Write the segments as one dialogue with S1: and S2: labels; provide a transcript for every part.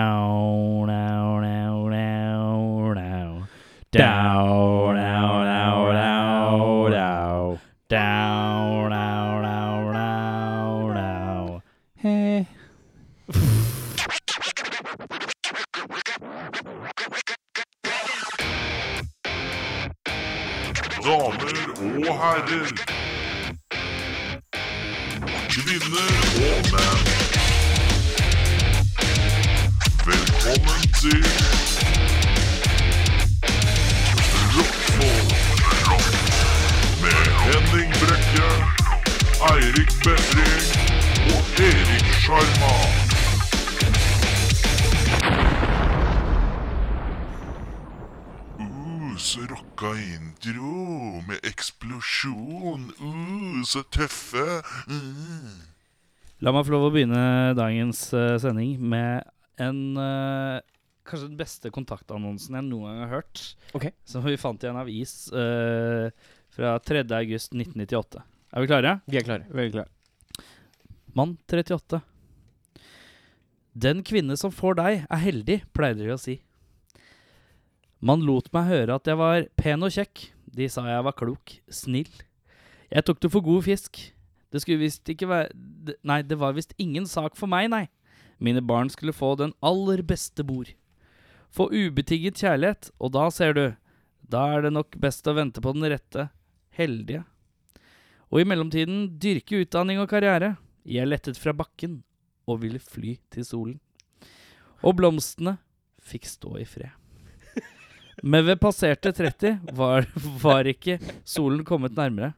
S1: Down, down, down, down, down. Down, down, down, down, down. Down, down, down, down, down. Hey.
S2: Damer og herrer. Kvinner og menn. Velkommen til Rockfolk Rock med Henning Brekke, Eirik Befring og Erik Sjarma. Uh, så rocka intro med eksplosjon. Uh, så tøffe. Mm.
S1: La meg få lov å begynne dagens eh, sending med en eh, Kanskje den beste kontaktannonsen jeg noen gang har hørt.
S3: Ok.
S1: Som vi fant i en avis eh, fra 3. august 1998. Er vi klare?
S3: Vi er klare. Veldig klare.
S1: Mann 38. Den kvinne som får deg, er heldig, pleide de å si. Man lot meg høre at jeg var pen og kjekk. De sa jeg var klok, snill. Jeg tok det for god fisk. Det skulle visst ikke være d- Nei, det var visst ingen sak for meg, nei. Mine barn skulle få den aller beste bord. Få ubetinget kjærlighet, og da ser du, da er det nok best å vente på den rette, heldige. Og i mellomtiden dyrke utdanning og karriere. Jeg lettet fra bakken og ville fly til solen. Og blomstene fikk stå i fred. Men ved passerte 30 var, var ikke solen kommet nærmere,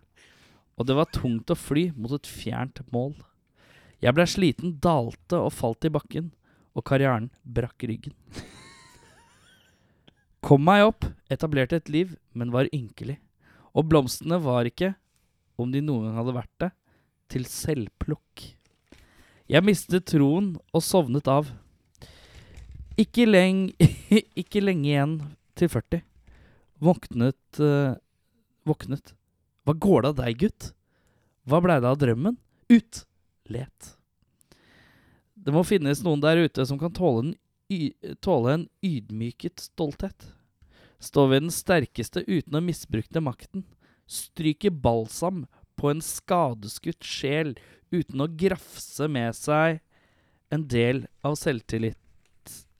S1: og det var tungt å fly mot et fjernt mål. Jeg ble sliten, dalte og falt i bakken, og karrieren brakk ryggen. Kom meg opp, etablerte et liv, men var ynkelig. Og blomstene var ikke, om de noen gang hadde vært det, til selvplukk. Jeg mistet troen og sovnet av. Ikke, leng, ikke lenge igjen til 40. Våknet eh, Våknet. Hva går det av deg, gutt? Hva blei det av drømmen? Ut! Let. Det må finnes noen der ute som kan tåle en, y tåle en ydmyket stolthet. Stå ved den sterkeste uten å misbruke den makten. Stryke balsam på en skadeskutt sjel uten å grafse med seg en del av selvtillit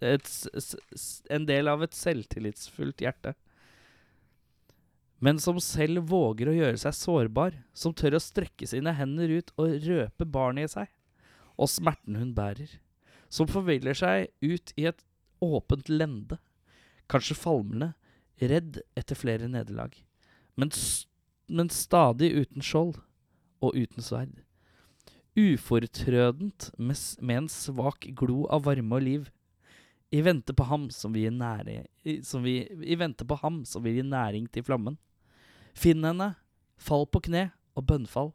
S1: et, s- s- s- En del av et selvtillitsfullt hjerte. Men som selv våger å gjøre seg sårbar, som tør å strekke sine hender ut og røpe barnet i seg, og smerten hun bærer. Som forviller seg ut i et åpent lende, kanskje falmende, redd etter flere nederlag, men, s- men stadig uten skjold og uten sverd ufortrødent med, s- med en svak glo av varme og liv. I vente på ham som vil gi næring, i, som vi, I vente på ham som vil gi næring til flammen. Finn henne, fall på kne og bønnfall.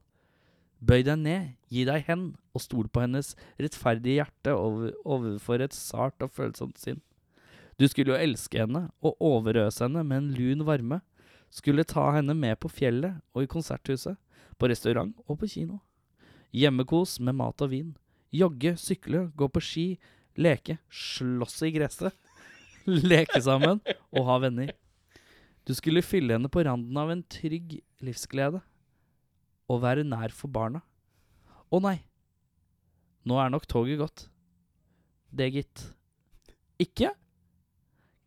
S1: Bøy deg ned, gi deg hen og stol på hennes rettferdige hjerte over, overfor et sart og følsomt sinn. Du skulle jo elske henne og overøse henne med en lun varme. Skulle ta henne med på fjellet og i konserthuset, på restaurant og på kino. Hjemmekos med mat og vin. Jogge, sykle, gå på ski, leke, slåss i gresset. Leke sammen og ha venner. Du skulle fylle henne på randen av en trygg livsglede. Og være nær for barna. Å nei, nå er nok toget gått. Det, gitt. Ikke?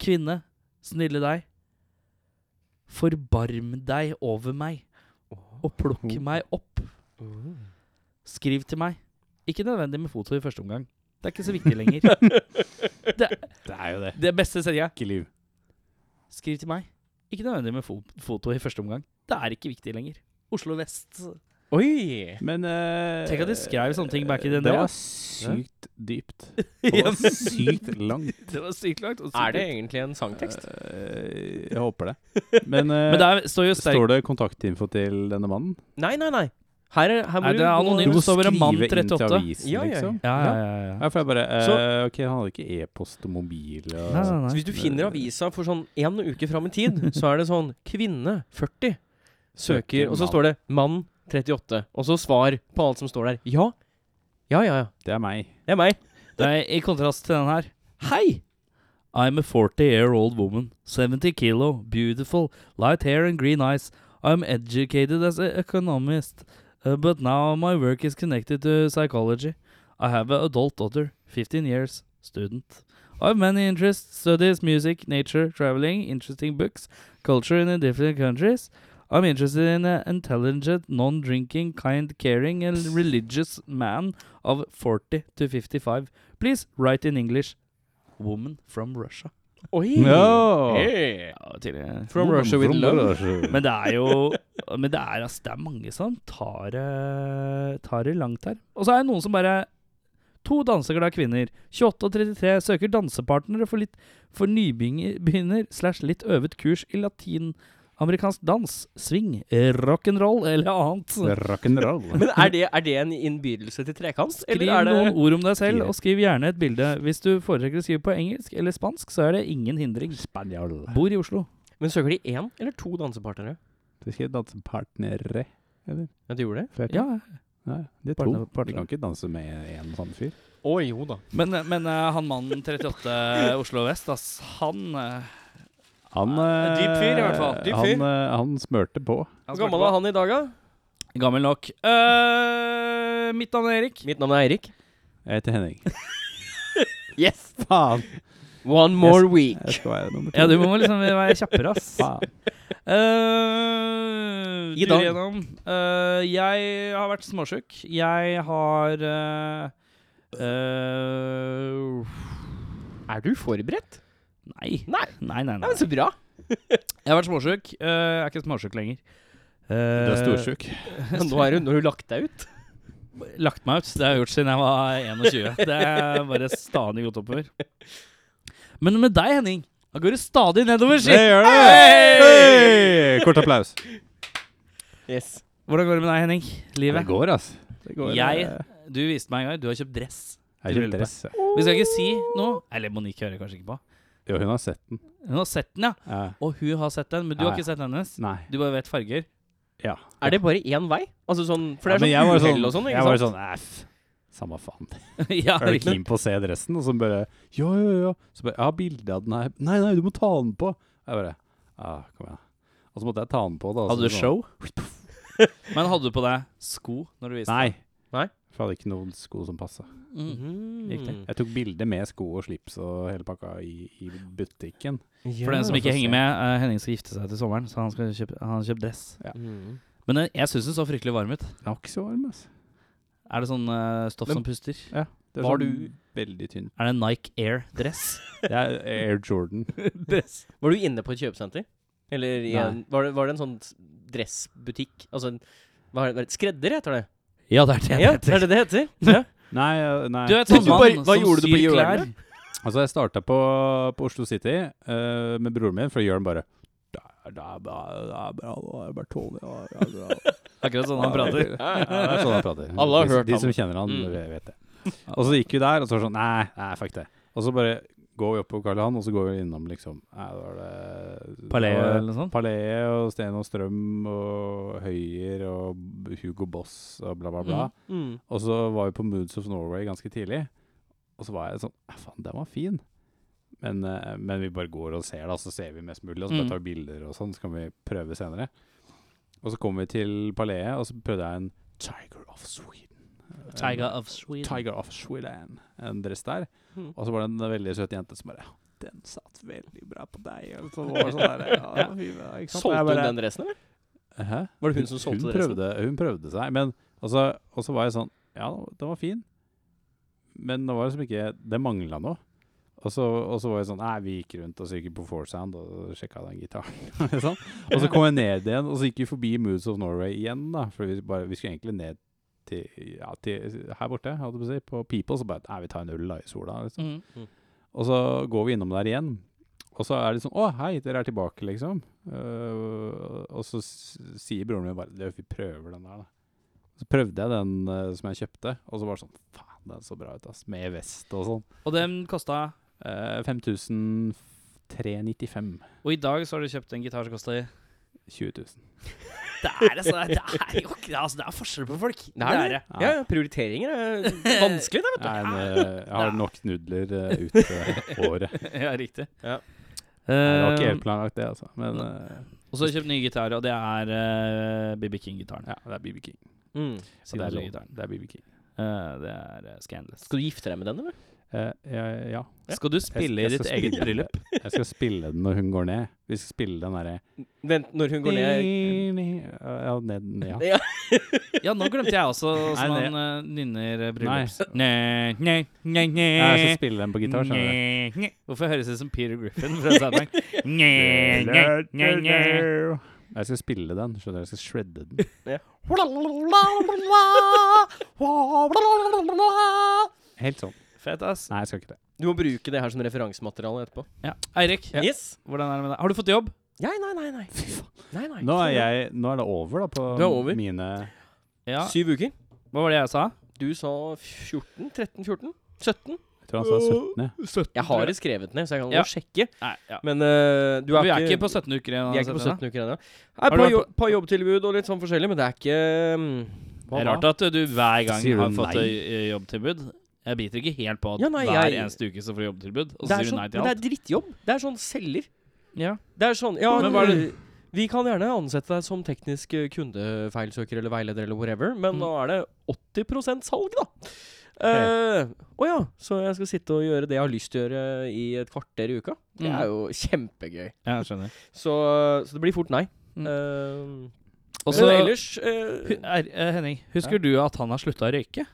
S1: Kvinne, snille deg. Forbarm deg over meg, og plukk
S4: Mm.
S1: meg opp. Skriv til meg. Ikke nødvendig med foto i første omgang. Det er ikke så viktig lenger.
S4: Det er jo det.
S1: Det beste sendinga
S4: Ikke liv.
S1: Skriv til meg. Ikke nødvendig med fo foto i første omgang. Det er ikke viktig lenger. Oslo vest.
S3: Oi!
S4: Men eh,
S1: Tenk at de skrev sånne ting back in the
S4: Det
S1: day, da.
S4: var sykt dypt.
S1: Ja,
S4: Og
S1: men-
S4: sykt langt.
S1: Det var sykt langt. og sykt
S3: Er det
S1: dypt.
S3: egentlig en sangtekst?
S4: Eh, jeg håper det. Men, eh,
S1: Men der står jo sterk
S4: står det kontaktinfo til denne mannen?
S3: Nei, nei, nei. Her er, her må
S1: Nei, det er
S3: gå-
S1: anonymt.
S4: må
S1: står bare mann
S4: skrive inn til
S1: 38.
S4: avisen,
S3: Ja, ja, ja.
S4: liksom.
S1: ja, ja, ja, ja.
S4: Ja, for jeg bare eh,
S3: Så-
S4: Ok, han hadde ikke e-post og mobil og
S1: Nei, nei,
S3: Så
S1: nei.
S3: hvis du finner avisa for sånn én uke fram i tid, så er det sånn Kvinne 40 søker Og så står det 'mann 38'. Og så svar på alt som står der. Ja. Ja, ja, ja.
S4: Det er meg.
S3: Det er meg.
S1: Nei, I kontrast til den her. Hei! I'm a 40-year-old woman. 70 kilo. Beautiful. Light hair and green eyes. I'm educated as an economist. uh, but now my work is connected to psychology. I have an adult daughter. 15 years. Student. I have many interests. Studies, music, nature, traveling, interesting books, culture in different countries. I'm interested in an intelligent, non-drinking, kind, caring and religious man of 40 to 55. Please write in English. Woman from Russia.
S3: Oi!
S4: Ja.
S3: Hey. From
S4: Woman
S3: Russia with
S4: from
S3: love.
S4: Russia.
S1: Men det er jo Men det er, altså, det er mange som tar, eh, tar det langt her. Og så er det noen som bare To danseglade kvinner, 28 og 33, søker dansepartnere for, litt, for nybegynner slash litt øvet kurs i latinamerikansk dans, swing, eh, rock'n'roll eller annet.
S4: Rock'n'roll.
S3: Men er det, er det en innbydelse til trekant?
S1: Skriv
S3: Eller er det
S1: noen ord om deg selv,
S4: Skriv.
S1: og skriv gjerne et bilde. Hvis du foretrekker å skrive på engelsk eller spansk, så er det ingen hindring.
S4: Spanjol.
S1: Bor i Oslo.
S3: Men søker de én eller to dansepartnere?
S4: Det skal danse partnere.
S3: Ja, de gjorde det?
S4: Flere.
S1: Ja,
S4: Nei, det er
S1: Partner-
S4: to.
S1: partner.
S4: Du kan ikke danse med én sånn fyr.
S3: Å jo da.
S1: Men, men eh, han mannen 38 Oslo vest, ass, han eh,
S4: Han,
S1: Ja,
S4: eh,
S1: dyp fyr i hvert fall.
S3: Dyp
S4: han,
S3: fyr.
S4: eh, han smørte på.
S1: han
S3: Hvor gammel er han i dag, da?
S1: smarte på. Gammel nok. Eh, mitt navn er Erik.
S3: Mitt navn er Eirik.
S4: Jeg heter Henning.
S3: Yes!
S4: Faen!
S3: One more
S4: Jeg
S3: week.
S4: skal være nummer to.
S1: Ja, du må liksom være kjappere, ass.
S4: Faen.
S1: Uh,
S3: I dag.
S1: Gjennom. Eh, jeg har vært småsjuk. Jeg har eh, eh,
S3: Er du forberedt?
S1: Nei.
S3: Nei.
S1: Nei, nei,
S3: Ja,
S1: nei.
S3: men så bra.
S1: Jeg har vært småsjuk. Eh, jeg er ikke småsjuk lenger.
S4: Du er
S1: Eh,
S4: storsjuk.
S3: Men nå er du, når du lagt deg ut.
S1: Lagt meg ut. Det har jeg gjort siden jeg var 21. Det er bare stadig gått oppover. Men med deg, Henning, da går det stadig nedover.
S4: Det
S1: Si.
S4: gjør det!
S1: Hei!
S4: Hei! Kort applaus.
S3: Yes.
S1: Hvordan går det med deg, Henning?
S4: Det
S1: Livet?
S4: går, altså. Det går,
S1: Jeg-
S4: eh,
S1: Du viste meg en gang. Du har kjøpt dress.
S4: Jeg har kjøpt dress. jeg.
S1: Vi skal ikke si noe. Eller Monique hører kanskje ikke på.
S4: Jo, hun har sett den.
S1: Hun har sett den, ja.
S4: Eh,
S1: Og hun har sett den, men du har
S4: Ja, ja.
S1: ikke sett hennes.
S4: nei.
S1: Du bare vet farger.
S4: Ja.
S3: Er det bare én vei? Altså sånn, For det er
S4: Ja, men jeg var
S3: sånn uhell og sånn,
S4: Jeg
S3: ikke
S4: var
S3: sant?
S4: sånn Æff. Samme faen.
S1: ja,
S4: Er du
S1: riktig.
S4: keen på å se dressen? Og så bare Ja, ja, ja. Så bare Jeg har bilde av den her. Nei, nei, du må ta den på. Jeg bare Ja, kom igjen. Og så måtte jeg ta den på, da.
S1: Hadde
S4: så
S1: du
S4: sånn-
S1: show? Men hadde du på deg sko når du viste
S4: Nei. Mhm.
S3: Nei?
S4: For jeg hadde ikke noen sko som passa.
S1: Mm.
S3: Riktig.
S4: Jeg tok bilde med sko og slips og hele pakka i, i butikken.
S1: For den som
S4: vi
S1: ikke
S4: får se.
S1: henger med, eh, Henning skal gifte seg til sommeren, så han skal kjøpe, han har kjøpt dress.
S3: Mm.
S1: Men eh, jeg syns den så fryktelig varm ut.
S4: Den var ikke så varm, altså.
S1: Er det sånn eh, stoff
S4: Men-
S1: som puster?
S4: Det
S3: Var
S4: sånn veldig tynn.
S1: Er det en Nike Air-dress?
S4: Det er Air Jordan.
S1: Dress.
S3: Var du inne på et kjøpesenter? Eller i
S4: Nei.
S3: en, var, det, var det en sånn s- dressbutikk? Altså en hva er det- hva er det, Skredder, heter det.
S1: Ja, det er det.
S3: Ja, det er det det heter. Ja.
S4: Nei, eh, nei.
S1: Du er et
S3: Du
S1: sånn mann
S3: bare- hva
S1: som
S3: gjorde du på
S1: syr klær.
S3: hjørnet?
S4: Altså, jeg starta på, på Oslo City eh, med broren min, for å gjøre den bare det er- det er bra, det er bra, det er bare tålig, det er bra.
S1: Akkurat sånn han prater.
S4: Ja, det er sånn han prater.
S3: Alle har
S4: de,
S3: hørt
S4: De
S3: han.
S4: som kjenner han,
S3: Mm.
S4: vet det. Og så gikk vi der, og så var det sånn Nei, nei, fuck det. Og så bare går vi opp på Karl Johan, og så går vi innom liksom Nei, da var det
S1: Palais
S4: da var det-
S1: eller noe sånt.
S4: Palais og Sten og Strøm og Høyer og Hugo Boss og bla, bla, bla.
S1: Mm.
S3: Mm.
S4: Og så var vi på Moods of Norway ganske tidlig. Og så var jeg sånn «Ah, Faen, den var fin. Men, eh, men vi bare går og ser, da, så ser vi mest mulig. Og så
S1: Mm.
S4: bare tar vi bilder og sånn, så kan vi prøve senere. Og så kom vi til Palais, og så prøvde jeg en Tiger of Sweden. En-
S1: Tiger of Sweden.
S4: Tiger of Sweden. En dress der.
S3: Mm.
S4: Og så var det en veldig søt jente som bare Den satt veldig bra på deg. Og så var det sånn der, ja, det var fint, ja, ikke sant? Og jeg
S3: Solgte hun
S4: bare,
S3: den dressen, eller?
S4: Hæ?
S3: Var det hun som solgte dressen?
S4: prøvde, hun prøvde seg, men Og så og så var jeg sånn Ja, den var fin, men det var liksom ikke Det mangla noe. Og så, og så var jeg sånn Nei, vi gikk rundt og så gikk vi på Foursound og sjekka den gitaren. sånn. Og så kom jeg ned igjen, og så gikk vi forbi Moods of Norway igjen, da. For vi, bare, vi skulle egentlig ned til, ja, til her borte, holdt jeg på å si, på People. Så bare Nei, vi tar en øl da i sola, liksom.
S1: Mm.
S4: Og så går vi innom der igjen. Og så er det sånn Å, hei, dere er tilbake, liksom. Eh, og så s- sier broren min bare «Du, Vi prøver den der, da. Så prøvde jeg den eh, som jeg kjøpte, og så bare sånn Faen, den så bra ut, ass. Med vest og sånn.
S1: Og den kosta
S4: Eh, 5395.
S1: Og i dag så har du kjøpt en gitar som koster
S4: 20 000.
S1: Det er, altså, det er jo ikke altså, Det er forskjell på folk.
S3: Det er det.
S4: Ja.
S3: Ja, ja, prioriteringer er vanskelig, det, vet
S4: Jeg, er en, eh, jeg har nok nudler eh, ut eh, året.
S1: det. Ja, riktig.
S3: Ja.
S4: Jeg har ikke
S1: Eh,
S4: helt planlagt det, altså. Men eh,
S1: og så har jeg kjøpt ny gitar, og det er eh, BB King-gitaren.
S4: ja, det er BB King.
S3: du. Mm.
S1: Og
S4: Siden
S1: det
S4: jeg
S1: er låneren.
S4: lånte den. Det er BB King.
S1: Eh, det er eh, Scandalous.
S3: Skal du gifte deg med den, eller?
S4: Eh, jeg- ja.
S1: Skal du spille i
S4: jeg
S1: ditt
S4: skal
S1: eget
S4: spille.
S1: bryllup?
S4: Jeg skal spille den når hun går ned. Vi skal spille den derre
S3: Vent, når hun går ned
S4: Ja, ned, ned, ja.
S3: Ja.
S1: Ja, nå glemte jeg også
S4: Nei,
S1: hvordan
S4: det-
S1: man eh, nynner eh,
S4: Nei.
S1: bryllups... Nei, nei, nei, nei.
S4: Jeg skal spille den på gitar, skjønner du.
S1: Nye, nye. Hvorfor høres det ut som Peter Griffin fra South Park? Nye, nye, nye, nye.
S4: Jeg skal spille den, skjønner du. Jeg skal shredde den. Helt sånn.
S1: Fett, ass.
S4: Nei, jeg skal ikke det.
S3: Du må bruke det her som referansemateriale etterpå.
S1: Ja. Eirik,
S3: Yes.
S1: hvordan er det med deg? Har du fått jobb?
S3: Nei, nei, nei. nei. nei, nei.
S4: Nå er, jeg, nå er det over, da, på
S3: Det er over.
S4: mine
S1: Ja.
S3: Syv uker.
S1: Hva var det jeg sa?
S3: Du sa 14? 13-14? 17?
S4: Jeg tror han sa 17, ja.
S3: Jeg har det skrevet ned, så jeg kan
S1: Ja.
S3: jo sjekke.
S1: Nei, ja.
S3: Men eh, du er
S1: Vi er ikke på
S3: på
S1: 17 uker igjen.
S3: vi er ikke på 17 uker ennå.
S1: Har
S3: Par,
S1: du
S3: jo, par jobbtilbud og litt sånn forskjellig, men det er ikke mm,
S1: Det er rart at du hver gang
S4: Sier du
S1: har fått
S4: nei?
S1: eh, jobbtilbud. Jeg biter ikke helt på at
S3: Ja, nei,
S1: hver
S3: jeg-
S1: eneste uke så får du jobbtilbud, og
S3: det
S1: så
S3: er,
S1: sier du
S3: sånn,
S1: nei til
S3: men det er
S1: alt.
S3: drittjobb. Det er sånn selger.
S1: Ja.
S3: Det er sånn Ja,
S1: Men hva er det-
S3: vi kan gjerne ansette deg som teknisk eh, kundefeilsøker eller veileder eller whatever, men
S1: Mm.
S3: nå er det 80 salg, da. Eh, Å ja, så jeg skal sitte og gjøre det jeg har lyst til å gjøre i et kvarter i uka. Det
S1: Mm.
S3: er jo kjempegøy.
S1: Ja, jeg skjønner.
S3: Så, så det blir fort nei.
S1: Mm.
S3: Eh,
S1: Og
S3: men
S1: så-
S3: ellers eh,
S1: Hu- er, eh, Henning, husker du at han har slutta å røyke?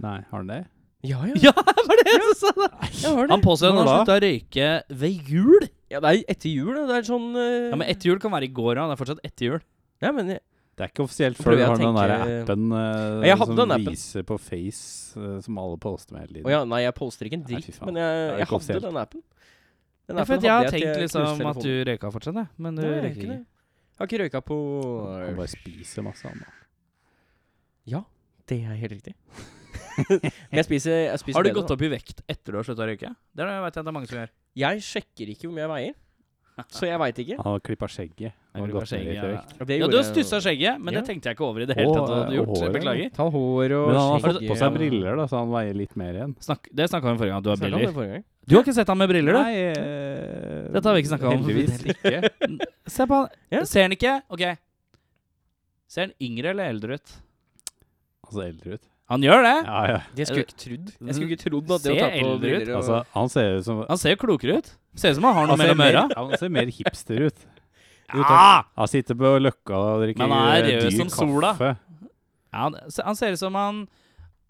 S4: Nei, har han det?
S3: Ja, ja.
S1: Ja, var det jeg som sa det!
S3: Jeg har det.
S1: Han påstår at han
S4: Når
S1: har
S4: da?
S1: slutta å røyke ved jul.
S3: Ja, det er etter jul, det. Det er sånn eh,
S1: Ja, Men etter jul kan være i går, og han er fortsatt etter jul.
S3: ja, men jeg-
S4: Det er ikke offisielt
S3: prøver
S4: før du
S3: jeg å
S4: har den der
S3: tenke-
S4: appen eh,
S3: Jeg hadde
S4: som
S3: den appen.
S4: viser på Face, eh, som alle poster med hele
S3: Å
S4: tiden.
S3: ja, nei, jeg poster ikke en
S4: Nei,
S3: dritt,
S4: fy faen.
S3: men jeg,
S4: Det er
S3: jeg
S4: ikke
S3: hadde
S4: offisielt.
S3: den appen. Den
S1: Ja, for
S3: appen
S1: at jeg har
S3: hadde til
S1: tenkt
S3: jeg
S1: liksom
S3: knuste
S1: at du
S3: telefonen.
S1: røyka fortsatt, jeg. Men du
S3: Nei, jeg
S1: røyker
S3: gjør ikke
S1: ikke.
S3: det. Jeg har ikke røyka på
S4: Han bare spiser masse, han da.
S3: Ja, det er helt riktig. Men jeg spiser, jeg spiser
S1: Har du
S3: bedre,
S1: gått opp i vekt etter du har slutta å røyke? Det er det jeg vet jeg det er mange som gjør.
S3: da. Jeg sjekker ikke hvor mye jeg veier, så jeg veit ikke.
S4: Han har klippa skjegget. Han har
S1: Jeg
S4: gått
S1: bruker
S4: ned litt i
S1: skjegget,
S4: vekt.
S3: Det
S1: Ja,
S3: gjorde
S1: du har
S3: jeg jo.
S1: stussa skjegget, men
S3: Ja.
S1: det tenkte jeg ikke over i det hele
S4: Å,
S1: tatt. at du hadde
S4: eh,
S1: gjort, så jeg
S4: håret.
S1: Beklager.
S3: Ta hår og
S4: Men han har
S1: skjegget.
S4: fått på seg briller, da, så han veier litt mer igjen.
S1: Snakk, det snakka vi om forrige gang, at du har
S3: Snakket om det
S1: briller.
S3: forrige gang.
S1: Du har ikke sett han med briller, du?
S4: Nei, eh,
S1: Dette har vi ikke snakket om.
S4: Heldigvis ikke.
S1: Se på han.
S3: Ja.
S1: Ser han ikke? OK. Ser han yngre eller eldre ut?
S4: Altså eldre ut.
S1: Han gjør det.
S4: Ja, ja.
S3: Det skulle jeg ikke trodd. Jeg skulle ikke trodd at det
S1: Se
S3: å ta på
S1: eldre ut,
S3: briller og
S4: Altså, han ser ut som
S1: Han ser jo klokere ut. Ser ut som han har noe
S4: han ser
S1: mellom øra.
S4: Han ser mer hipster ut.
S1: Ja!
S4: Han sitter på Løkka og drikker
S1: Men han er
S4: eh,
S1: rød
S4: dyr
S1: som sola.
S4: kaffe.
S1: Ja, han, se- han ser ut som han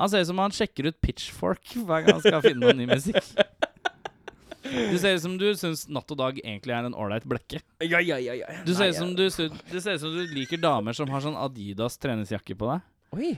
S1: Han ser ut som han sjekker ut pitchfork hver gang han skal finne noe ny musikk. Du ser ut som du syns Natt og Dag egentlig er en ålreit blekke.
S3: Ja, ja, ja, ja.
S1: Du ser
S3: Nei,
S1: ut som
S3: jeg-
S1: du, sy- det ser ut som du liker damer som har sånn Adidas treningsjakke på deg.
S3: Oi.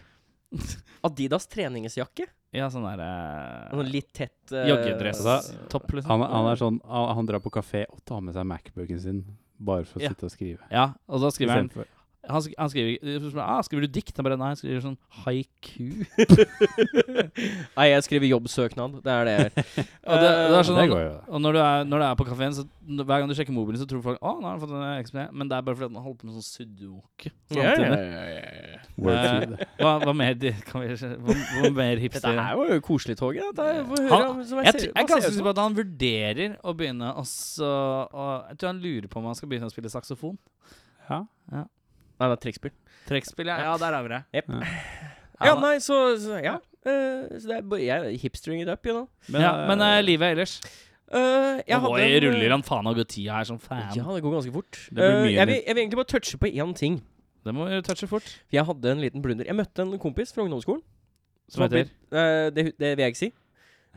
S3: Adidas treningsjakke.
S1: Ja, sånn
S3: Noe
S1: derre
S3: litt tett uh,
S1: Joggedresstopp, liksom.
S4: Altså, Han, han er sånn Han han drar på kafé og tar med seg Macbooken sin bare for å
S1: Ja.
S4: sitte og skrive.
S1: Ja, og da skriver han
S4: Istedenfor-
S1: Han, sk han skriver, ikke- ah, 'Skriver du dikt?' Han bare nei, han skriver sånn haiku.
S3: Nei, jeg skriver jobbsøknad. Det er det jeg gjør. Eh,
S1: Og det, det er sånn
S4: Det
S1: at-
S4: går jo.
S1: Og når du er, når du er på kafeen, så n- hver gang du sjekker mobilen, så tror folk å, nå har han fått en XP. Men det er bare fordi at han holdt på med sånn sudoku.
S3: ja, ja,
S1: samtidig.
S3: ja, ja, ja.
S1: Eh,
S4: Wordfeud.
S1: Hva, hva mer de- kan vi hva, hva mer
S3: Dette
S1: hipster
S3: her var jo koselig toget. Dette er, får høre,
S1: Han-
S3: om- som
S1: Jeg,
S3: ser-
S1: tr- jeg
S3: hva
S1: er ganske
S3: ser
S1: sikker
S3: ut
S1: på at han vurderer å begynne å så- å- Jeg tror han lurer på om han skal begynne å spille saksofon.
S4: Ja.
S3: som. Nei, det er trekkspill.
S1: Trekkspill, ja. Ja, der er vi det.
S3: Jepp.
S1: Ja,
S3: Ja,
S1: da.
S3: nei, så, så ja. Eh, så det er, bare- jeg er hipstering it up, you know.
S1: Men, ja, men eh, livet ellers?
S3: Eh,
S1: Nå
S3: jeg hadde en, eh,
S1: ruller han faen av går tida her som fan.
S3: Ja, det går ganske fort.
S4: Det blir
S3: Eh,
S4: mye
S3: jeg, vil,
S4: nytt.
S3: jeg vil egentlig bare touche på én ting.
S1: Det må vi touche fort.
S3: For Jeg hadde en liten blunder. Jeg møtte en kompis fra ungdomsskolen.
S1: Som
S3: har
S1: heter?
S3: blitt- eh, det, det vil jeg ikke si.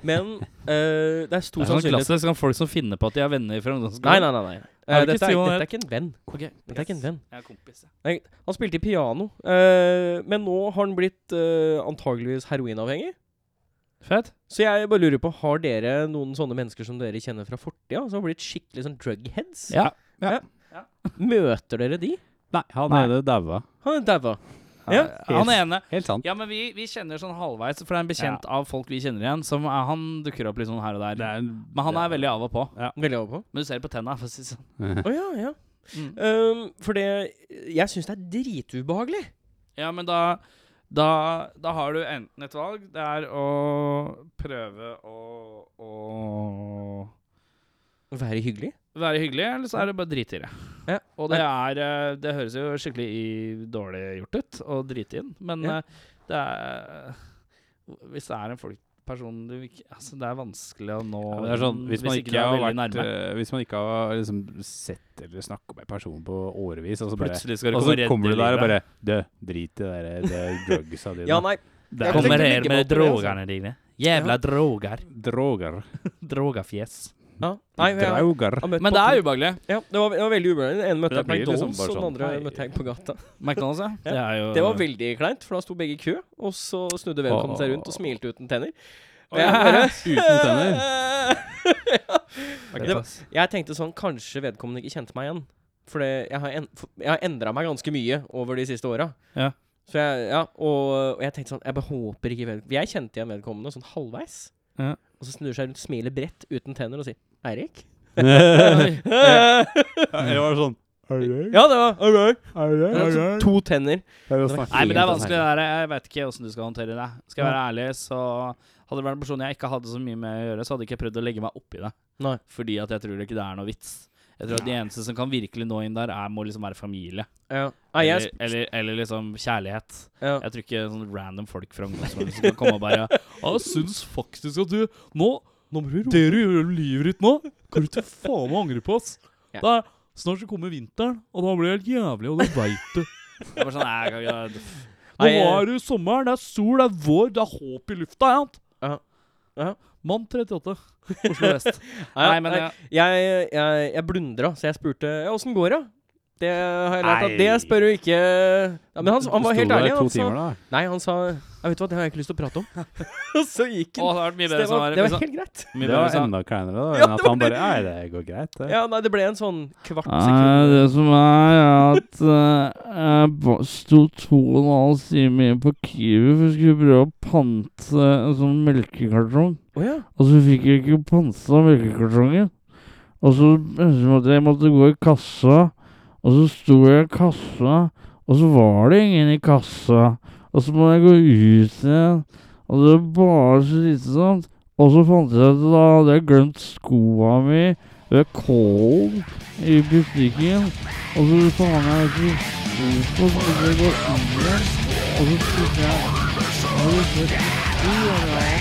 S3: Men eh, det er stor
S1: Det er sånn
S3: sannsynlighet
S1: klassisk sånn folk som finner på at de er venner fra ungdomsskolen.
S3: Nei, nei, nei. nei. Eh,
S1: Er det ikke
S3: dette, er,
S1: Simon
S3: dette
S1: her?
S3: er ikke en venn.
S1: Ok,
S3: Dette er ikke en venn.
S1: Jeg er kompis, jeg.
S3: Han spilte i piano, eh, men nå har han blitt eh, antageligvis heroinavhengig.
S1: Fett.
S3: Så jeg bare lurer på, har dere noen sånne mennesker som dere kjenner fra fortida, som har blitt skikkelig sånn drugheads?
S1: Ja.
S3: Møter dere de?
S4: Nei, han
S1: Nei.
S4: er det daua.
S3: Han er daua. Ja.
S1: Han ene
S4: Helt sant.
S1: Ja, men vi, vi kjenner sånn halvveis, for det er en bekjent av folk vi kjenner igjen, som er, han dukker opp litt sånn her og der.
S4: Det er en-
S1: Men han
S4: det
S1: er veldig av og på.
S3: Veldig over på.
S1: Men du ser det på tenna, for å si det sånn.
S3: Å ja, ja.
S5: Mm.
S3: Um, for det Jeg syns det er dritubehagelig.
S5: Ja, men da, da, da har du enten et valg. Det er å prøve å, å
S3: Være hyggelig.
S5: være hyggelig, eller så er det bare drite i det.
S3: Ja.
S5: Og det er eh, Det høres jo skikkelig i, dårlig gjort ut å drite i den, men
S3: Ja.
S5: eh, det er Hvis det er en folk person du ikke Altså, det er vanskelig å nå
S4: Ja, men det er sånn, hvis, man ikke
S5: du er
S4: har
S5: veldig
S4: vært,
S5: nærme.
S4: eh, hvis man ikke har liksom, sett eller snakket med en person på årevis, og så, bare,
S5: Plutselig skal du
S4: og
S5: komme
S4: så
S5: og redde
S4: kommer du der og
S5: livet.
S4: bare Dø, drit i det der det drugsa dine.
S3: Ja, nei.
S4: det
S3: Jeg
S4: kommer
S5: Kommer
S3: tenker
S5: her
S3: like
S5: med
S3: godt på det, altså.
S5: drogene dine. Jævla droger.
S4: droger.
S5: Drogafjes.
S3: Ja. Nei, jeg har-
S4: Drauger.
S3: har møtt
S5: Men
S3: på
S5: det
S3: to-
S5: er ubehagelig.
S3: Ja, det var, det var veldig ubehagelig. Den ene møtte
S4: Men
S3: jeg på
S4: da blir det liksom
S3: McDonald's, og
S4: bare
S3: den
S4: sånn,
S3: andre
S4: hei.
S3: møtte jeg på gata.
S5: McDonald's, ja. Det er jo
S3: Det var veldig kleint, for da sto begge i kø, og så snudde vedkommende seg rundt og smilte uten tenner. Og jeg bare-
S4: Uten tenner.
S3: Ja.
S5: Ok.
S3: det var- Jeg tenkte sånn, kanskje vedkommende ikke kjente meg igjen. For det- jeg har, en, for- jeg har endra meg ganske mye over de siste åra.
S5: Ja.
S3: Så jeg, ja, og, og jeg tenkte sånn, jeg bare håper ikke vedkommende Jeg kjente igjen vedkommende sånn halvveis.
S5: Ja.
S3: Og så snur seg rundt, smiler bredt uten tenner og sier 'Eirik'.
S4: Eller
S3: ja,
S4: var det sånn Er det
S3: det var alright.
S4: Er
S3: Ja, så To tenner.
S5: Nei, men det er vanskelig. Det der. Jeg vet ikke åssen du skal håndtere det. Skal jeg være ærlig, så hadde det vært en person jeg ikke hadde så mye med å gjøre, så hadde jeg ikke prøvd å legge meg oppi det.
S3: Nei.
S5: Fordi at jeg tror ikke det er noe vits. Jeg tror at de eneste som kan virkelig nå inn der, er, må liksom være familie.
S3: Ja. Nei, jeg,
S5: Eller, eller, eller liksom kjærlighet.
S3: ja.
S5: Jeg tror ikke sånn random folk fra ungdomsskolen som kan komme og bare Ja, jeg syns faktisk at du Nå
S3: Nå må du roe
S5: Det du gjør med livet ditt nå, kan du til faen meg angre på, ass.
S3: Ja.
S5: Det er- snart så kommer vinteren, og da blir det helt jævlig, og det veit du. Jeg bare sånn, nei, jeg kan ikke Nå
S3: Nei, jeg-
S5: er det sommeren, det er sol, det er vår, det er håp i lufta. Ja.
S3: Ja. Ja.
S5: Mann 38, Oslo vest.
S3: Nei,
S5: Nei, men ja.
S3: Jeg, jeg, jeg blundra, så jeg spurte ja, åssen går det? Det har jeg lært at
S4: Nei.
S3: det spør jo ikke ja, Men han, han var helt ærlig. altså.
S4: to
S3: Han sa,
S4: timer, da.
S3: nei, han sa jeg vet du hva, det har jeg ikke lyst til å prate om. Og så gikk
S5: Å,
S3: han.
S5: det har vært mye
S3: Så
S5: bedre
S3: det, var, det var
S5: sånn
S3: helt greit.
S5: Mye
S4: Det
S5: bedre
S4: var
S5: sånn
S4: enda kleinere da,
S3: Ja,
S4: enn
S3: det
S4: at
S3: var
S4: han bare
S3: det.
S4: Nei, det går greit, det.
S3: Ja, nei, det ble en sånn kvart
S4: Ah.
S1: Nei,
S3: sekund.
S1: det som er, er at eh, jeg ba- sto to og en halv time igjen på Kiwi for jeg skulle prøve å pante en sånn melkekartong.
S3: Å ja.
S1: Og så fikk jeg ikke panta melkekartongen. Og så endte det med at jeg måtte gå i kassa, og så sto jeg i kassa, og så var det ingen i kassa. Og så må jeg gå ut igjen, og det var bare slitsomt. Og så fant jeg ut at da hadde jeg glemt skoa mi ved Kål i butikken. Og så faen jeg ikke hvorfor så måtte jeg gå inn igjen. Og så spurte jeg har du sett skoene her?»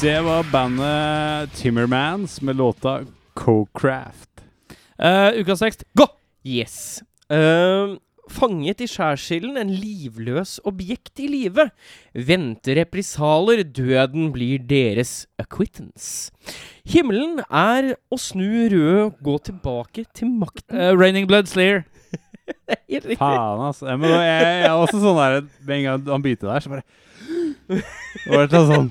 S4: Det var bandet Timmermans med låta Co-Craft.
S5: Eh, Ukas tekst, gå!
S3: Yes. Ehm, fanget i skjærsilden, en livløs objekt i live. Venter reprisaler, døden blir deres acquittance. Himmelen er å snu rød, gå tilbake til makten.
S5: Eh, Raining Blood Slayer.
S3: Helt riktig.
S4: Faen, ass. Jeg, men jeg, jeg er også sånn der Med en gang han begynte der, så bare Det var sånn sånn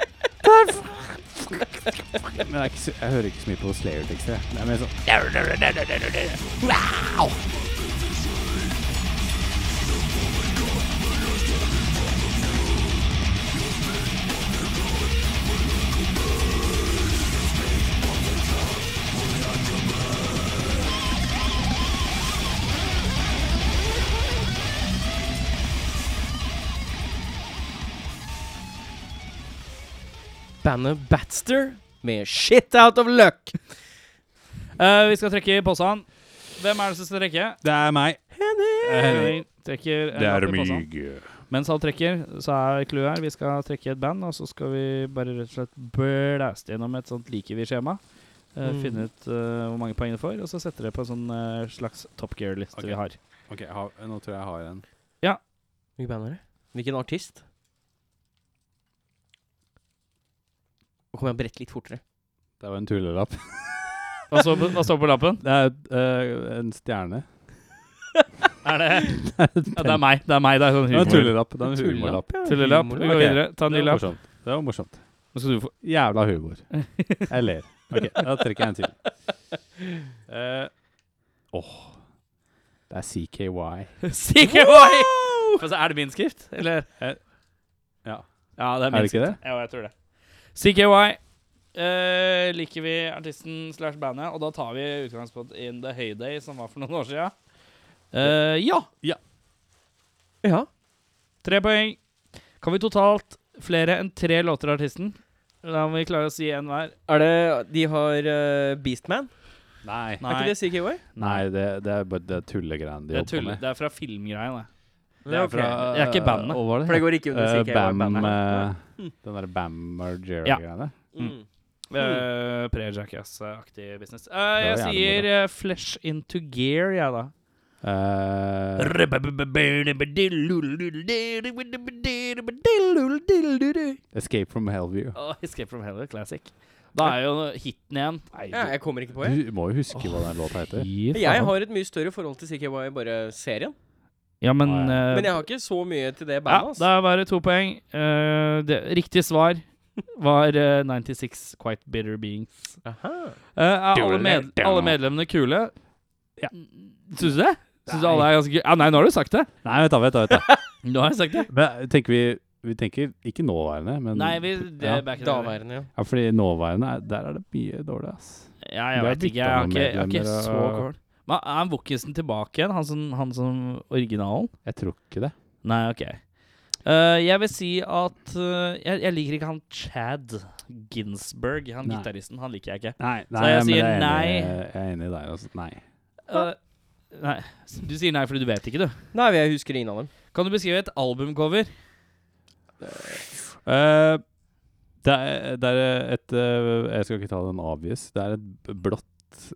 S4: Men det er ikke, så- jeg hører ikke så mye på Slayer-tekster. jeg. Det er mer sånn
S3: Bandet Batster med Shit Out of Luck.
S5: Eh, vi skal trekke i posen. Hvem er det som skal trekke?
S4: Det er meg.
S5: Eh, Henning trekker en lapp i posen.
S4: sånn.
S5: Mens han trekker, så er clouet her. Vi skal trekke et band, og så skal vi bare rett og slett blæste gjennom et sånt liker vi-skjema. Eh,
S3: Mm.
S5: Finne ut eh, hvor mange poeng det får, og så sette det på en sånn eh, slags Top Gear-liste
S4: Ok.
S5: vi har.
S4: Ok, jeg har, nå tror jeg jeg har en.
S3: Hvilken band er det? Hvilken artist? Nå kommer jeg brett litt fortere.
S4: Det var en tullelapp.
S5: Hva står på, hva står på lappen?
S4: Det er øh, en stjerne.
S5: Er det ja, Det er meg. Det er meg, det er sånn
S4: Det var en
S5: humor.
S4: tullelapp. Det er en humorlapp.
S3: ja.
S5: Tullelapp. Vi går
S4: Ok.
S5: videre. Ta en ny
S4: Det var
S5: lapp.
S4: morsomt. Det var morsomt.
S5: Nå skal du få
S4: Jævla humor. Jeg ler. Ok, da trekker jeg en til. Eh, Åh. det er CKY.
S5: Sikker boy! Men så er det min skrift, eller?
S4: Eh, ja.
S5: Ja, det er
S4: Er
S5: min
S4: det ikke det?
S5: skrift. Ja, jeg tror det. CKY eh, liker vi artisten slash bandet, og da tar vi utgangspunkt in The Heyday, som var for noen år siden. Eh, ja,
S3: Ja.
S5: tre poeng. Kan vi totalt flere enn tre låter av artisten? Da må vi klare å si én hver.
S3: Er det De har eh, Beastman?
S4: Nei.
S5: Nei.
S3: Er ikke det CKY?
S4: Nei, det, det er bare det tullegreiene de
S5: Det er,
S4: holder på
S5: tull,
S4: med.
S5: det er fra filmgreia, det.
S3: Ja, ok.
S5: Det er ikke bandet.
S4: Hva var det?
S3: For det går ikke under
S4: Eh,
S3: CKY.
S4: Bam
S3: bandet.
S4: eh,
S5: Hm.
S4: Den derre Bam Margera-greiene.
S3: Mm.
S5: Uh, Pre-Jackass-aktig business. Eh,
S4: Hmm. Det
S5: jeg
S4: var
S5: sier
S4: jævlig
S5: eh, Flesh Into Gear, jeg, da.
S4: Eh, Escape from Hellview.
S5: Åh, Escape from Hell, classic. Da er jo hiten igjen. Nei,
S3: Ja, jeg kommer ikke på det.
S4: Du må jo huske hva den låta heter.
S5: fy
S3: Jeg
S5: faen.
S3: har et mye større forhold til CKY bare serien.
S5: Ja, men,
S4: Ah,
S5: eh,
S3: Men jeg har ikke så mye til det
S5: ja,
S3: bandet. altså.
S5: Da var det to poeng. Eh, det, riktig svar var eh, 96 Quite Bitter Beings.
S3: Aha.
S5: Eh, er alle, med, alle medlemmene kule?
S4: Ja.
S5: Syns du det? Syns du alle er ganske kule? Ja, nei, nå har du sagt det.
S4: Nei, vent da, vent da. Vent da.
S5: Nå har jeg sagt det.
S4: Men eh, tenker vi, vi tenker ikke nåværende, men
S5: Nei, vi, det
S4: ja.
S5: er back in the day.
S3: Daværende, ja.
S4: ja, fordi nåværende, er- der er det mye dårlig, ass.
S5: Ja, jeg
S4: Det er
S5: vet ikke. Jeg har
S4: bytta
S5: ikke, jeg har ikke
S4: medlemmer,
S5: så
S4: og-
S5: kål. Men er han Wokkisen tilbake igjen? Han som, han som originalen?
S4: Jeg tror ikke det.
S5: Nei, OK. Eh, jeg vil si at eh, jeg, jeg liker ikke han Chad Ginsberg, han
S4: Nei.
S5: gitaristen. Han liker jeg ikke.
S4: Nei, nei
S5: jeg
S4: men
S5: sier
S4: er enig- eh,
S5: nei.
S4: Jeg er enig i deg, altså. Nei.
S5: Eh, nei, s- Du sier nei fordi du vet ikke, du.
S3: Nei, jeg husker ingen av dem.
S5: Kan du beskrive et albumcover?
S4: Eh, det, er, det er et eh, Jeg skal ikke ta den obvious. Det er et b- blått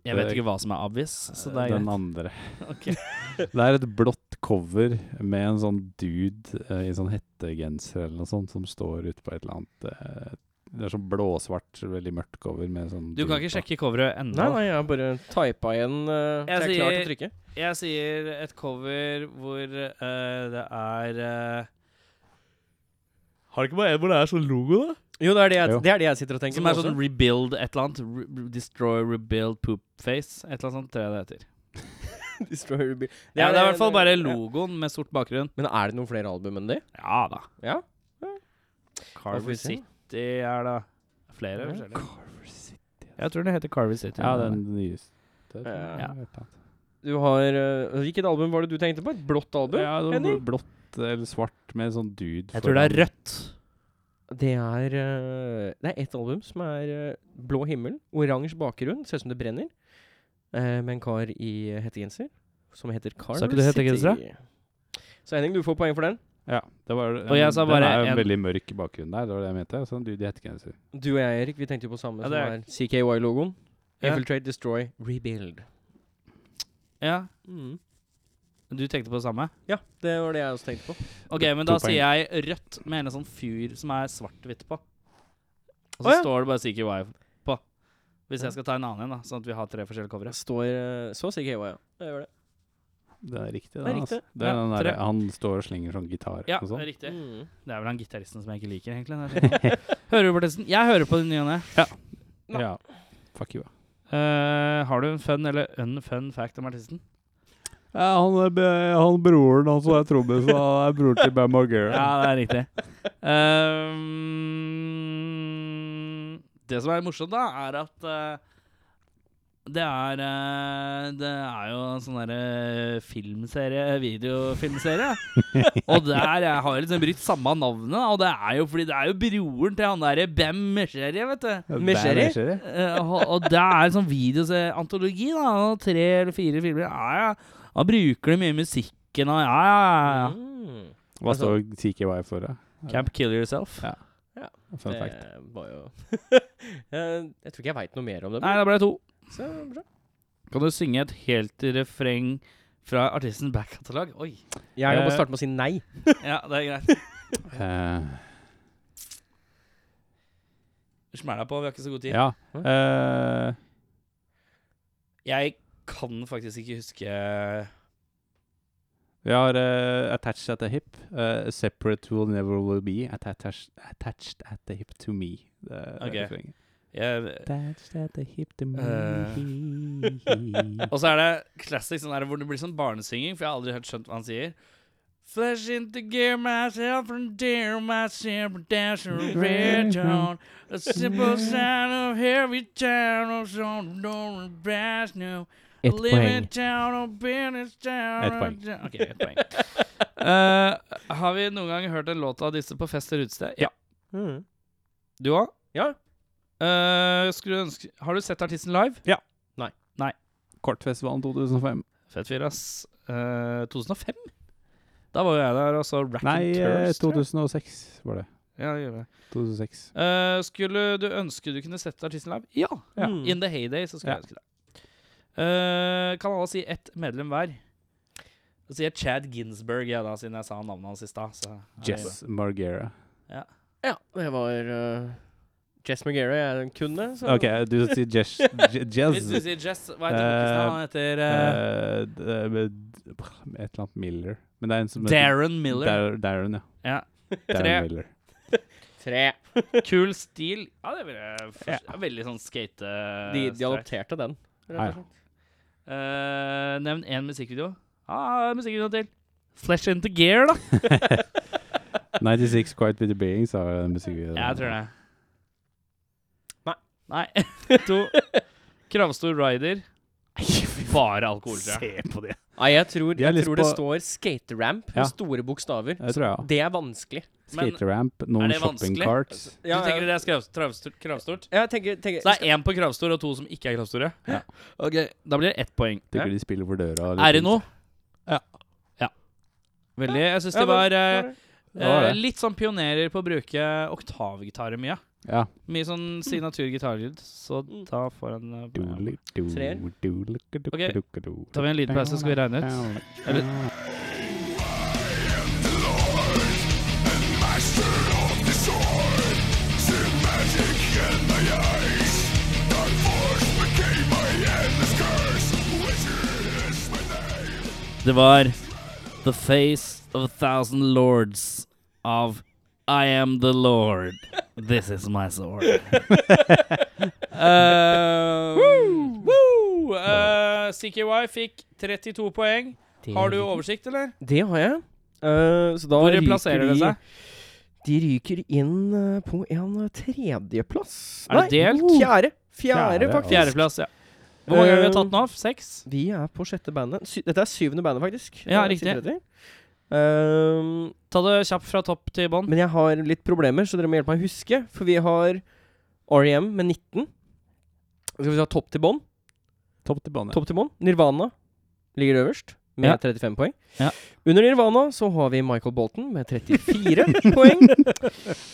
S5: Jeg vet
S4: eh,
S5: ikke hva som er obvious. Så det er
S4: Den
S5: greit.
S4: andre.
S5: Ok.
S4: Det er et blått cover med en sånn dude eh, i sånn hettegenser eller noe sånt som står ute på et eller annet eh, Det er sånn blåsvart, veldig mørkt cover med sånn
S5: Du kan ikke sjekke coveret ennå.
S3: Nei, nei, jeg har bare typa igjen. Uh, jeg
S5: Jeg
S3: er klar til å
S5: sier-
S3: trykke.
S5: Jeg sier et cover hvor eh, det er eh, Har du ikke bare en hvor det er sånn logo, da?
S3: Jo, det er det jeg,
S4: Jo.
S3: det er det jeg sitter og tenker
S5: Som
S3: på
S5: er sånn
S3: også.
S5: rebuild et eller annet. Re re- destroy, rebuild, poopface. Et eller annet sånt tror jeg det heter.
S3: Destroy Ruby.
S5: Det er, ja, det er i hvert fall bare
S3: ja.
S5: logoen med sort bakgrunn.
S3: Men er det noen flere album enn de?
S5: Ja da.
S3: Ja. Hva får vi
S5: Carver
S3: se?
S5: City er da
S3: Ja.
S5: flere forskjellige. Jeg tror den heter Carver City.
S4: Ja, den
S3: Ja.
S4: nyeste. Ja, et eller annet.
S3: Du har eh, Hvilket album var det du tenkte på? Et blått album?
S4: ja det var
S3: Henning?
S4: bl- blått eller svart med sånn dude
S5: Jeg tror det er
S4: foran.
S5: rødt.
S3: Det er eh, Det er ett album som er eh, blå himmel, oransje bakgrunn, ser ut som det brenner, eh, med en kar i eh, hettegenser som heter Carver
S5: Sa ikke du hettegenser,
S3: City. Så Henning, du får poeng for den.
S4: Ja, det var,
S5: Og jeg sa bare
S4: Den er jo en
S5: en-
S4: veldig mørk bakgrunn der, det var det jeg mente. Sånn dude i hettegenser.
S3: Du og jeg, Erik, vi tenkte jo på samme
S5: Ja,
S3: som
S5: det
S3: er CKY-logoen.
S5: Ja.
S3: Infiltrate, destroy, rebuild.
S5: Ja.
S3: Mm.
S5: Du tenkte på det samme?
S3: Ja, det var det jeg også tenkte på.
S5: Ok, men
S4: To
S5: da
S4: poeng.
S5: sier jeg rødt med en sånn fyr som er svart-hvitt på. Og så
S3: Å, ja.
S5: står det bare CKY på. Hvis jeg skal ta en annen en, da, sånn at vi har tre forskjellige covere.
S3: Det står eh, så CKY, ja. Det gjør det.
S4: Det er riktig,
S3: Det er
S4: altså.
S3: riktig.
S4: Det er
S5: Ja,
S4: den
S5: tre.
S4: der, han står og slenger sånn gitar
S5: Ja,
S4: og sånn.
S5: riktig.
S3: Mm.
S5: Det er vel han gitaristen som jeg ikke liker, egentlig. når jeg tenker på det. hører du på testen? Jeg hører på den nye og ne.
S3: Nei.
S4: Ja. Fuck you.
S5: Eh, har du en fun eller unfun fact om artisten?
S4: Ja, han, er, be- han broren hans som er trommis, og han er bror til Bam Margera.
S5: Ja, det er riktig. Ehm, det som er morsomt, da, er at eh, det er eh, Det er jo en sånn derre filmserie, videofilmserie. og der jeg har liksom brukt samme navnet, og det er jo fordi det er jo broren til han derre Bem Mesherie, vet du.
S3: Mesheri?
S4: Mesheri?
S5: Eh, og, og det er en sånn videoantologi, da. og Tre eller fire filmer. Ja, ja. Han bruker det mye i musikken og ja, ja, ja, ja.
S3: Mm.
S4: Hva står CKY for? da?
S5: Camp Kill Yourself.
S4: Fun
S3: det
S4: fact.
S3: var jo Eh, Jeg tror ikke jeg veit noe mer om det.
S5: Nei, da ble det to.
S3: men- Så bra.
S5: Kan du synge et helt refreng fra artisten Back-katalog? Oi.
S3: Jeg kan
S4: Eh,
S3: bare starte med å si nei.
S5: Ja, det er greit.
S4: Eh,
S5: Smell deg på, vi har ikke så god tid.
S4: ja. Eh,
S5: Jeg kan faktisk ikke huske Ja,
S4: vi har eh, attached at the hip. Eh, separate will never will be. Attached, attached at the hip to me. Det er
S5: Ok.
S4: refrenget.
S5: jeg,
S4: Attached at the hip to me.
S5: Eh. Og så er det classic sånn der hvor det blir sånn barnesynging, for jeg har aldri helt skjønt hva han sier. Flash into gear myself and dare myself dash a red tone. A simple sign of heavy town oh, on some door and brass now.
S3: Ett
S5: Living
S3: poeng.
S5: town on oh, business town.
S4: Ett poeng.
S5: Ok, ett poeng. Eh, har vi noen gang hørt en låt av disse på fest eller utested? Ja.
S3: Mm.
S5: Du òg?
S3: Ja.
S5: Eh, skulle du ønske Har du sett artisten live?
S4: Kortfestivalen 2005.
S5: Fett fyr, ass. Eh, 2005? Da var jo jeg der og så Rack
S4: Nei,
S5: and
S4: eh,
S5: Turfs, tror jeg.
S4: 2006 var det.
S5: Ja, det gjør jeg.
S4: 2006.
S5: Eh, skulle du ønske du kunne sett artisten live? Ja!
S4: Ja.
S3: Mm.
S5: In the heyday, så skulle
S4: Ja.
S5: jeg ønske det. Eh, kan alle si ett medlem hver? Da sier jeg Chad Ginsberg, ja, da, siden jeg sa navnet hans i stad. så-
S4: Jess Margera.
S3: Ja, det var eh, Jess McGarry jeg kunne. Så.
S4: OK, eh, du sier Jess Je-
S5: Hvis du
S4: Jez.
S5: sier Jess, hva heter kompisen? Han heter eh,
S4: Eh, d- eh, med- Et eller annet Miller. Men det er en som heter
S5: Darren Miller.
S4: Dar- Darren, ja.
S5: Ja. Tre.
S4: Darren Miller.
S3: Tre.
S5: Kul stil. Ja, det vil jeg forst- Veldig sånn skate...
S3: De, de adopterte den. rett og
S4: Ja, ja.
S3: slett.
S5: Eh, nevn én musikkvideo. Ja, ah, musikkvideo til. Flesh into gear, da.
S4: 96 Quiet With The Beings har den musikken.
S5: Jeg tror det.
S3: Nei.
S5: Nei. to. Kravstor rider. Bare alkohol, tror jeg.
S4: på det.
S3: Nei, jeg tror,
S4: Jeg har
S3: jeg
S4: lyst
S3: tror det
S4: på-
S3: står skateramp
S4: Ja.
S3: med store bokstaver.
S4: Det tror jeg òg.
S3: Det er vanskelig.
S5: Men-
S4: Skateramp,
S5: Er
S4: noen
S5: det vanskelig?
S4: shopping carts.
S5: Du tenker det er skrav- travstort- kravstort?
S3: Ja, jeg tenker, tenker
S5: Så det er én på kravstor og to som ikke er kravstore?
S4: Ja.
S5: Ok, Da blir det ett poeng.
S4: Tenker de spiller for døra.
S5: Er det noe?
S4: Ja.
S5: Ja. Veldig. Jeg syns
S3: Ja,
S5: det
S3: men-
S5: var eh,
S4: Det var
S5: eh,
S4: det.
S5: litt sånn pionerer på å bruke oktavgitarer mye.
S4: Ja.
S5: Mye sånn signaturgitarlyd, så
S3: Mm.
S5: da får han eh,
S4: Doodly, doo,
S3: Treer.
S4: doodly, doo,
S5: Ok,
S4: doo, doo.
S5: Tar vi en liten pause, så skal vi regne ut. Eller- Det var The Face of a Thousand Lords av I Am The Lord. This is my sword. uh, woo! Uh, CKY fikk 32 poeng.
S3: det,
S5: Har du oversikt, eller?
S3: Det har jeg. Eh, så da
S5: Hvor
S3: ryker
S5: plasserer det
S3: de-
S5: seg?
S3: De ryker inn eh, på en eh, tredjeplass.
S5: Er det delt?
S3: oh, Fjerde. Fjerde,
S4: Fjerde,
S3: faktisk. Eh,
S5: Fjerdeplass, ja. Hvor mange ganger har vi tatt den av? Seks?
S3: Vi er på sjette bandet. Sy Dette er syvende bandet, faktisk.
S5: Ja,
S3: Eh,
S5: riktig.
S3: sitter etter. Ehm,
S5: Ta det kjapt fra topp til bånn.
S4: Mm.
S3: men jeg har litt problemer, så dere må hjelpe meg å huske. For vi har REM med 19. Skal vi ta topp til bånn?
S4: Topp til bane.
S3: Topp til bånn. Nirvana ligger øverst med
S5: Ja.
S3: 35 poeng.
S5: Ja.
S3: Under Nirvana så har vi Michael Bolton med 34 poeng.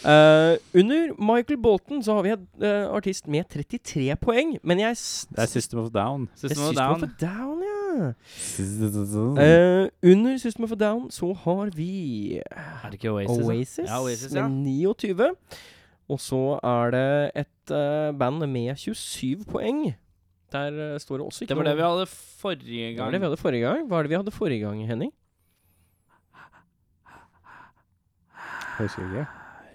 S3: Eh, under Michael Bolton så har vi en eh, artist med 33 poeng, men jeg s-
S4: Det er System of a Down. Mm.
S5: Synes
S3: jeg
S5: du det var
S3: synes det var
S5: down?
S3: for down, ja.
S4: Systemet
S3: Eh, under System of a Down så har vi eh,
S5: Er det ikke Oasis? da?
S3: Oasis,
S5: Ja, Oasis, ja.
S3: med 29. Og så er det et eh, band med 27 poeng. Der eh, står det også ikke
S5: Det var det
S3: noe-
S5: vi hadde forrige
S3: Det var
S5: gang.
S3: det vi hadde forrige gang. Hva er det vi hadde forrige gang, Henning?
S4: Husker ikke.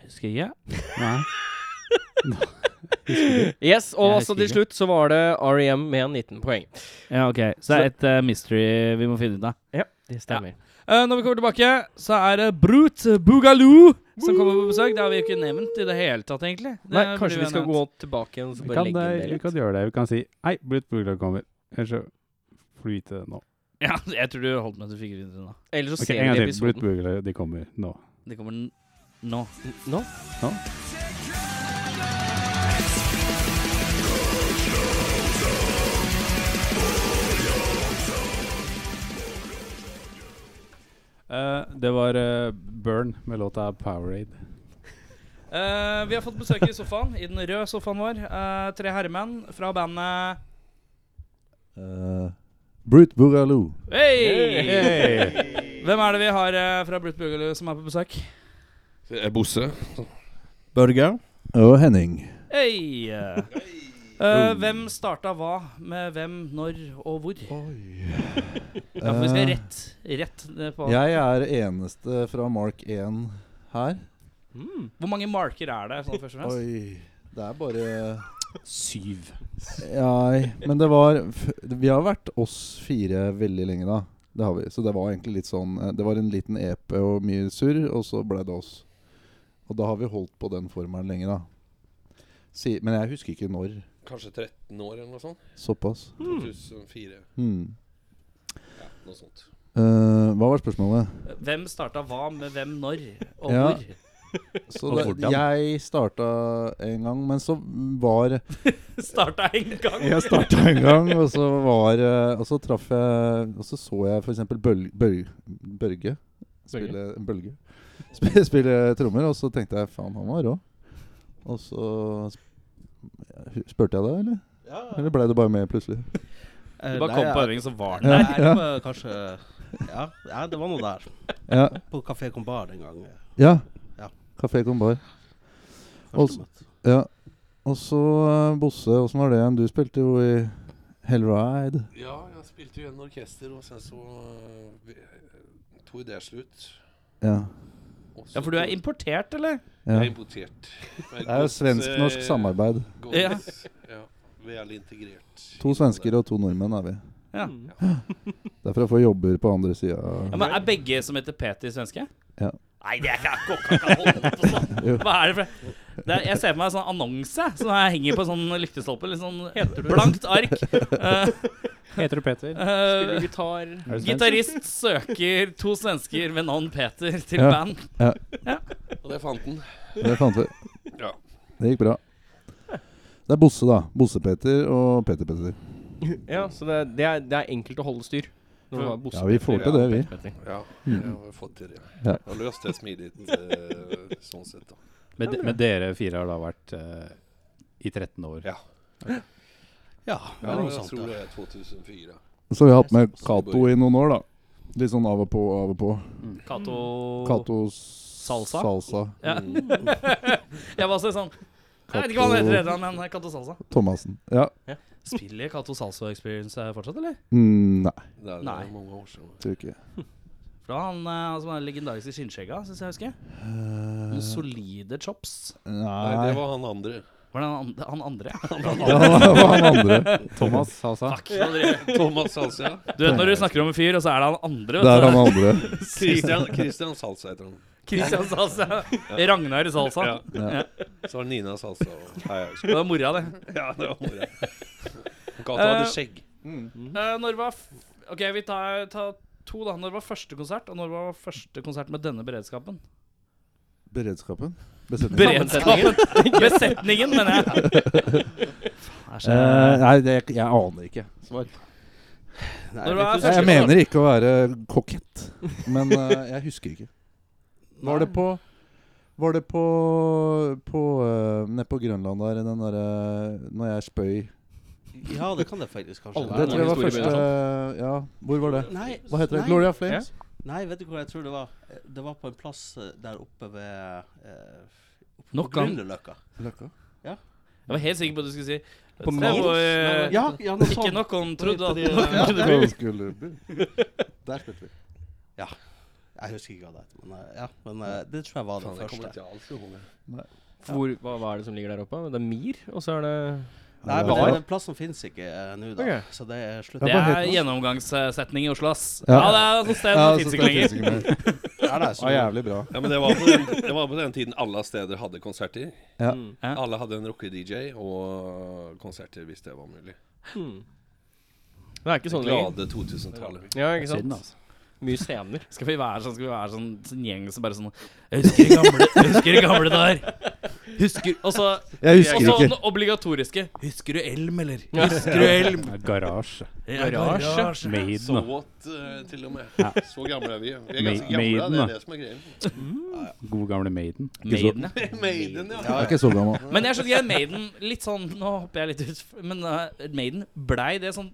S5: Husker ikke.
S4: Nei.
S3: Yes, og altså
S5: Jeg husker
S3: til
S5: ikke.
S3: slutt så var det REM med 19 poeng.
S5: Ja, ok. Så det er et eh, mystery vi må finne ut av.
S3: Ja, det stemmer.
S5: Eh, når vi kommer tilbake, så er det Brut Boogaloo som kommer på besøk. Det har vi jo ikke nevnt i det hele tatt, egentlig. Det
S3: Nei,
S5: burde
S3: kanskje vi
S5: ha
S3: skal
S5: nevnt.
S3: gå tilbake igjen og så
S4: Vi
S3: bare
S4: kan,
S3: legge
S4: eh,
S3: inn det
S4: vi
S3: litt.
S4: kan gjøre det. Vi kan si Hei, Blut Bugler kommer. Eller så får du vite det nå.
S5: Ja, jeg tror du holdt meg til figurene nå.
S3: Eller så
S4: Ok,
S3: ser
S4: En gang
S3: vi
S4: til. Blut
S3: episoden.
S4: Bugler, de kommer nå.
S5: Det kommer n nå.
S3: Nå?
S4: Eh, det var eh, Burn med låta Powerade.
S5: Eh, vi har fått besøk i sofaen, i den røde sofaen vår. Eh, tre herremenn fra bandet
S6: Uh, Brute Boogaloo.
S5: Hei! Hvem er det vi har eh, fra Brut Boogaloo som er på besøk?
S7: Det er Bosse.
S6: Børge. Og Henning.
S5: Hei! Eh, hvem starta hva, med hvem, når og hvor? Ja, for vi skal
S6: Eh,
S5: rett, rett ned på
S6: Jeg er eneste fra Mark 1 her.
S3: Mm.
S5: Hvor mange marker er det? Sånn først og fremst?
S6: Oi. Det er bare
S4: Syv.
S6: Nei, men det var f- Vi har vært oss fire veldig lenge, da. Det har vi. Så det var egentlig litt sånn eh, Det var en liten EP og mye surr, og så ble det oss. Og da har vi holdt på den formelen lenge, da. Si, men jeg husker ikke når.
S8: Kanskje 13 år eller noe sånt.
S6: Såpass.
S8: 2004.
S6: Hmm.
S8: Ja, noe sånt.
S6: Eh, hva var spørsmålet?
S5: Hvem starta hva med hvem når og
S6: Ja.
S5: hvor?
S6: Så
S4: Og
S6: det,
S4: hvordan?
S6: jeg starta en gang, men så var
S5: Starta en gang!
S6: Jeg starta en gang, og så var eh, Og så traff jeg Og så så jeg f.eks. Bøl, Bøl, Børge spille Bølge. Spille, spille trommer, og så tenkte jeg faen, han var rå. Og så sp- Spurte jeg deg, eller? Eller blei du bare med plutselig?
S9: Eh,
S5: Du bare
S9: nei,
S5: kom på
S9: jeg-
S5: øving, så var den
S9: Nei,
S5: der.
S9: jeg kommer kanskje ja, ja, det var noe der.
S6: Ja.
S9: På Kafé Combar en gang. eh,
S6: ja.
S9: Ja.
S6: Kafé Combar.
S9: første
S6: Og s-
S9: møte.
S6: Ja. Og så eh, Bosse, åssen var det igjen? Du spilte jo i Hellride.
S8: Ja, jeg spilte jo i en orkester, og sen så øh, vi- tog det slutt.
S6: Ja.
S8: Og så
S5: Ja, for du er
S8: tog-
S5: importert, eller?
S6: ja.
S8: Jeg er importert. eh,
S6: Det er jo svensk-norsk samarbeid.
S5: Ja.
S8: ja. Vel integrert.
S6: To svensker og to nordmenn er vi.
S5: Ja.
S6: Det er for å få jobber på andre sida.
S5: ja men Er begge som heter Peter, svenske?
S6: Ja.
S5: Nei, det er ikke jeg kan ikke holde på sånn! Hva er det for det er, Jeg ser for meg en sånn annonse som jeg henger på en sånn lyktestolpe. Litt sånn blankt ark. Eh,
S4: Heter du Peter?
S5: eh,
S3: gitar
S4: Er du svensk?
S5: Gitarist søker to svensker ved navn Peter til
S6: Ja.
S5: band.
S8: Og det fant den.
S6: Det fant vi.
S8: Ja.
S6: Det gikk bra. Det er Bosse, da. Bosse-Peter og Peter-Peter.
S3: Ja, så det, det, er, det er enkelt å holde styr. Når du har bosatt
S6: Ja, vi får
S3: deg,
S6: til
S3: ja,
S6: det, vi.
S3: Petter, Petter.
S8: Ja, jeg har fått til det.
S6: Hmm. Ja.
S8: Og løst det smidig eh, sånn sett, da.
S4: Men, de- men dere fire har da vært eh, i 13 år.
S8: Ja.
S9: Ja, det
S8: Ja,
S9: er noe
S8: jeg
S9: sånt.
S8: tror
S9: Ja.
S8: det er 2004.
S6: Så vi har hatt med Cato i noen år, da. Litt sånn av og på, av og på.
S5: Cato
S6: Cato
S5: Salsa?
S6: Salsa.
S5: Ja.
S8: Mm.
S5: Jeg var også sånn Jeg vet ikke hva han heter, heter, han, men Cato Salsa.
S6: Thomassen. Ja.
S5: Spiller Cato Salsa Experience her fortsatt, eller?
S6: Mm, nei,
S8: Det er, det
S5: Nei.
S8: er mange år siden.
S6: tror ikke
S5: For da var han, eh, han som var den legendariske skinnskjegga, syns jeg husker.
S6: Eh,
S5: Noen solide chops.
S8: Nei, det
S6: Nei.
S8: var han andre.
S5: Var det han andre? Han andre?
S6: Altså. Ja, det var han andre.
S4: Thomas Salsa.
S5: Fuck, nå driver jeg.
S8: Thomas Salsa. ja.
S5: Du vet når du snakker om en fyr, og så er det han andre.
S6: Det er han
S5: vet
S6: andre.
S8: Christian, Christian Salsa heter han.
S5: du. Christian Salsa. Ragnar Salsa.
S8: Ja. Så var det Nina Salsa. Og, nei, jeg husker
S5: Det var mora, det.
S8: ikke. ja, det var mora. Gata hadde skjegg.
S5: Eh, når var f Ok, vi tar, tar to, da. Når var første konsert, og når var første konsert med denne beredskapen?
S6: Beredskapen? Besetningen.
S5: Beredskapen! Besetningen, mener jeg. Faen, er
S6: Eh,
S5: så-
S6: nei, det, jeg aner ikke. Svar.
S9: Nei,
S5: Når
S9: vi
S5: var
S6: Jeg
S9: kunne-
S5: første-
S6: mener ikke å være kokett, men eh, jeg husker ikke. Var det på Var det på, på eh, Nede på Grønland der, den derre Når jeg spøy
S9: Ja, det kan det faktisk kanskje
S6: Det tror jeg var første Ja, hvor var det?
S9: Nei,
S6: Hva heter det?
S9: nei,
S6: Gloria Flames?
S9: Nei, vet du hvor jeg tror det var? Eh, Det var på en plass eh, der oppe ved eh, oppe på
S5: Nok gang.
S9: Grünerløkka.
S6: Løkka?
S5: Jeg var helt sikker på at du skulle si
S3: På
S5: Det
S3: Malt?
S5: var, eh,
S9: Ja, ja, noe
S5: Ikke
S9: sånt.
S5: nok han trodde at
S6: Ja,
S9: Ja.
S6: Skulderby. Der spilte vi.
S9: Jeg husker ikke hva det het, men eh, ja. Men eh, det tror jeg var
S8: Faen,
S9: det
S8: jeg kommer
S9: første.
S8: ikke alt i hodet.
S3: Hvor, hva, hva er det som ligger der oppe? Det er Mir, og så er det
S9: Nei, men
S3: Var?
S9: det- den plassen fins ikke eh, nå, da.
S3: Ok.
S9: Så det er slutt.
S5: Det
S6: Ja, hva
S5: er
S6: heter det?
S5: gjennomgangssetning i Oslo, ass. Ja,
S6: Ja. altså
S5: det er sånn sted som fins ikke lenger.
S6: lenger.
S9: Ja, det er så-
S6: Var jævlig bra.
S8: Ja, men det var, på den, det var på den tiden alle steder hadde konserter.
S6: Ja.
S3: Mm.
S5: Ja.
S8: Alle hadde en rocke-DJ og konserter hvis det var mulig.
S3: Hmm. Det er ikke sånn lenger.
S8: Glade 2000-tallet.
S3: Ja, ikke
S4: Synd,
S3: sant?
S4: altså.
S3: Mye scener.
S5: Skal vi være sånn, skal vi være sånn, sånn gjeng som bare sånn Jeg husker de gamle, jeg husker de gamle der. Husker Og så
S6: Jeg
S5: og
S6: husker
S5: så
S6: ikke.
S5: den obligatoriske. Husker du Elm, eller? Husker du Elm?
S4: Ja, Garasje.
S5: Ja,
S3: Garasje.
S8: So
S4: Maiden. da.
S8: what, eh, til og med.
S4: Ja.
S8: Så gamle er vi. Vi er
S4: Ma-
S8: ganske gamle,
S4: Maiden,
S8: det
S4: da.
S8: er det som er greien.
S4: God gamle Maiden.
S5: Maiden, ja.
S8: Maiden, ja.
S6: Jeg er ikke så gammel.
S5: Men jeg skjønner ikke Maiden litt sånn Nå hopper jeg litt ut, men eh, Maiden blei det sånn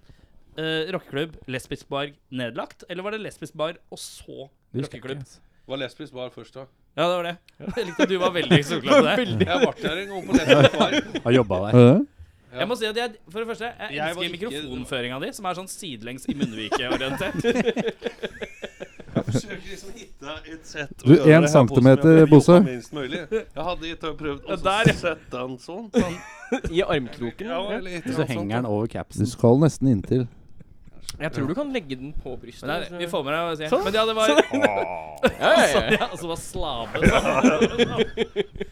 S5: uh, rockeklubb, lesbisk bar nedlagt? Eller var det lesbisk bar og så
S4: Det husker jeg
S5: rockeklubb?
S4: ikke, altså.
S8: Var lesbisk bar først, da?
S5: Ja, det var det. Jeg likte at du var veldig solklar på det.
S8: Jeg var der en gang på lesbisk bar.
S4: Har jobba der.
S6: Er det det?
S5: Jeg må si at jeg, for det første, jeg
S8: Jeg var
S5: elsker
S8: ikke-
S5: mikrofonføringa di, som er sånn sidelengs i munnvikeorientert.
S8: Forsøker liksom å hitte et sett å
S6: Du,
S8: gjøre det
S6: en
S8: her på
S6: centimeter,
S8: som jeg blir
S6: Bosse.
S8: jobba minst mulig. Jeg hadde gitt og prøvd å
S5: Ja, der, ja.
S8: sette den sånn.
S3: I armkroken.
S8: Ja, eller
S4: Og
S8: et eller
S4: så
S8: annet sånt,
S4: henger den over
S6: Du
S4: capsen.
S6: skal nesten inntil.
S3: Jeg tror du kan legge den på brystet.
S5: Men det er det. Vi får med deg og sier
S3: Sånn.
S5: Men ja, det var
S3: Hei!
S5: Ja, altså var slave. så.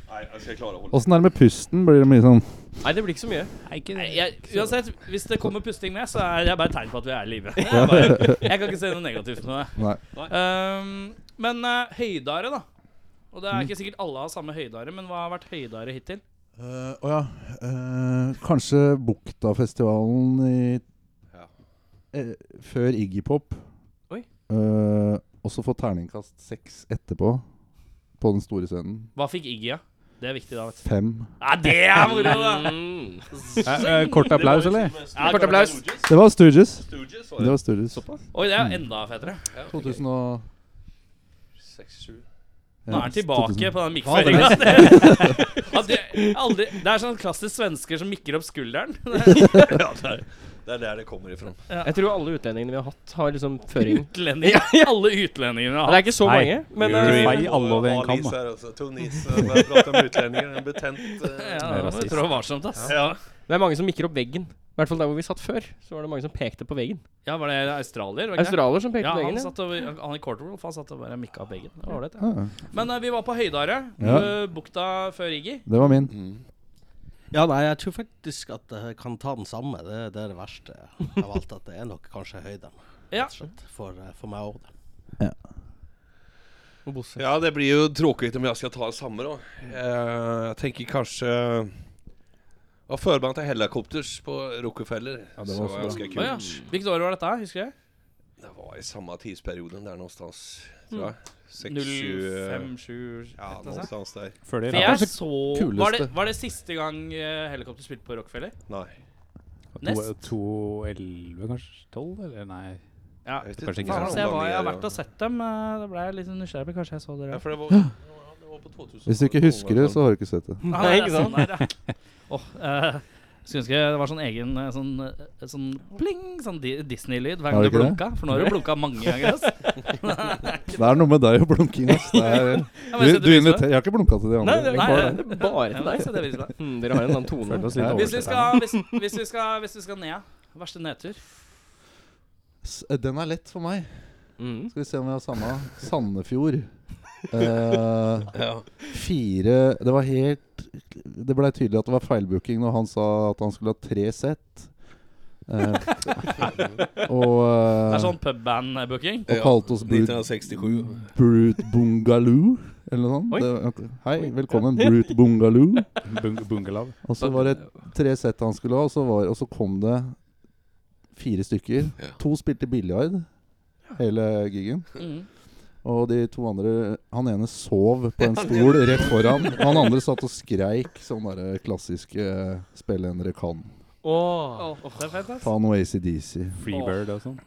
S8: Nei, jeg skal klare å holde
S6: Åssen er det med pusten? Blir det mye sånn
S3: Nei, det blir ikke så mye.
S5: Nei, jeg, uansett, hvis det kommer pusting ned, så er det bare et tegn på at vi er i live. Det er
S6: sånn-
S5: bare- Jeg kan ikke se noe negativt med det.
S6: Nei.
S5: Um, men eh, høydare, da. Og det er ikke sikkert alle har samme høydare, men hva har vært høydare hittil?
S6: Å ja. eh, kanskje Buktafestivalen i eh, Før Iggy Pop.
S3: Oi.
S6: Eh, og så få terningkast seks etterpå. På den store scenen.
S5: Hva fikk Iggy, ja? Det er viktig, da. vet du
S6: Fem.
S5: Ja, det er moro, da!
S3: Mm.
S4: Eh, eh, kort applaus, eller?
S5: Ja, kort applaus.
S6: Det var Stooges.
S8: Stooges var
S6: Det
S8: det.
S6: var Stooges.
S5: Oi, det er enda fetere.
S6: 2000 og
S8: Seks-sju.
S5: Nå er han tilbake
S6: 2000.
S5: på den mikkføringa. Det, ja, det, er aldri, det er sånn klassisk svensker som mikker opp skulderen.
S8: Ja, det er, det er der det kommer ifra.
S3: Jeg tror alle utlendingene vi har hatt, har liksom føring.
S5: Utlendinger. Alle utlendingene
S3: Det
S5: har
S3: er ikke så
S4: Nei.
S3: mange, men
S4: Jo,
S3: eh,
S4: jo, jo. Fei alle over en kam, da.
S8: da. Tunis, eh, bare prate om utlendinger. En betent eh,
S5: ja, det
S4: rasist.
S5: trå varsomt, ass. Ja.
S3: det er mange som mikker opp veggen. I hvert fall der hvor vi satt før, så var det mange som pekte på veggen.
S5: ja, var det australier? var det ikke det?
S3: Australier som pekte
S5: Ja,
S3: på
S5: han
S3: veggen. Ja.
S5: satt og, han i Corterwolf han satt og bare mikka opp veggen. Det var ålreit, ja.
S6: Ja,
S5: Men eh, vi var på Høydare.
S6: Ja.
S5: eh, bukta før Iggy.
S6: det var min.
S9: Ja, nei, jeg tror faktisk at jeg kan ta den samme. Det, det er det verste av alt. At det er nok kanskje høyden
S5: Ja.
S9: rett og slett, for, eh, for meg òg.
S3: Og Bosse.
S8: Ja, det blir jo tråkigt om jag ska ta samma då. Eh, jag tänker kanske... Jag har förbandat till Hellacopters på Rockefeller. Ja,
S6: det var så bra.
S8: ganska kul.
S5: Å, ja. Hvilket år var dette? Husker jeg?
S8: Det var i samma tidsperioden där någonstans, tror
S5: Mm.
S8: jag. 6, 7...
S5: 05-7
S8: Ja, någonstans där.
S4: Før
S5: For
S4: det,
S5: jeg
S4: da.
S5: så var det,
S6: kuleste.
S5: var det siste gang eh, helikopter spilte på Rockefeller?
S8: Nej.
S5: Nest?
S4: 211, kanskje? 12, eller? Nei.
S5: Ja.
S8: Jag vet
S4: Kanske
S8: inte.
S4: inte
S8: fan,
S4: så.
S5: Så jeg,
S8: om
S5: var,
S8: de
S5: jeg
S8: är-
S5: har vært og sett dem. eh, Da ble jeg litt nysgjerrig. Kanskje jeg så dere
S8: Ja,
S5: òg.
S8: för det var... ja, det var på 2000
S6: Hvis du ikke husker det, så har du ikke sett det.
S5: Nei, ikke sant? eh, skulle ønske det var sånn egen eh, sånn, eh, sånn pling, sånn di Disney-lyd hver
S6: Har
S5: gang du
S6: du ikke det?
S5: blunka. For nå har du blunka mange ganger. ass.
S6: Det er noe med deg og blunking. ass. Det er,
S5: Ja, men
S6: du,
S5: jeg setter
S6: du
S5: pris på det.
S6: inviterer Jeg har ikke blunka til de andre.
S3: Nei, det er,
S6: Jeg
S5: Nei,
S6: bare-
S5: nei,
S3: det er bare
S5: Ja,
S3: til
S5: men jeg
S3: deg.
S5: setter pris på det.
S3: Mm, dere har en annen tone.
S4: Følte oss litt
S5: Hvis vi
S4: oversett.
S5: skal, hvis, hvis vi skal, hvis vi skal ned, verste nedtur
S6: S- Den er lett for meg.
S3: Mm.
S6: Skal vi se om vi har samme. Sandefjord. Eh, fire Det var helt Det blei tydelig at det var feilbooking når han sa at han skulle ha tre sett. Eh, og
S5: Det er
S6: eh,
S5: sånn pubband-booking.
S6: og kalte oss Brute
S8: 1967.
S6: Brute Bungaloo, eller noe sånt. Det, var- hei, velkommen, Brute Bungaloo.
S4: Bung bungalow.
S6: Og så var det tre sett han skulle ha, og så, var, og så kom det fire stykker.
S8: Ja.
S6: To spilte biljard hele gigen.
S5: Mm.
S6: Og de to andre Han ene sov på en stol rett foran. Og han andre satt og skreik sånn derre klassiske eh, 'spillendere kan'.
S5: Åh, det er fett, ass.
S6: Faen og ACDC.
S4: Freebird og sånn.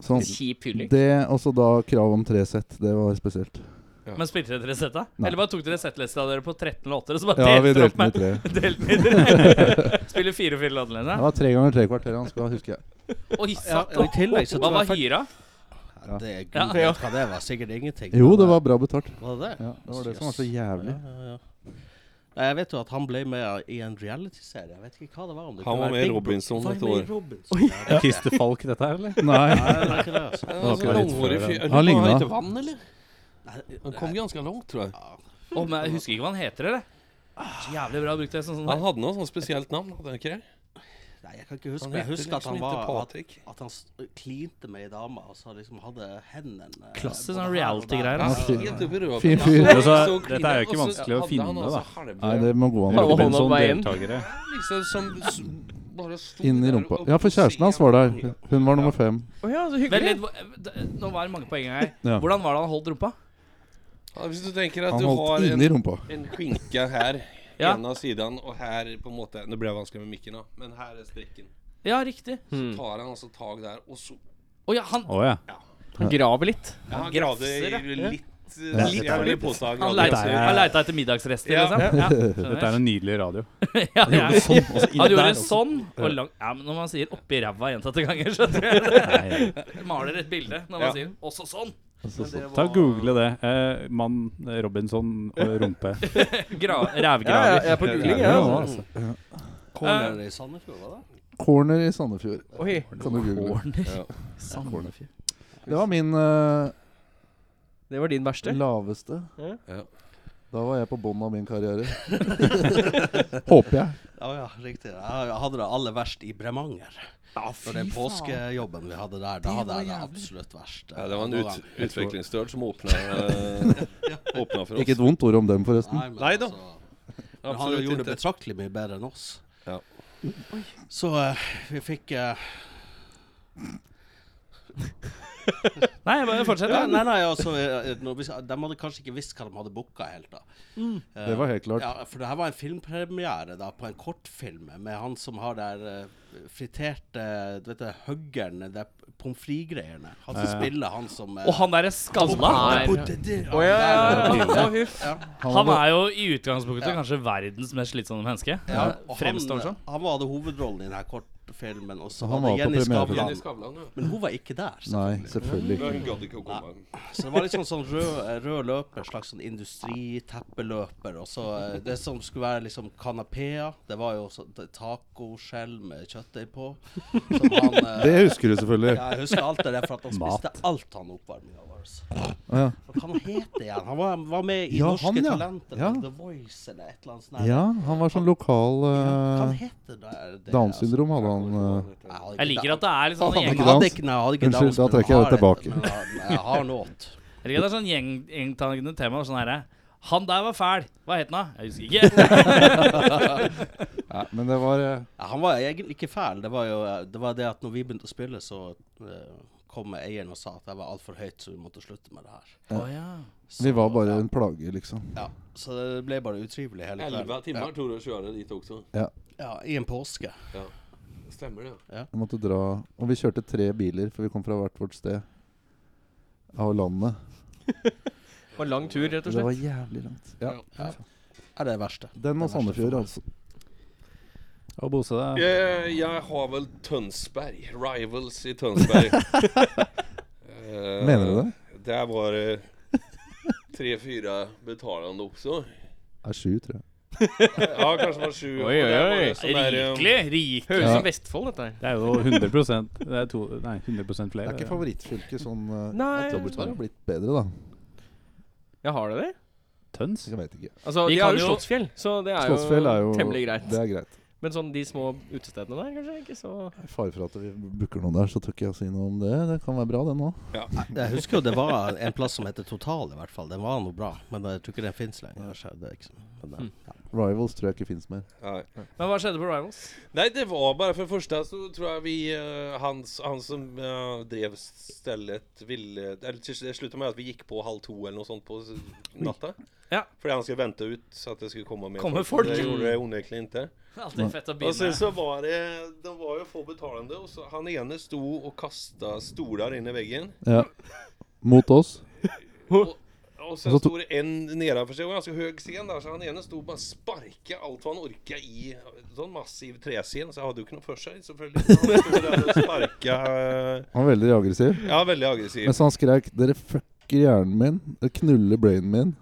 S6: Sånn.
S3: Kjip fylling.
S6: Det, og så da krav om tre sett. Det var spesielt.
S5: Men spilte dere setta?
S6: Nei.
S5: Eller bare tok dere settlista dere på 13 låter, og så bare
S6: Ja, vi
S5: delte dere opp
S6: delte den i
S5: med
S6: tre.
S5: Delt ned dere. Spiller fire og fire låter
S6: Det
S5: alene?
S6: var tre ganger tre kvarter han skulle ha, husker jeg.
S5: Oi,
S9: Ja,
S5: satt
S9: og i tillegg
S5: Hva
S9: så tror jeg
S5: var
S9: fakt-
S5: hyra?
S9: Ja, Det er
S5: Ja.
S9: gud vet hva det var. Sikkert ingenting.
S6: Jo,
S9: men,
S6: det
S9: eh,
S6: var bra betalt.
S9: Var det det?
S6: Ja, det var det som var så jævlig.
S9: Ja, ja, ja. Nei, Jeg vet jo at han ble med i en realityserie. Jeg vet ikke hva det var. om det
S8: Han
S9: kunne
S8: var
S9: være
S8: med i
S9: Big Bro-
S8: Robinson
S9: Var
S8: et
S9: han med i
S8: år.
S9: Robinson? Ja, det er det.
S4: Kiste Falk, dette her, eller?
S6: Nei.
S9: Nei, det var ikke det, altså.
S6: var
S7: Altså,
S6: ikke litt
S7: langhårig
S4: før,
S7: fyr.
S4: ja.
S7: Jeg lurer på,
S6: Han lignet.
S7: Han heter Vann, eller? Han kom ganske langt, tror jeg.
S5: Åh, men jeg husker ikke hva han heter, eller? Så jævlig bra brukt det sånn sånn
S7: Han
S5: her.
S7: hadde noe sånn spesielt navn, hadde han ikke det?
S9: Nei, jeg kan ikke huske.
S7: Han
S9: men Jeg
S7: heter
S9: husker at
S7: liksom
S9: han
S7: ikke
S9: var at,
S7: Patrick.
S9: at han s- klinte med ei dame, og så liksom hadde hendene eh,
S5: Klassisk
S9: både
S5: sånn
S9: her og
S5: reality-greier,
S9: der.
S7: Han
S5: ass.
S7: var helt oppi røven.
S6: Fin fyr.
S7: Ja,
S4: Altså,
S7: så
S4: dette er jo ikke
S7: klin- og så
S4: vanskelig å
S7: hadde
S4: finne,
S7: han
S4: da.
S7: altså halve-
S6: Nei, det må gå an.
S3: Bare hånda
S6: å-
S3: på
S4: Robinson
S3: veien.
S4: deltakere.
S7: Liksom som s- bare sto
S6: Inn i
S7: der
S6: rumpa.
S7: og-
S6: Ja, for kjæresten hans var der. Hun var nummer fem.
S3: Å ja, så
S5: Vent
S3: hyggelig.
S5: litt, hva- d- nå var det mange poeng her.
S6: Ja.
S5: Hvordan var det han holdt rumpa?
S8: Ja, hvis du tenker at
S6: Han
S8: du har
S6: holdt
S8: en,
S6: inni rumpa.
S8: en skinke her,
S5: Ja.
S8: ena sidan, og her på en måte Nu blir det vanskelig med mikken, da. Men her er strikken.
S5: Ja, riktig.
S3: Mm.
S8: Tar han altså tag der, og så
S5: Å ja, han
S4: Å ja.
S3: Han graver litt.
S8: Ja, han gravde
S5: grafser, ja.
S8: i litt eh,
S6: Ja.
S8: Litt jævlig pose av
S5: Han
S8: grafser.
S5: leita, han leita etter middagsrester,
S8: Ja.
S5: liksom? Ja,
S4: Dette er en nydelig radio.
S5: skjønner. ja, ja.
S4: Sånn, og så inn
S5: Han gjorde
S4: der, og så-
S5: sånn og lang, ja, men Når man sier 'oppi ræva' gjentatte ganger, skjønner jeg det. Maler et bilde når man
S8: Ja.
S5: sier 'også sånn'.
S4: Ta og Google det. Eh, Mann Robinson og rumpe.
S5: Gra
S3: Ja, ja,
S5: Rævgraver.
S3: jeg er på googling, jeg.
S6: Ja,
S3: Ja,
S6: altså.
S9: Corner i Sandefjord, var det?
S6: Corner i Sandefjord.
S3: Oi.
S6: Kan du google.
S5: Corner.
S8: Ja.
S5: Sandefjord.
S6: Det var min eh,
S3: Det var din verste.
S6: laveste.
S3: Ja.
S8: Ja.
S6: Da var jeg på bånn av min karriere. Håper jeg.
S9: Ja, ja, riktig. Jeg hadde det aller verst i Bremanger. For den påskejobben vi hadde der, da hadde jeg det absolutt verst.
S8: Ja, det var en
S9: Noen
S8: ut,
S9: gang.
S8: utviklingsdøl som åpna eh, åpna for oss.
S6: Ikke et vondt ord om dem, forresten.
S9: Nei, men
S8: Nei da.
S9: altså- Men han
S8: Absolutt
S9: gjorde det
S8: ikke.
S9: betraktelig mye bedre enn oss.
S8: Ja.
S9: Så eh, vi fikk eh,
S5: Nei, bare fortsett.
S9: ja, Nei, nei, altså eh, når vi, De hadde kanskje ikke visst hva de hadde booka helt, da. Eh,
S6: Det var helt klart.
S9: Ja, For det her var en filmpremiere da på en kortfilm med han som har der eh, friterte Du vet det, huggeren, det er pommes frites-greiene. Han som spiller han som eh,
S5: Og han derre skalla her.
S9: Poteter,
S3: Å ja, ja,
S9: han der,
S3: ja. Å, huff.
S5: Han er jo i utgangspunktet kanskje verdens mest slitsomme menneske.
S9: ja, og han,
S5: Fremstår sånn.
S9: han hadde hovedrollen i denne kortfilmen, og så
S6: Han
S9: var
S6: var
S9: det
S6: på
S9: Jenny
S6: premiere.
S9: Skavlan.
S8: Skavlan, ja.
S9: Men hun var ikke der. så-
S6: Nei, selvfølgelig ikke.
S8: Hun gadd ikke å komme.
S9: Så det var litt sånn, sånn rød, rød løper, slags sånn industriteppeløper. Og så eh, det som skulle være liksom kanapeer, det var jo så- det- tacoskjell med kjøttdeig på. Som han eh,
S6: Det husker du selvfølgelig.
S9: ja, Jeg husker alt det der, for at han spiste alt han oppvarminga vår.
S6: Å, ja.
S9: Hva kan han hete igjen? Han var, var med i
S6: Ja,
S9: Norske
S6: han, ja.
S9: Talenter,
S6: Ja.
S9: The Voice eller et eller annet sånt. der.
S6: ja, han var sånn lokal
S9: Ja, Hva
S6: uh,
S9: heter det? det
S6: Downs syndrom hadde han. eh.
S9: Altså.
S5: Jeg liker at det er litt sånn gjeng,
S6: Han hadde
S9: Jeg
S6: ikke
S9: hadde
S6: dans.
S9: ikke, nei, jeg hadde ikke
S6: Unnskyld,
S9: dans,
S6: da
S9: men
S6: trekker jeg
S9: har
S6: det tilbake.
S9: et- men jeg- Jeg har låt.
S5: Jeg liker at det er sånn gjeng- gjengtagende tema. og Sånn herre Han der var fæl. Hva het han, da? Jeg husker ikke.
S6: Nei, men det var eh,
S9: Ja, Han var egentlig ikke fæl. Det var jo eh, det, var det at når vi begynte å spille, så eh, kom eieren og sa at jeg var altfor høyt, så vi måtte slutte med det her.
S5: Å, ja.
S9: Så,
S6: Vi var bare
S9: ja,
S6: en plage, liksom.
S9: ja, Så det ble bare utrivelig hele
S8: Elleve
S9: kvelden.
S8: timer tror jeg å kjøre dit også.
S9: Ja, I en påske.
S8: Stemmer det.
S6: Vi måtte dra Og vi kjørte tre biler, for vi kom fra hvert vårt sted av landet.
S3: Det var lang tur, rett og
S6: Det
S3: slett.
S6: var jævlig langt. Ja.
S9: Er det verste.
S6: Den og Sandefjord, altså.
S4: Og Bose deg.
S8: Jeg, Eh, jeg har vel Tønsberg. Rivals i Tønsberg. Eh,
S6: Mener du det?
S8: Der var det tre-fire betalende også.
S6: Det er sju, tror jeg.
S8: Ja, kanskje det var sju.
S3: Oi,
S8: og
S3: oi,
S8: der var det
S3: oi.
S8: sånn der, um,
S5: Rikelig. Rik.
S3: Høres
S6: Ja.
S3: ut som Vestfold, dette her.
S4: Det er jo 100 Det er to, Nei, 100
S6: Det
S4: flere.
S6: er ikke favorittfylket sånn eh,
S3: Nei.
S6: at Det har blitt bedre, da.
S3: Ja, har det det?
S4: Tøns?
S6: Jeg vet ikke.
S3: Altså,
S5: Vi
S3: de har
S5: kan
S3: jo
S5: jo-
S3: Slottsfjell, så det er jo,
S6: Slottsfjell er jo
S3: temmelig greit.
S6: Det er greit.
S3: Men sånn de små utestedene der, kanskje? Ikke så
S6: I Fare for at vi booker noen der, så tør ikke jeg å si noe om det. Det kan være bra, det nå.
S9: Jeg husker jo det var en plass som heter Total, i hvert fall. Den var noe bra, men jeg tror ikke den fins lenger. Så det er ikke sånn. Men, eh, ja.
S6: Rivals tror jeg ikke fins mer.
S8: Nei.
S5: Men hva skjedde på Rivals?
S8: Nei, det var bare for det første så tror jeg vi eh, hans, Han som eh, drev stället ville Eller til slutt- det sluttet med at vi gikk på halv to eller noe sånt på s- natta.
S5: Ja.
S8: Fordi han skulle vente ut så at det skulle komme mer
S5: Kommer folk.
S8: Det gjorde det oneklig ikke.
S5: Alltid fett å
S8: Og sen
S5: begynne.
S8: så var det De var jo få betalende, og så han ene sto og kasta stoler inn i veggen.
S6: Ja. Mot oss.
S8: Og sen
S6: Og så to-
S8: stod det en nedanför sig, och ganska hög scen där, så han ene stod och bara sparka allt vad han orkade i en sån massiv träscen, så jag hade ju kunnat för sig såklart. Han stod där och sparka, eh,
S6: Han var veldig aggressiv.
S8: ja väldigt aggressiv.
S6: Mens han skrek 'Dere fucker hjernen min. Dere knuller brainen min'.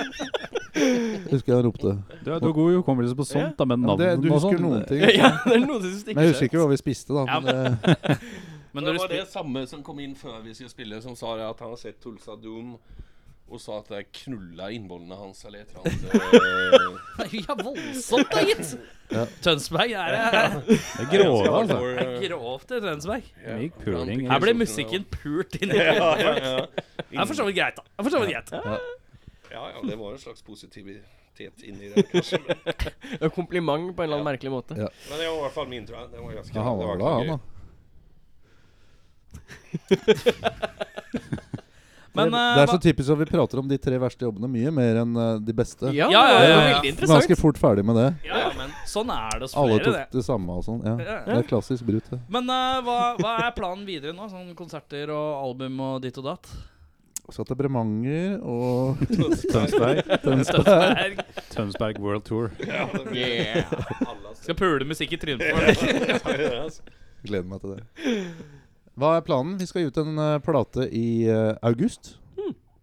S6: Husker jeg han ropte.
S4: Du er du har god hukommelse på sånt, da, men
S6: Ja, men
S4: navn
S6: det, du
S4: og
S6: husker
S4: sånt
S6: noen ting.
S3: Ja, det er noe som
S6: Men jeg
S3: stikker
S6: husker ikke hva vi spiste, da.
S5: Ja,
S6: Men eh, det,
S5: Men
S8: Det
S5: når du
S8: var
S5: spil
S8: det samme som kom in før vi skulle spille, som sa det att han har sett Tulsa Doom och sa att det knulla innbollene hans eller et eller eh, annet.
S5: Ja, voldsomt da, gitt. Tønsberg er det.
S4: Det er grove, altså.
S5: er Grovt i Tønsberg.
S4: Det gikk puling.
S5: Her ble musikken pult inn i
S8: Ja, ja, ja.
S5: Det er for så vidt greit, da. Det er for så vidt greit.
S8: ja, ja, det var en slags positivitet inne i det kanskje. Men,
S3: Det er Kompliment på en eller annen merkelig måte.
S6: Ja.
S8: men det var i alla fall min tror jeg. Det var ganska,
S6: ja, han var
S8: det
S6: da,
S8: var
S6: han, da.
S5: Men
S6: det,
S5: eh,
S6: er så typisk at vi prater om de tre verste jobbene mye mer enn eh, de beste.
S3: Ja,
S5: Ja, ja,
S3: det var
S5: ja, ja.
S3: veldig
S6: Vi var Ganske
S3: interessant.
S6: fort ferdig med det.
S5: ja, ja, men sånn er det hos
S6: Alle
S5: flere,
S6: tok
S5: det.
S6: det samme og sånn. Ja.
S5: Ja.
S6: Det er klassisk brut, det.
S5: Men eh, hva, hva er planen videre nå? Sånn konserter og album og ditt og datt?
S6: Så til Bremanger og
S4: Tønsberg.
S6: Tønsberg.
S4: Tønsberg World Tour.
S3: Yeah.
S5: Skal pule musikk i trynet på deg.
S6: Gleder meg til det. Hva er planen? Vi skal gi ut en eh, plate i eh, august.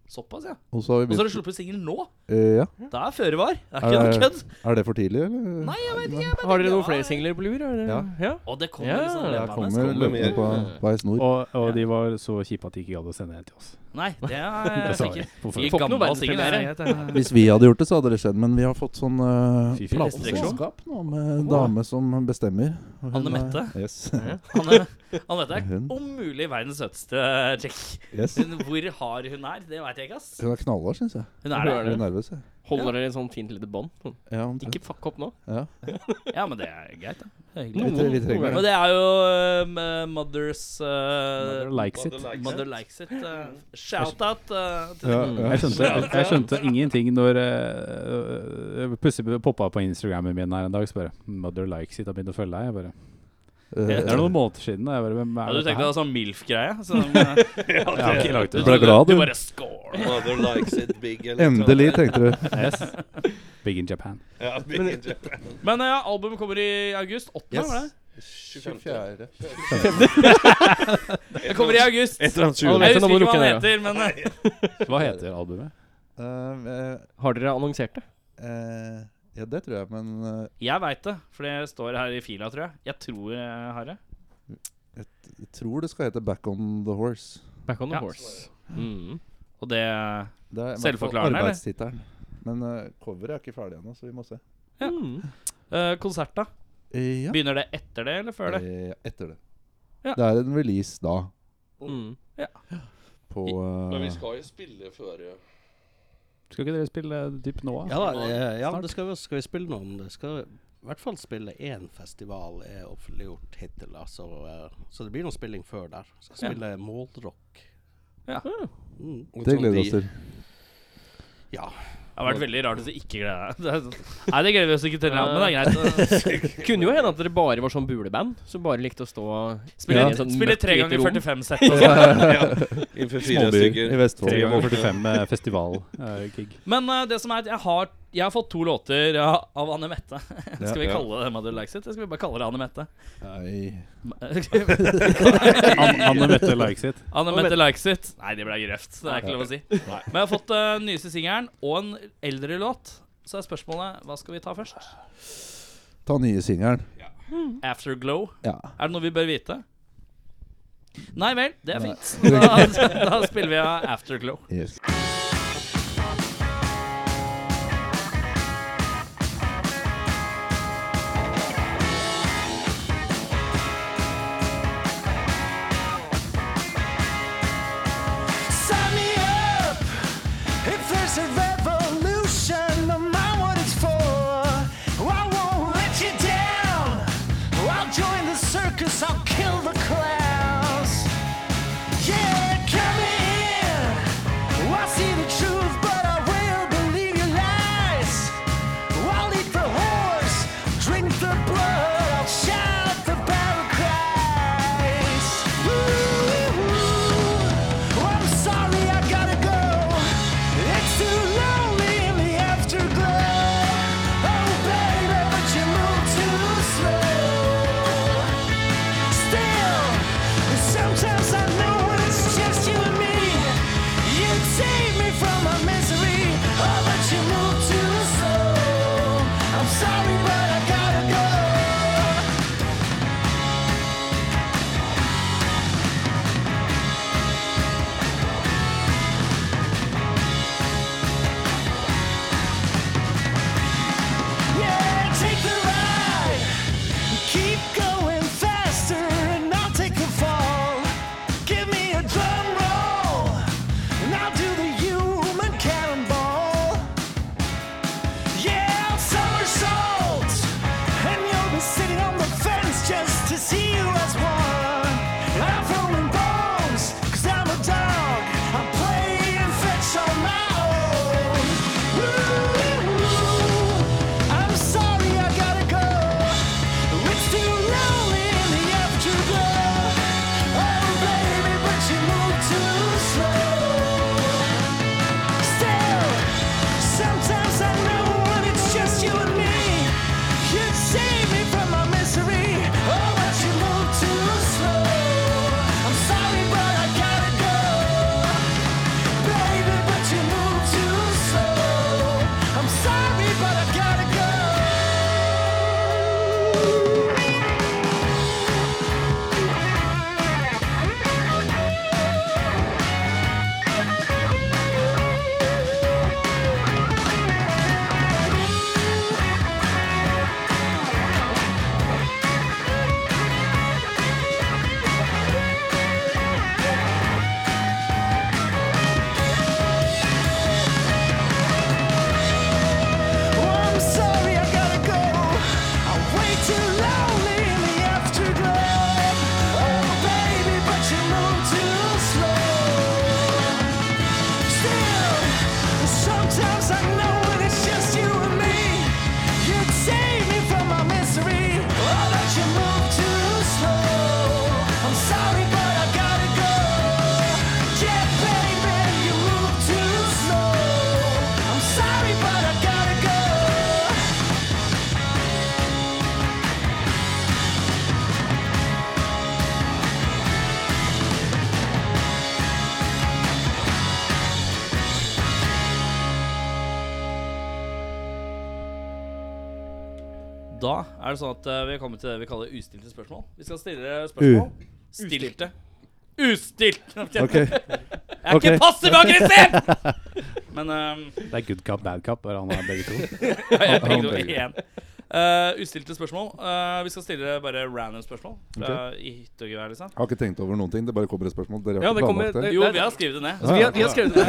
S5: Såpass, ja.
S6: Og så har vi
S5: Og så har
S6: begynt
S5: du sluppet singel nå?
S6: Eh, Ja.
S5: Det er føre var. Det er
S6: Er
S5: ikke noe
S6: det-
S5: kødd.
S6: Er det for tidlig, eller?
S5: Nei, jeg vet ikke.
S3: Har dere noen flere singler på lur? eller?
S6: Ja.
S3: ja.
S5: Og det kommer
S3: Ja,
S5: liksom
S3: det
S6: Jeg
S5: løpende.
S6: kommer
S8: kommer
S6: løpende
S8: mer.
S6: på veis nord.
S4: Og, og de var så kjipe at de ikke gadd å sende en til oss.
S5: Nei, det er
S4: sa
S5: sikkert.
S4: jeg på forhånd.
S5: I
S3: Får ikke noe
S5: gammel singel er
S3: verdenspremiere.
S5: det.
S6: Hvis vi hadde gjort det, så hadde det skjedd, men vi har fått sånn uh,
S4: Fy, fy.
S6: plateselskap nå, med dame som bestemmer. Og hun,
S5: Anne Mette?
S6: eh, Yes.
S5: Anne, Anne Mette er
S6: Hun.
S5: om mulig verdens søteste chick.
S6: yes.
S5: Hun- Hvor hard hun er, det veit jeg ikke, ass.
S6: Hun er knallhard, syns jeg.
S5: Hun er
S6: Jeg
S5: det.
S6: blir nervøs, jeg.
S3: Holder dere et sånt fint lite bånd? Sånn.
S6: Ja, omtrent.
S3: Ikke fuck opp nå.
S5: Ja, men det er greit, da. Det er hyggelig.
S6: Vi tre- vi trenger
S5: Og det er jo um, eh, Mothers eh,
S4: Mother likes it.
S8: Mother likes
S5: Mother likes it. eh, Shout-out eh, til
S6: Ja, ja.
S4: Jeg skjønte, jeg, jeg skjønte ingenting når eh, øh, Plutselig poppa på Instagrammen min her en dag. Så bare 'Mother likes it' har begynt å følge deg. Jeg bare,
S6: Eh,
S4: det er noen måneder siden. Og jeg bare, Hvem
S5: ja,
S4: er
S5: Du
S4: dette
S5: tenkte
S4: her?
S5: det var sånn MILF-greie? Sånn, eh,
S4: Jeg har ikke lagt
S5: du,
S4: ut.
S6: ble glad,
S5: du
S6: du.
S5: bare score.
S8: Mother likes it big. eller
S6: Endelig, tenkte du.
S4: Yes. Big in Japan.
S8: noe. Ja, big in Japan.
S5: Men eh, ja, albumet kommer i august. 8.
S6: Yes.
S5: var det?
S8: 25.
S5: Det kommer i august.
S8: Et
S5: Jeg
S8: eller
S3: Ja,
S8: annet tjue.
S3: det vet jeg,
S5: husker
S3: nå må du
S5: ikke hva
S3: lukke
S5: han
S3: den
S5: heter, men eh,
S4: Hva heter albumet?
S6: Eh,
S3: Har dere annonsert det?
S6: eh, eh, ja, det tror jeg, men eh,
S5: jeg veit det. For det står her i fila, tror jeg. Jeg tror jeg har det.
S6: jeg tror det skal hete Back on the Horse.
S3: Back on the
S5: Ja.
S3: horse. Mm.
S5: Og det
S6: Det er i hvert
S5: Selvforklarende,
S6: fall
S5: eller?
S6: Arbeidstittelen. Men eh, coveret er ikke ferdig ennå, så vi må se.
S3: Mm.
S5: eh, Konsert, da?
S6: Eh, ja.
S5: Begynner det etter det, eller før det?
S6: Eh, etter det.
S5: Ja.
S6: Det er en release da
S3: Mm.
S6: på
S8: Men vi
S6: eh,
S8: skal jo spille før
S4: Skal ikke dere spille typ nå?
S9: Ja da, eh, ja,
S4: Snart.
S9: det skal, vi- skal vi spille noen Det skal i hvert fall spille én festival er offentliggjort hittil. Altså, eh, så det blir noe spilling før der. Skal spille målrock.
S5: Ja.
S9: Mm.
S6: Det gleder vi
S3: Sånn
S6: oss til.
S9: Ja.
S5: Det har vært veldig rart hvis du ikke gleder deg. Det er sånn- Nei, det gleder vi oss ikke til, men det er greit.
S3: Kunne jo hende at dere bare var sånn buleband som bare likte å stå og
S5: Spiller,
S3: sånn i et sånt
S5: spiller
S3: mørkt
S5: tre
S3: lite
S5: ganger
S3: rom.
S5: 45 sett. og sånn.
S8: Innenfor fire
S6: Småbyer
S8: stykker.
S6: i Vestfold.
S4: 3 over 45 eh, festival-gig.
S5: Men eh, det som er at jeg har, jeg har fått to låter ja, av Anne Mette. skal vi
S8: ja.
S5: kalle det Mother Likes It? Eller skal vi bare kalle det Anne Mette?
S6: Nei.
S4: Anne Mette likes it.
S5: Anne Mette Likes It. Nei, det ble grøft. Det er ikke lov å si. Men jeg har fått eh, den nyeste singelen og en eldre låt. Så er spørsmålet hva skal vi ta først?
S6: Ta nye singelen.
S5: Afterglow.
S6: Ja.
S5: Er det noe vi bør vite? Nei vel, det er fint. Da, da spiller vi av Afterglow.
S6: Yes.
S10: Sign me up if there's a revolution. No mind what it's for. I won't let you down. I'll join the circus. I'll kill the clowns. Yeah, come in. What's Oh,
S9: Oh,
S10: 'Cause I know when it's just you and me, you'd save me from my misery. Oh, but you move too slow. I'm sorry, but I gotta go. Yeah, baby, you move too slow. I'm sorry, but I gotta go.
S5: Da er det sånn at eh, vi er kommet til det vi kaller ustilte spørsmål. Vi skal stille spørsmål. Stilte. Ustilt! Jeg
S6: Ok.
S5: er
S6: Ok.
S5: ikke passiv aggressiv! Men um,
S4: Det er good cop, bad cop, bare han har begge to.
S5: jeg begge to igjen. Eh, ustilte spørsmål. Eh, vi skal stille bare random spørsmål. fra I hytte og gevær, liksom.
S6: Jeg har ikke tenkt over noen ting. Det bare kommer et spørsmål. Dere
S3: Ja,
S6: har
S3: det
S6: ikke
S3: kommer-
S6: planlagt det?
S5: Jo, vi har skrevet det ned.
S3: Vi har, vi har skrevet det.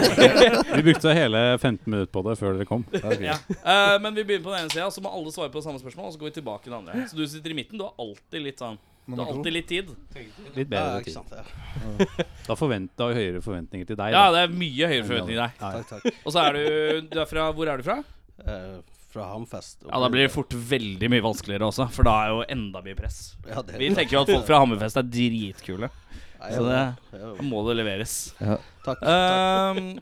S4: Vi brukte hele 15 minutter på det før dere kom.
S5: Ja. Eh, men vi begynner på den ene sida, så må alle svare på det samme spørsmål. Og så går vi tilbake til det andre. Så du sitter i midten. Du har alltid litt sånn Du har
S6: Nummer to.
S5: alltid litt tid.
S4: Litt
S9: Ja,
S4: bedre
S9: ikke
S4: tid.
S9: sant. Ja.
S4: Da forvent, da har vi høyere forventninger til deg.
S5: Ja,
S4: da.
S5: det er mye høyere forventninger der.
S9: Takk, takk.
S5: Og så er du, du er fra Hvor er du fra?
S9: Eh, fra Hamfest.
S5: Ja, da blir det fort veldig mye vanskeligere også, for da er jo enda mye press.
S9: Ja, det-
S5: Vi tenker jo at folk fra Hammerfest er dritkule,
S9: Nei,
S5: så det Eh,
S9: ja, ja.
S5: da må det leveres.
S9: Takk. takk.
S5: Ehm,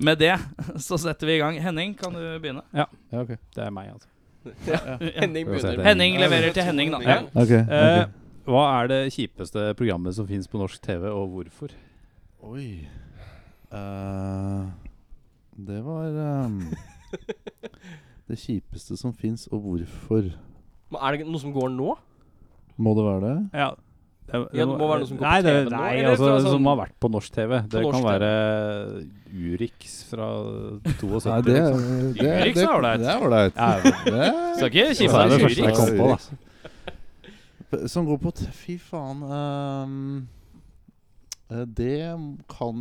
S5: med det så setter vi i gang. Henning, kan du begynne?
S4: Ja, ok. Det er meg, altså.
S3: Henning begynner.
S5: Henning leverer til Henning, da.
S8: Ja.
S6: Ok,
S4: Eh,
S6: ok.
S4: hva er det kjipeste programmet som fins på norsk TV, og hvorfor?
S6: Oi. Eh, det var ehm, det kjipeste som fins, og hvorfor.
S3: Men Er det noe som går nå?
S6: Må det være det?
S4: Ja, det,
S3: Ja, det må være noe som går på
S4: nei, det,
S3: TV nå,
S4: Nei,
S3: eller
S4: altså,
S3: fra sånn-
S4: som har vært på norsk TV. Det
S3: norsk
S4: kan
S3: TV.
S4: være Urix fra 72.
S6: Nei, det,
S4: liksom.
S6: det, det,
S5: Urix er ålreit.
S6: det er ålreit.
S4: Ja, det
S6: Det-
S5: Skal ikke kjipe
S4: var det
S5: deg.
S4: første
S5: Juri.
S4: jeg kom på, da.
S6: P- Som går på t- Fy faen ehm, eh, Det kan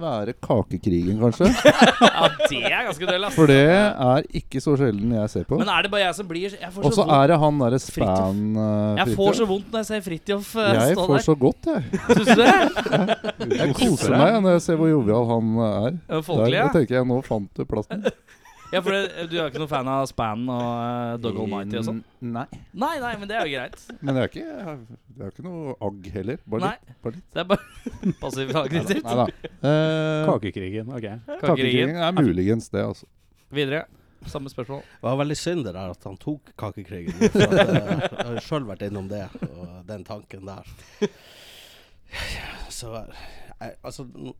S6: være kakekrigen, kanskje.
S5: Ja, det er ganske døll, ass.
S6: For det er ikke så sjelden jeg ser på.
S5: Men er det bare jeg som blir Jeg får
S6: Og
S5: så
S6: så
S5: vondt,
S6: er det han derre
S5: Fridtjof.
S6: Span
S5: jeg
S6: eh,
S5: får
S6: Fridtjof.
S5: så vondt når jeg ser Fridtjof eh,
S6: Jeg
S5: stå
S6: får
S5: der.
S6: så godt, jeg.
S5: Syns du det?
S6: Jeg koser meg når jeg ser hvor jovial han er.
S5: Eh,
S6: Der,
S5: Folkelig,
S6: da
S5: ja.
S6: tenker jeg, nå fant du plassen.
S5: ja for det, du er ikke noen fan av Span og eh, Dog Almighty
S6: Mm.
S5: og sånn?
S6: Nei.
S5: Nei, nei, men det er jo greit.
S6: Men det er ikke, det er ikke noe agg heller. Bare
S5: Nei.
S6: litt. Bare litt.
S5: Det er bare passivt aggressivt.
S6: Nei da. Eh,
S4: Kakekrigen, ok.
S5: Kakekrigen.
S6: kakekrigen er muligens det, altså.
S5: Videre. Samme spørsmål.
S9: Det var veldig synd det der at han tok kakekrigen. For at, eh, jeg har sjøl vært innom det, og den tanken der. Så jeg, altså n-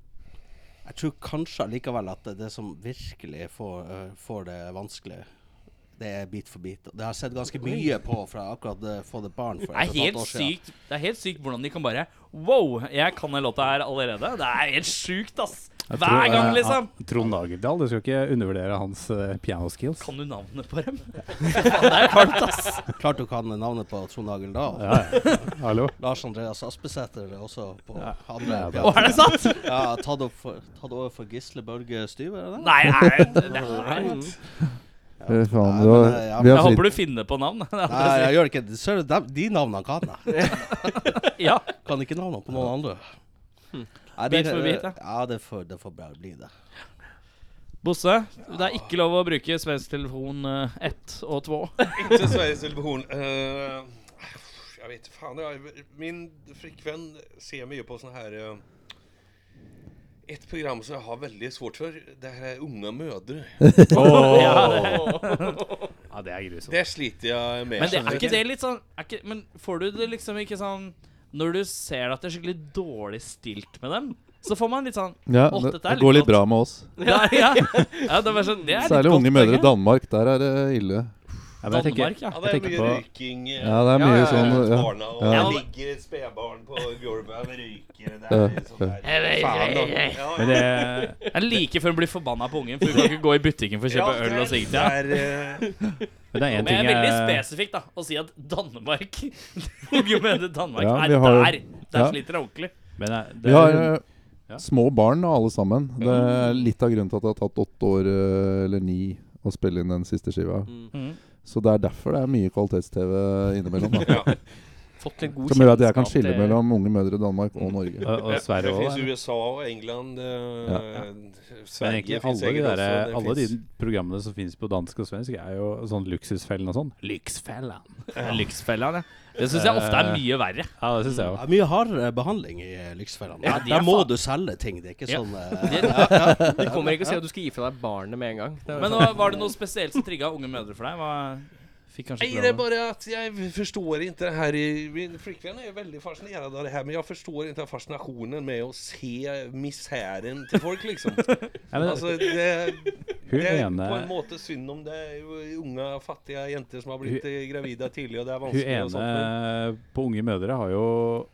S9: Jeg tror kanskje allikevel at det, det som virkelig får, eh, får det vanskelig, det er Bit for bit. Det har jeg sett ganske mye på fra akkurat det Få det barn. For
S5: Det er helt sykt Det er helt sykt hvordan de kan bare Wow, jeg kan den låta her allerede. Det er helt sjukt, ass. Hver
S6: eh,
S5: gang, liksom.
S4: Trond Dagerdal, du skal ikke undervurdere hans eh, pianoskills.
S5: Kan du navnet på dem? Faen, det er kaldt, ass.
S9: Klart du kan navnet på Trond Agel Dahl.
S4: Ja, ja. Hallo?
S9: Lars Andreas Aspesæter er også på
S4: Ja,
S9: andre
S4: det-
S5: Å, er det sant?
S9: Ja, tatt, opp for, tatt over for Gisle Børge Styve, er det det?
S5: Nei, nei, det det er
S6: Fy faen,
S9: Nei,
S6: det var,
S9: men, eh, ja,
S6: vi
S5: Jeg
S6: har
S5: håper
S6: fritt.
S5: du finner på navn. Det er det
S9: Nei,
S5: jeg
S9: jeg gjør ikke det. Ser du, dem- de navnene kan jeg.
S5: sier. Ja.
S9: Kan ikke navnene på noen andre. Nei,
S5: Bit Hmm. for bit, ja.
S9: Ja, det får, det får bare bli det.
S5: Bosse, det er ikke lov å bruke svensk telefon eh, ett og två.
S8: Inte Sveriges Television. Eh, jag vet fan. Jag, min flickvän ser mycket på såna här... eh, ett program som jag har väldigt svårt för. Det här är Unga mödre.
S4: Ja, det er grusomt.
S8: Det sliter jag med.
S5: Men det, er ikke det litt sånn er ikke, Men får du det liksom ikke sånn Når du ser at det er skikkelig dårlig stilt med dem, så får man litt sånn
S6: Ja,
S5: Åh,
S6: det,
S5: dette er
S6: det
S5: litt
S6: går litt
S5: godt.
S6: bra med oss.
S5: Ja, ja. ja det var sånn Det er
S6: Særlig unge mødre i
S5: da.
S6: Danmark. Der er det ille.
S4: Ja, men jeg
S5: Danmark,
S4: tenker,
S5: ja.
S8: Ja, det
S4: jeg
S8: är
S4: tenker
S8: mycket
S4: på
S8: ryking. eh,
S6: Ja, det er mye
S5: ja, ja,
S6: sånn ja.
S8: barna, och
S5: Ja.
S8: det ligger ett spädbarn på golvet och ryker. Det sånn här är sånt där. Fan, då. Ja,
S4: men det,
S5: Det er like før hun blir forbanna på ungen, for hun kan ikke gå i butikken for å
S8: ja,
S5: kjøpe øl og
S8: det
S5: sigaretter.
S8: är, eh,
S4: men det er
S5: Men
S4: én
S5: jeg
S4: ting
S5: er veldig
S4: jeg
S5: spesifikk da å si at Danmark Jo, men det er Danmark
S6: Ja,
S5: Nei,
S6: vi har-
S5: der! Der
S6: ja.
S5: sliter jeg ordentlig.
S4: men det, det,
S6: Vi har
S4: er-
S6: eh, små barn, da, alle sammen. Det er litt av grunnen til at det har tatt åtte år, eh, eller ni, å spille inn den siste skiva.
S5: Mhm.
S6: Så det er derfor det er mye kvalitets-TV innimellom. da.
S8: ja.
S3: fått litt god
S6: Som gjør at jeg kan
S3: kjennskap
S6: skille
S3: til-
S6: mellom unge mødre i Danmark og Norge.
S4: Og, og Sverige
S8: det
S4: òg.
S8: fins USA og England eh,
S4: Men
S8: Sverige
S4: egentlig
S8: finnes
S4: alle, de
S8: sikkert
S4: der, eh,
S8: også, det
S4: alle de
S8: finnes.
S4: programmene som finnes på dansk og svensk, er jo sånn Luksusfellen og sånn. Lyksfellen.
S5: Lyksfella, det. Det syns jeg ofte er mye verre.
S4: Ja, Eh, det syns jeg òg.
S5: Mm.
S9: Det er mye hardere behandling i eh, lyksfellene.
S5: Ja, de
S9: der
S5: er
S9: må
S5: faen-
S9: du selge ting. Det er ikke
S5: Ja.
S9: sånn eh,
S3: De kommer ikke og sier at du skal gi fra deg barnet med en gang. Det er
S5: Men
S3: sånn-
S5: hva- var det noe spesielt som trigga unge mødre for deg? Hva fikk kanskje
S8: Nei, det er
S5: programmet?
S8: bare at jeg forstår ikke det her i- Min flikkvenn er jo veldig fascinert av det her, men jeg forstår ikke fascinasjonen med å se miseren til folk, liksom.
S4: Ja, men
S8: Altså, det,
S4: hun
S8: det er
S4: ene
S8: på en måte synd om det er jo unge, fattige jenter som har blitt eh, gravide tidlig, og det er
S4: Hun
S8: vanskelig og
S4: ene
S8: sånt. men-
S4: på Unge mødre har jo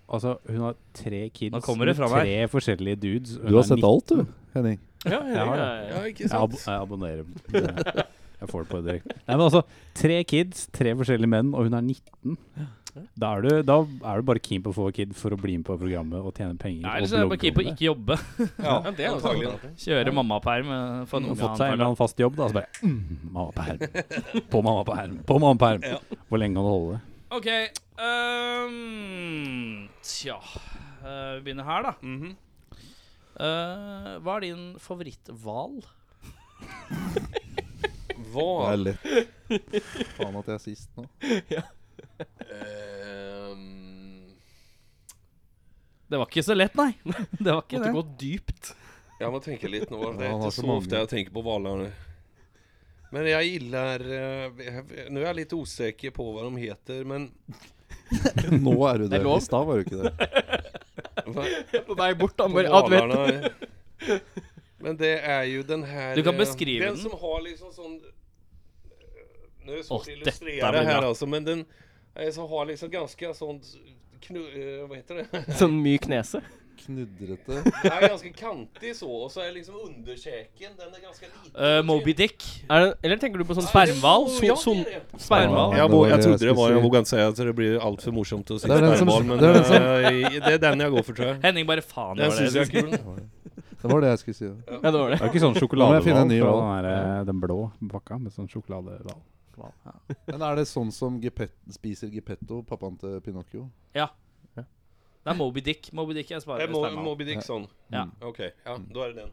S4: Altså, hun har tre kids
S5: Nå kommer det fra
S4: med tre forskjellige dudes. Hun
S6: Du har
S4: er
S6: sett
S4: 19.
S6: alt, du, Henning.
S3: Ja, ja,
S4: har
S3: ja, ja.
S8: Ja, ikke
S4: Jeg, ab
S8: sant?
S4: jeg abonnerer. på- Jeg får det på direkte. Nei, men altså, tre kids, tre forskjellige menn, og hun er 19. Da er du, da er du bare keen på å få kid for å bli med på programmet og tjene penger.
S5: Nei,
S4: og
S5: ellers er
S4: blogge
S5: jeg bare keen på
S4: om det.
S5: ikke jobbe.
S8: Ja,
S3: Ja, det er jo
S8: antagelig.
S5: Kjøre mammaperm. eh, Få en
S4: Hun
S5: unge
S4: har fått seg en
S5: annen
S4: eller
S5: perm.
S4: annen fast jobb, da. Så bare mm, Mamma på herm. På mamma på herm. På mamma på herm. Hvor lenge kan du holde det?
S5: OK. ehm, tja eh, Vi begynner her, da.
S8: Mhm.
S5: Eh, hva er din favoritthval?
S6: Det
S8: Hva
S6: er lett. Faen at jeg er sist nå.
S8: ehm,
S5: Det var ikke så lett, nei. Det var ikke
S3: Måtte
S5: det.
S3: gå dypt.
S8: Jeg må tenke litt nå. Det
S6: Ja,
S8: er
S6: han har
S8: ikke
S6: så
S8: så
S6: mange.
S8: ofte jeg tenker på hvaler. Men jeg gillar eh, jeg- Nå er jeg litt usikker på hva de heter, men
S6: Nå er du det.
S3: er lov.
S6: I stad var du ikke det.
S8: hva,
S3: På vei bort, da.
S8: på
S3: Bare advent.
S8: hvalarna- Men det er jo den her
S5: Du kan
S8: eh,
S5: beskrive
S8: Den
S5: den.
S8: som har liksom sånn eh, Nå er
S5: Åh,
S8: det svårt å
S5: dette
S8: illustrere
S5: blir
S8: her,
S5: bra.
S8: altså, men den eh, som har liksom ganske sånn knu... eh, Hva heter det?
S3: Sånn myk nese.
S6: Knudrete.
S8: Den er ganske kantig så, og så er liksom underkjeken Den er ganske liten.
S5: Eh, Moby Dick.
S3: Er det, eller tenker du på sånn
S5: Spermhval?
S8: Å,
S3: so-
S8: ja,
S3: son-
S8: det er det.
S5: Spermhval.
S8: Ja,
S6: det
S8: hvor,
S6: var
S8: jeg
S6: det
S8: trodde det var Jeg
S6: skulle si.
S8: våger ikke si at det blir altfor morsomt å si
S6: Det er den som-
S8: spermball, men
S6: det er den som-
S8: eh, i- det er den jeg går for, tror jeg.
S5: Henning bare faen. det
S8: Den
S5: var det
S8: syns
S5: jeg
S8: jeg er kul.
S6: Det var det jeg skulle si. da.
S3: Ja, det var det.
S4: Det er ikke sånn
S6: Nå må jeg finne
S4: sjokoladehval
S6: en ny
S4: fra
S6: hval.
S4: den, der, eh, den blå pakka med sånn sjokoladehval.
S6: Men er det sånn som Gepet spiser Gepetto, pappaen til Pinocchio?
S5: skulle- Det er Moby Dick. Moby Dick er
S8: Det
S5: sparer
S8: er Mo
S5: spermhval.
S8: Moby Dick sånn.
S5: Ja.
S8: OK. Ja, da er det den.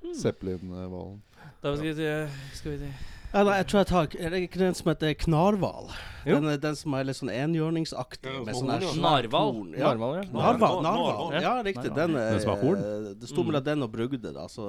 S5: Hmm.
S6: Zeppelinhvalen.
S5: Da skal vi eh, se- skal vi se
S9: Ja, nei, jeg tror jeg tar Er det ikke den som heter knarhval?
S3: Jo.
S9: Den, er- den som er litt sånn enhjørningsaktig?
S8: Ja,
S9: Med
S8: horn,
S9: sånn her
S8: ja.
S9: svært
S5: Narhval.
S9: horn, Ja.
S3: Narhval, ja.
S9: Narhval.
S8: Narhval,
S9: narhval.
S8: narhval.
S9: Ja, riktig. Den er
S4: Den som har horn?
S9: eh, Det sto
S5: Mm.
S9: mellom den og brugde, da. Så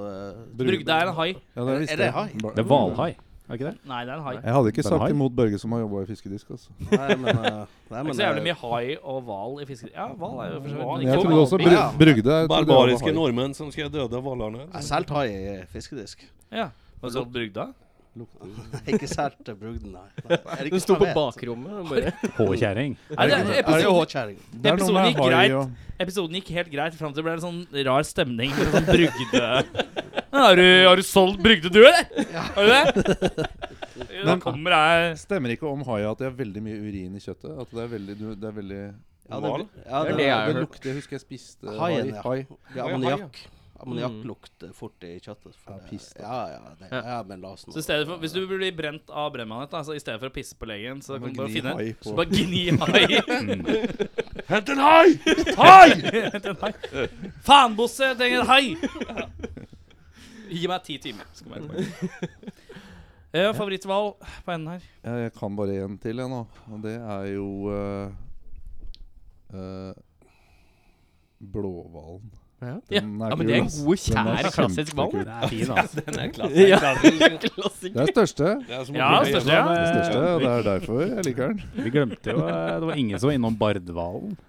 S9: eh,
S5: Brugde er en hai.
S6: Ja,
S9: Er-
S6: det visste
S9: er det hai?
S6: jeg. Ba-
S4: Det er hvalhai, er ikke det?
S5: Nei, det er en hai.
S6: Jeg hadde ikke
S4: Det er
S6: sagt
S4: hai.
S6: imot Børge som har jobba i fiskedisk. Altså.
S9: Nei, men, eh, nei,
S5: Det er
S9: men
S5: ikke så jævlig
S9: eh,
S5: mye hai og hval i fiskeri. Ja, hval er jo for så vidt
S8: Hval,
S5: men ikke
S6: Men jeg
S5: hval.
S6: trodde også bru
S9: Ja.
S6: Brugde jeg trodde
S8: Barbariske
S6: jeg var hai.
S8: nordmenn som skal døde av hvalerne.
S9: Jeg solgte hai i fiskedisk.
S5: Ja. Har du solgt brugda?
S9: Ikke solgt brugden, nei. nei. er det
S3: Du
S9: ikke
S3: sto på
S9: vet?
S3: bakrom og bare
S4: Håkjerring.
S5: Nei, det, er-
S9: Er det sånn-
S5: episoden,
S9: håkjerring?
S6: Det er noe
S5: Episoden
S6: med
S5: gikk
S6: hai
S5: greit.
S6: og-
S5: episoden gikk helt greit fram til det ble en sånn rar stemning. Med sånn brugde har du, har du solgt brugde, du, eller? Har du det? Da
S6: Men-
S5: kommer jeg
S6: Stemmer ikke om haia at det er veldig mye urin i kjøttet? At det er veldig, du- det er veldig
S9: Ja,
S8: Hval?
S9: det, ja,
S3: Det er
S9: det,
S3: det jeg har
S6: Det
S3: hørt.
S6: lukter Jeg husker jeg spiste
S9: Haien,
S6: hai.
S9: ja.
S6: hai.
S9: det er ammoniakk. Ammoniakk lukter fort i kjøttet. for
S6: Ja,
S9: det-
S6: piss, da.
S9: Ja, ja, det, ja, men la oss nå
S5: Så i stedet for, Hvis du blir brent av brennmanet, da, så i stedet for å pisse på legen, så kan
S6: Man
S5: du bare
S6: gnir
S5: finne
S6: hai
S5: Så
S6: på.
S5: bare gni hai. Mm.
S2: Hent en hai!
S5: Faen, Bosse, jeg trenger en hai! Gi meg ti timer. så kommer jeg tilbake. Eh, Favoritthval på enden her.
S6: Ja, jeg kan bare en til, jeg nå. Og det er jo eh, eh, Blåhvalen.
S3: Ja.
S6: Den
S5: Ja, men det er
S6: ass.
S3: god,
S6: Den er
S3: kjær, klassisk hval.
S6: kjempekul.
S4: Den er fin, altså.
S3: Ja, klassiker.
S6: Det er største.
S8: Det er som å
S5: Ja,
S8: bli-
S5: største, ja.
S4: Eh,
S6: Det største, og det er derfor jeg liker den.
S4: Vi glemte jo eh, Det var ingen som var innom bardhvalen.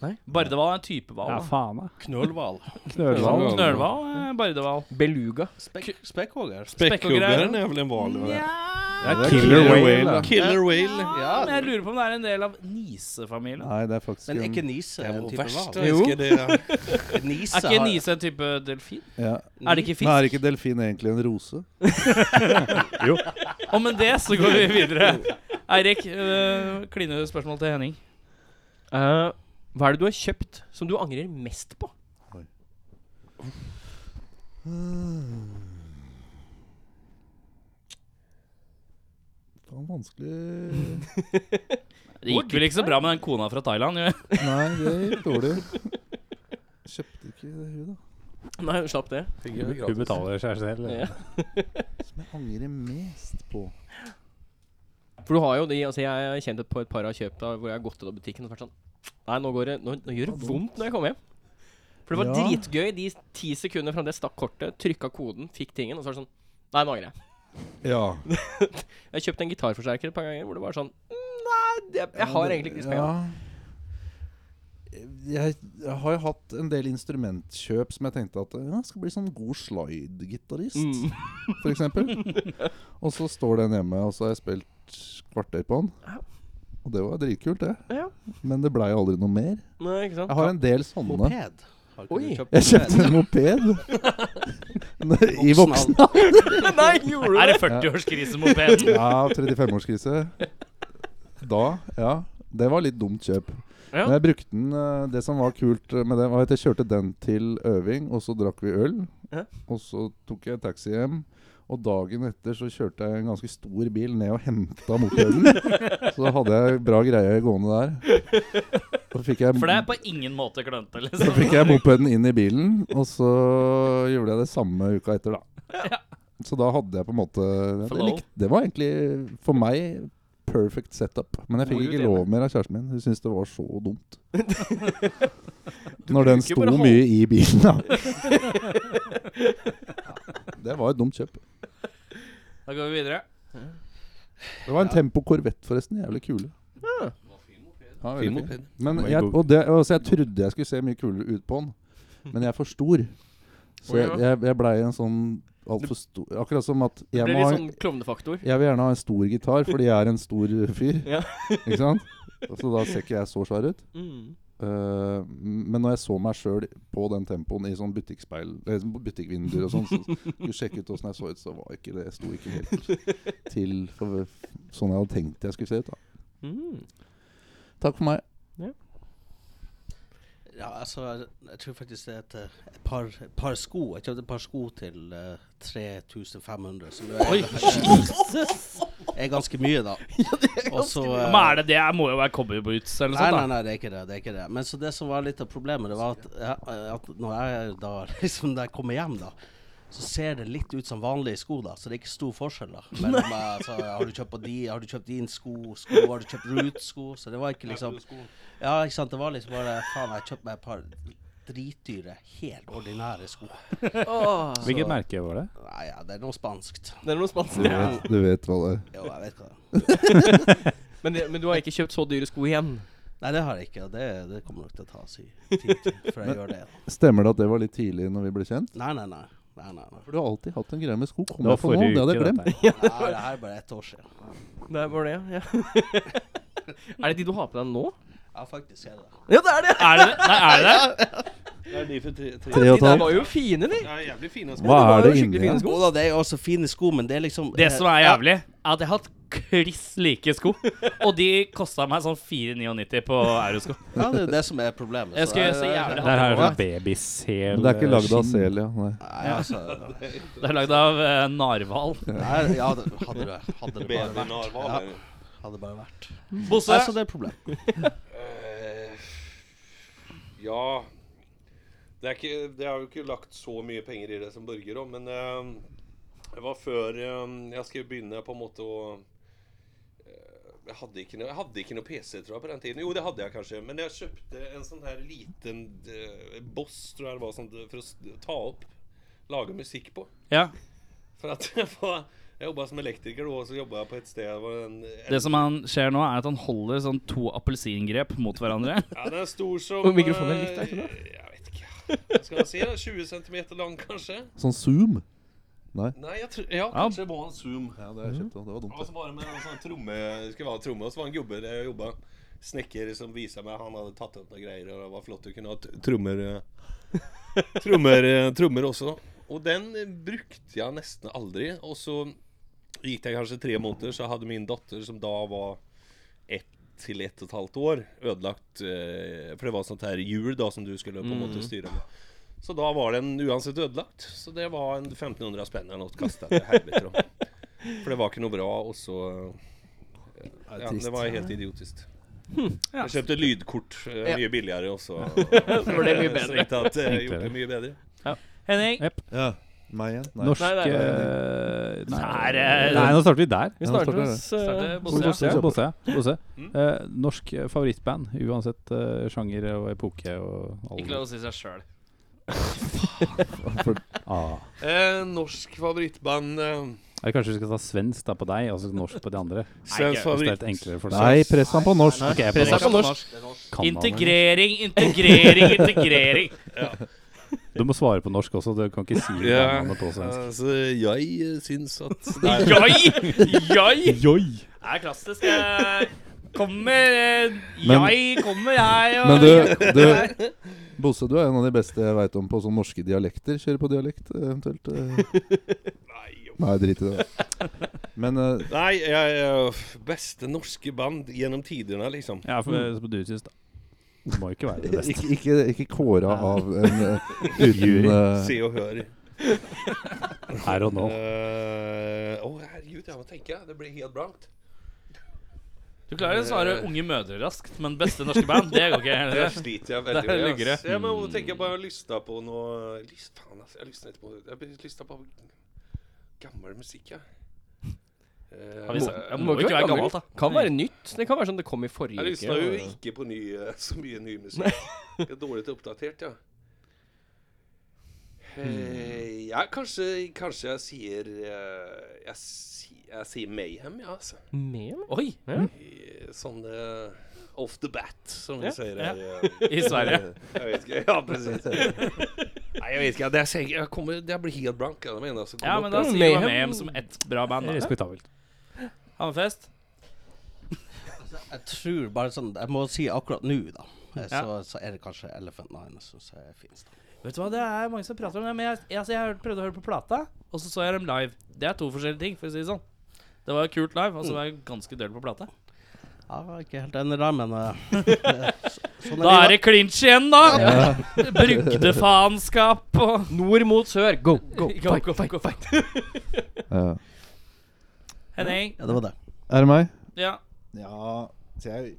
S5: Bardehval er en type hval.
S4: Ja,
S5: da.
S4: faen, da.
S9: Knølhval.
S4: Knølhvalen.
S5: Knølhval eh, er bardehval.
S3: Beluga.
S9: Spek Spekkhogger.
S8: Spekkhuggeren er vel en hval? eller?
S5: Ja,
S6: Det er
S4: Killer whale, da.
S8: Killer whale.
S9: Ja,
S5: men jeg lurer på om det er en del av nisefamilien.
S6: Nei, det er faktisk
S9: men
S6: en-
S9: ikke nise.
S8: Det er
S9: en
S8: jo
S9: type
S8: verst.
S9: hval.
S8: Jeg husker det.
S9: Nise
S5: Er ikke
S9: har-
S5: nise en type delfin?
S6: ja.
S5: Er det ikke
S6: Men er
S5: fisk?
S6: ikke delfin egentlig en rose?
S5: Og med det så går vi videre. Eirik, øh, kline spørsmål til Henning.
S3: Eh, hva er det du har kjøpt som du angrer mest på?
S6: Faen, vanskelig
S5: Det gikk vel ikke så bra med den kona fra Thailand, jo.
S6: Nei, det gikk dårlig. Kjøpte ikke det hun, da.
S3: Nei, hun slapp det.
S6: Fikk det
S4: Hun
S6: gratis.
S4: betaler seg selv.
S3: Ja.
S6: Som jeg angrer mest på.
S3: For du har jo de Altså, jeg har kjent et par, et par av kjøpa hvor jeg har gått ut av butikken og vært sånn Nei, nå, går det, nå, nå gjør det vondt når jeg kommer hjem. For det var
S6: Ja.
S3: dritgøy de ti sekundene fra det stakk kortet, trykka koden, fikk tingen, og så var det sånn Nei, nå angrer jeg.
S6: Ja.
S3: Jeg kjøpte en gitarforsterker et par ganger hvor det var sånn Nei, jeg, jeg har egentlig ikke disse pengene.
S6: Jeg, jeg har jo hatt en del instrumentkjøp som jeg tenkte at ja, jeg skal bli sånn god slide-gitarist,
S3: Mm.
S6: for f.eks. Og så står den hjemme, og så har jeg spilt kvarter på
S3: Ja.
S6: den. Og det var dritkult, det.
S3: Ja.
S6: Men det blei aldri noe mer.
S3: Nei, ikke sant?
S6: Jeg har en del sånne.
S9: Moped. Har ikke
S3: Oi.
S9: du kjøpt
S6: Jeg kjøpte en moped i voksen alder.
S3: Nei, gjorde du
S5: Er
S3: det?
S5: det 40-årskrisemopeden?
S6: Ja, 35-årskrise. Da, ja. Det var litt dumt kjøp.
S3: Ja.
S6: Men jeg brukte den eh, Det som var kult med den, var at jeg kjørte den til øving, og så drakk vi øl.
S3: Ja.
S6: Og så tok jeg taxi hjem. Og dagen etter så kjørte jeg en ganske stor bil ned og henta mopeden. så da hadde jeg bra greie gående der. Så fikk jeg,
S5: For det er på ingen måte klønete,
S6: så
S5: liksom.
S6: fikk jeg mopeden inn i bilen, og så gjorde jeg det samme uka etter, da. Så da hadde jeg på en måte det,
S5: Flow.
S6: likte, det var egentlig for meg perfect setup. Men jeg fikk
S3: Hvor
S6: ikke
S3: du
S6: lov mer av kjæresten min. Hun syntes det var så dumt.
S3: kunne
S6: Når den
S3: ikke
S6: sto
S3: bare holde-
S6: mye i bilen, da. Det var et dumt kjøp.
S5: Da går vi videre.
S6: Det var en Tempo Corvette, forresten. Jævlig kule. Ja, veldig
S8: Fin
S6: fin.
S8: moped.
S6: Men
S4: Det var en
S6: jeg,
S4: god-
S6: og det, altså jeg trodde jeg skulle se mye kulere ut på den, men jeg er for stor. Så jeg, jeg, jeg blei en sånn altfor stor Akkurat som at
S3: Det
S6: jeg,
S3: blir
S6: må ha,
S3: litt sånn klovnefaktor.
S6: jeg vil gjerne ha en stor gitar fordi jeg er en stor fyr.
S3: Ja.
S6: Ikke sant? Så da ser ikke jeg så svær ut.
S3: Mm.
S6: Eh, men når jeg så meg sjøl på den tempoen i sånn butikkspeil eh, sånn butikkvinduer og sånn, så skulle jeg sjekke ut åssen jeg så ut, så var ikke det sto ikke helt til for, sånn jeg hadde tenkt jeg skulle se ut. da
S3: Mm.
S6: Takk for meg.
S9: Ja, altså, jeg, jeg tror faktisk det er et, eh, et par, et par sko. Jeg kjøpte et par sko til eh, 3500, som jo er, er ganske mye, da. Og så, eh,
S5: Men er det det? Jeg må jo være cowboyboots eller noe
S9: Nei,
S5: sånt.
S9: nei,
S5: da.
S9: nei, det er ikke det. det er ikke det Men så det som var litt av problemet, det var at, jeg, at når jeg da liksom når jeg kommer hjem, da så ser det litt ut som vanlige sko, da så det er ikke stor forskjell. da Mellom, eh, altså, Har du kjøpt på de, har du kjøpt din sko, sko har du kjøpt Ruth-sko? Så det var ikke liksom Ja, ikke sant. Det var liksom bare Faen, jeg kjøpte meg et par dritdyre, helt ordinære sko.
S3: Åh,
S4: Hvilket merke var det?
S9: Nei, ja, det er noe spanskt.
S3: det er noe
S6: Du
S3: spansk.
S6: vet, du vet hva det er.
S9: Jo, jeg vet hva det er.
S3: Men, det- men du har ikke kjøpt så dyre sko igjen?
S9: Nei, det har jeg ikke, og det, det kommer nok til å ta si tid til før jeg gjør det.
S6: Stemmer det at det var litt tidlig når vi ble kjent?
S9: Nei, nei, nei. nei, nei, nei.
S6: For du har alltid hatt en greie med sko. Kom
S4: Det var
S6: jeg på nå,
S4: forrige
S6: det hadde jeg
S4: uke,
S6: glemt.
S4: dette.
S9: Ja, det her er bare ett år siden.
S3: Det var det, ja. er det de du har på deg nå?
S9: Ja, faktisk er det det.
S3: Ja, det er det!
S5: Er det det? Nei, er det det?
S8: Det er de for tre, tre.
S6: Tre og
S3: De
S6: et
S3: der
S6: halvt.
S3: var jo fine, de.
S8: Ja, jævlig fine sko.
S6: Hva
S3: det var
S6: er det
S3: jo skikkelig
S6: inni
S3: fine
S6: her?
S3: sko.
S9: Jo da, det er jo også fine sko, men det er liksom
S5: Det som er
S9: eh,
S5: jævlig, er at jeg har hatt kliss like sko. Og de kosta meg sånn 499 på eurosko.
S9: Ja, det er jo det som er problemet.
S5: Jeg skulle så jævlig hatt
S4: Der er
S5: det på
S4: sånn
S5: meg.
S4: babysel
S6: Men det er ikke lagd av
S4: skinn.
S6: sel, ja. Nei.
S9: Nei, altså
S5: Det er lagd av eh, narhval.
S9: nei, Ja, det, hadde det Hadde det bare vært. Ja, hadde det bare vært.
S5: Bosse,
S9: Nei, så det er problemet.
S8: Eh, ja det er, ikke, det er jo ikke lagt så mye penger i det som Børge, da, men eh, det var før eh, jeg skulle begynne på en måte å eh, jeg hadde, ikke noe, jeg hadde ikke noe PC tror jeg på den tiden. Jo, det hadde jeg kanskje. Men jeg kjøpte en sånn her liten eh, Boss, tror jeg det var, sånn, for å s- ta opp Lage musikk på.
S5: ja,
S8: For at jeg, var- jeg jobba som elektriker, da, og så jobba jeg på et sted det var en, en,
S5: det som han skjer nå, er at han holder sånn to appelsingrep mot hverandre.
S8: Ja, den er stor som
S3: Og mikrofonen er likt, er ikke
S8: eh, Jeg vet ikke. Hva skal man si? da? 20 cm lang, kanskje?
S6: Sånn Zoom.
S8: Nei, jeg tror Ja, kanskje det var en zoom.
S6: Ja, det har jeg kjøpt, og det var altså.
S8: Og så var det med en sånn tromme Det skulle være tromme, og så var det en gubbe der jeg jobba. Snekker som viste meg Han hadde tatt opp noen greier, og det var flott å kunne ha t- trommer eh, Trommer, eh, trommer også. Og den eh, brukte jeg nesten aldri. Og så gikk det kanskje tre måneder, så hadde min datter, som da var ett til ett og et halvt år, ødelagt eh, For det var sånt her hjul da som du skulle på en måte styre med. Så da var den uansett ødelagt. Så det var en 1500 spenn eller noe kasta til helvete. da. For det var ikke noe bra, og så Hm, ja, Det var helt idiotisk. Jeg kjøpte lydkort eh,
S3: Ja.
S8: mye billigere også.
S3: Så ble det mye bedre.
S8: Strengt tatt eh,
S4: Tenkte
S8: gjort det
S4: det.
S8: mye bedre.
S3: Henning?
S6: Ja. Meg igjen? Nei.
S4: Norsk
S3: Nei, nei,
S4: eh,
S3: nei,
S4: Nei,
S3: Her, eh,
S4: Nei, nå starter vi der.
S3: Vi
S6: Ja,
S3: starter
S6: starter
S3: hos eh,
S5: Starter Bosse. Mm.
S4: Bosse,
S6: ja.
S4: Bosse, ja. Bosse. Eh, norsk eh, favorittband, uansett eh, sjanger og epoke og
S5: Ikke lov å si seg sjøl.
S4: Ah.
S8: Eh, norsk favorittband eh,
S4: Eller kanskje vi skal ta svensk da på deg, og så norsk på de andre.
S8: Svensk
S4: Hvis det er
S8: favoritt
S4: litt enklere for
S6: Nei, press han på norsk.
S4: Ok, jeg er på
S3: Press han på
S4: norsk.
S3: norsk.
S4: Kan man det?
S5: Integrering, integrering, integrering.
S4: Du må svare på norsk også, du kan ikke si det
S8: Ja,
S4: navnet på svensk.
S8: altså, jeg eh, syns at
S5: Jeg! Jeg!
S4: Joi!
S5: Det er klassisk. eh, Kommer eh,
S6: Men-
S5: Jeg kommer, jeg.
S6: Men
S5: Og
S6: du, du Bosse, du er en av de beste jeg veit om på sånne norske dialekter. Kjøre på dialekt, eventuelt? eh. Nei, drit i det. Men eh,
S8: Nei, jeg, eh, beste norske band gjennom tidene, liksom.
S4: Ja, for eh, som du syns, da. Det må jo ikke være det beste.
S6: ikke, ikke, ikke kåra av en eh, uten eh,
S8: Se og hør.
S4: Her og
S8: Å,
S4: nå.
S8: Eh, herregud, jeg må tenke. Det blir helt blankt.
S5: Du klarer å svare Unge mødre raskt, men beste norske band, det går
S8: Det
S5: ikke.
S8: sliter jeg veldig
S5: Det Mm. er
S8: med. ass.
S5: luggere.
S8: Ja, men jeg tenker på jeg lysta på noe lyst, Faen, ass. Jeg lysta ikke på Jeg blir lysta på gammel musikk, jeg. Eh,
S5: Har vi sagt-
S8: jeg
S5: ja, må ikke være gammelt, da.
S3: Kan være nytt. Det kan være sånn det kom i forrige
S8: jeg lysta jo
S3: uke.
S8: ikke på ny, eh, så mye ny musikk. Jeg er dårlig til oppdatert, ja.
S5: Hmm.
S8: Eh, ja, kanskje, kanskje jeg sier eh, jeg, si, jeg sier Mayhem, ja, altså.
S3: Med?
S5: Oi,
S8: I Sånn eh, off the bat, som
S3: Ja,
S8: vi sier
S5: ja.
S8: her. eh.
S5: i Sverige.
S8: Jeg vet ikke. Ja, precis. Nei, jeg vet ikke. Det, er sikkert- jeg kommer, det blir helt blank. Jeg mener, så
S5: Ja, men
S8: kommer
S5: da
S8: opp
S6: Mm,
S8: der.
S5: sier du Mayhem som ett bra band. da.
S4: Respektabelt.
S5: Hammerfest.
S9: Jeg tror bare sånn Jeg må si akkurat nå, da. Eh,
S5: Ja.
S9: Så, så er det kanskje Elephant Nine som er finest. da.
S5: Vet du hva, det er mange som prater om det, men jeg, jeg, altså, jeg hørte- prøvde å høre på plata, og så så jeg dem live. Det er to forskjellige ting, for å si det sånn. Det var kult live, og så var jeg ganske døll på plata.
S9: Ja, jeg er ikke helt enig der, men eh, så, sånn
S5: Da er
S9: livet.
S5: det clinch igjen, da! Brygdefaenskap og
S3: Nord mot sør. Go, go,
S5: Go,
S3: fight,
S5: go,
S3: fight,
S5: go,
S3: fight.
S6: ja.
S5: Henning.
S9: Ja, det var det.
S6: Er det meg?
S5: Ja.
S6: Ja, så jeg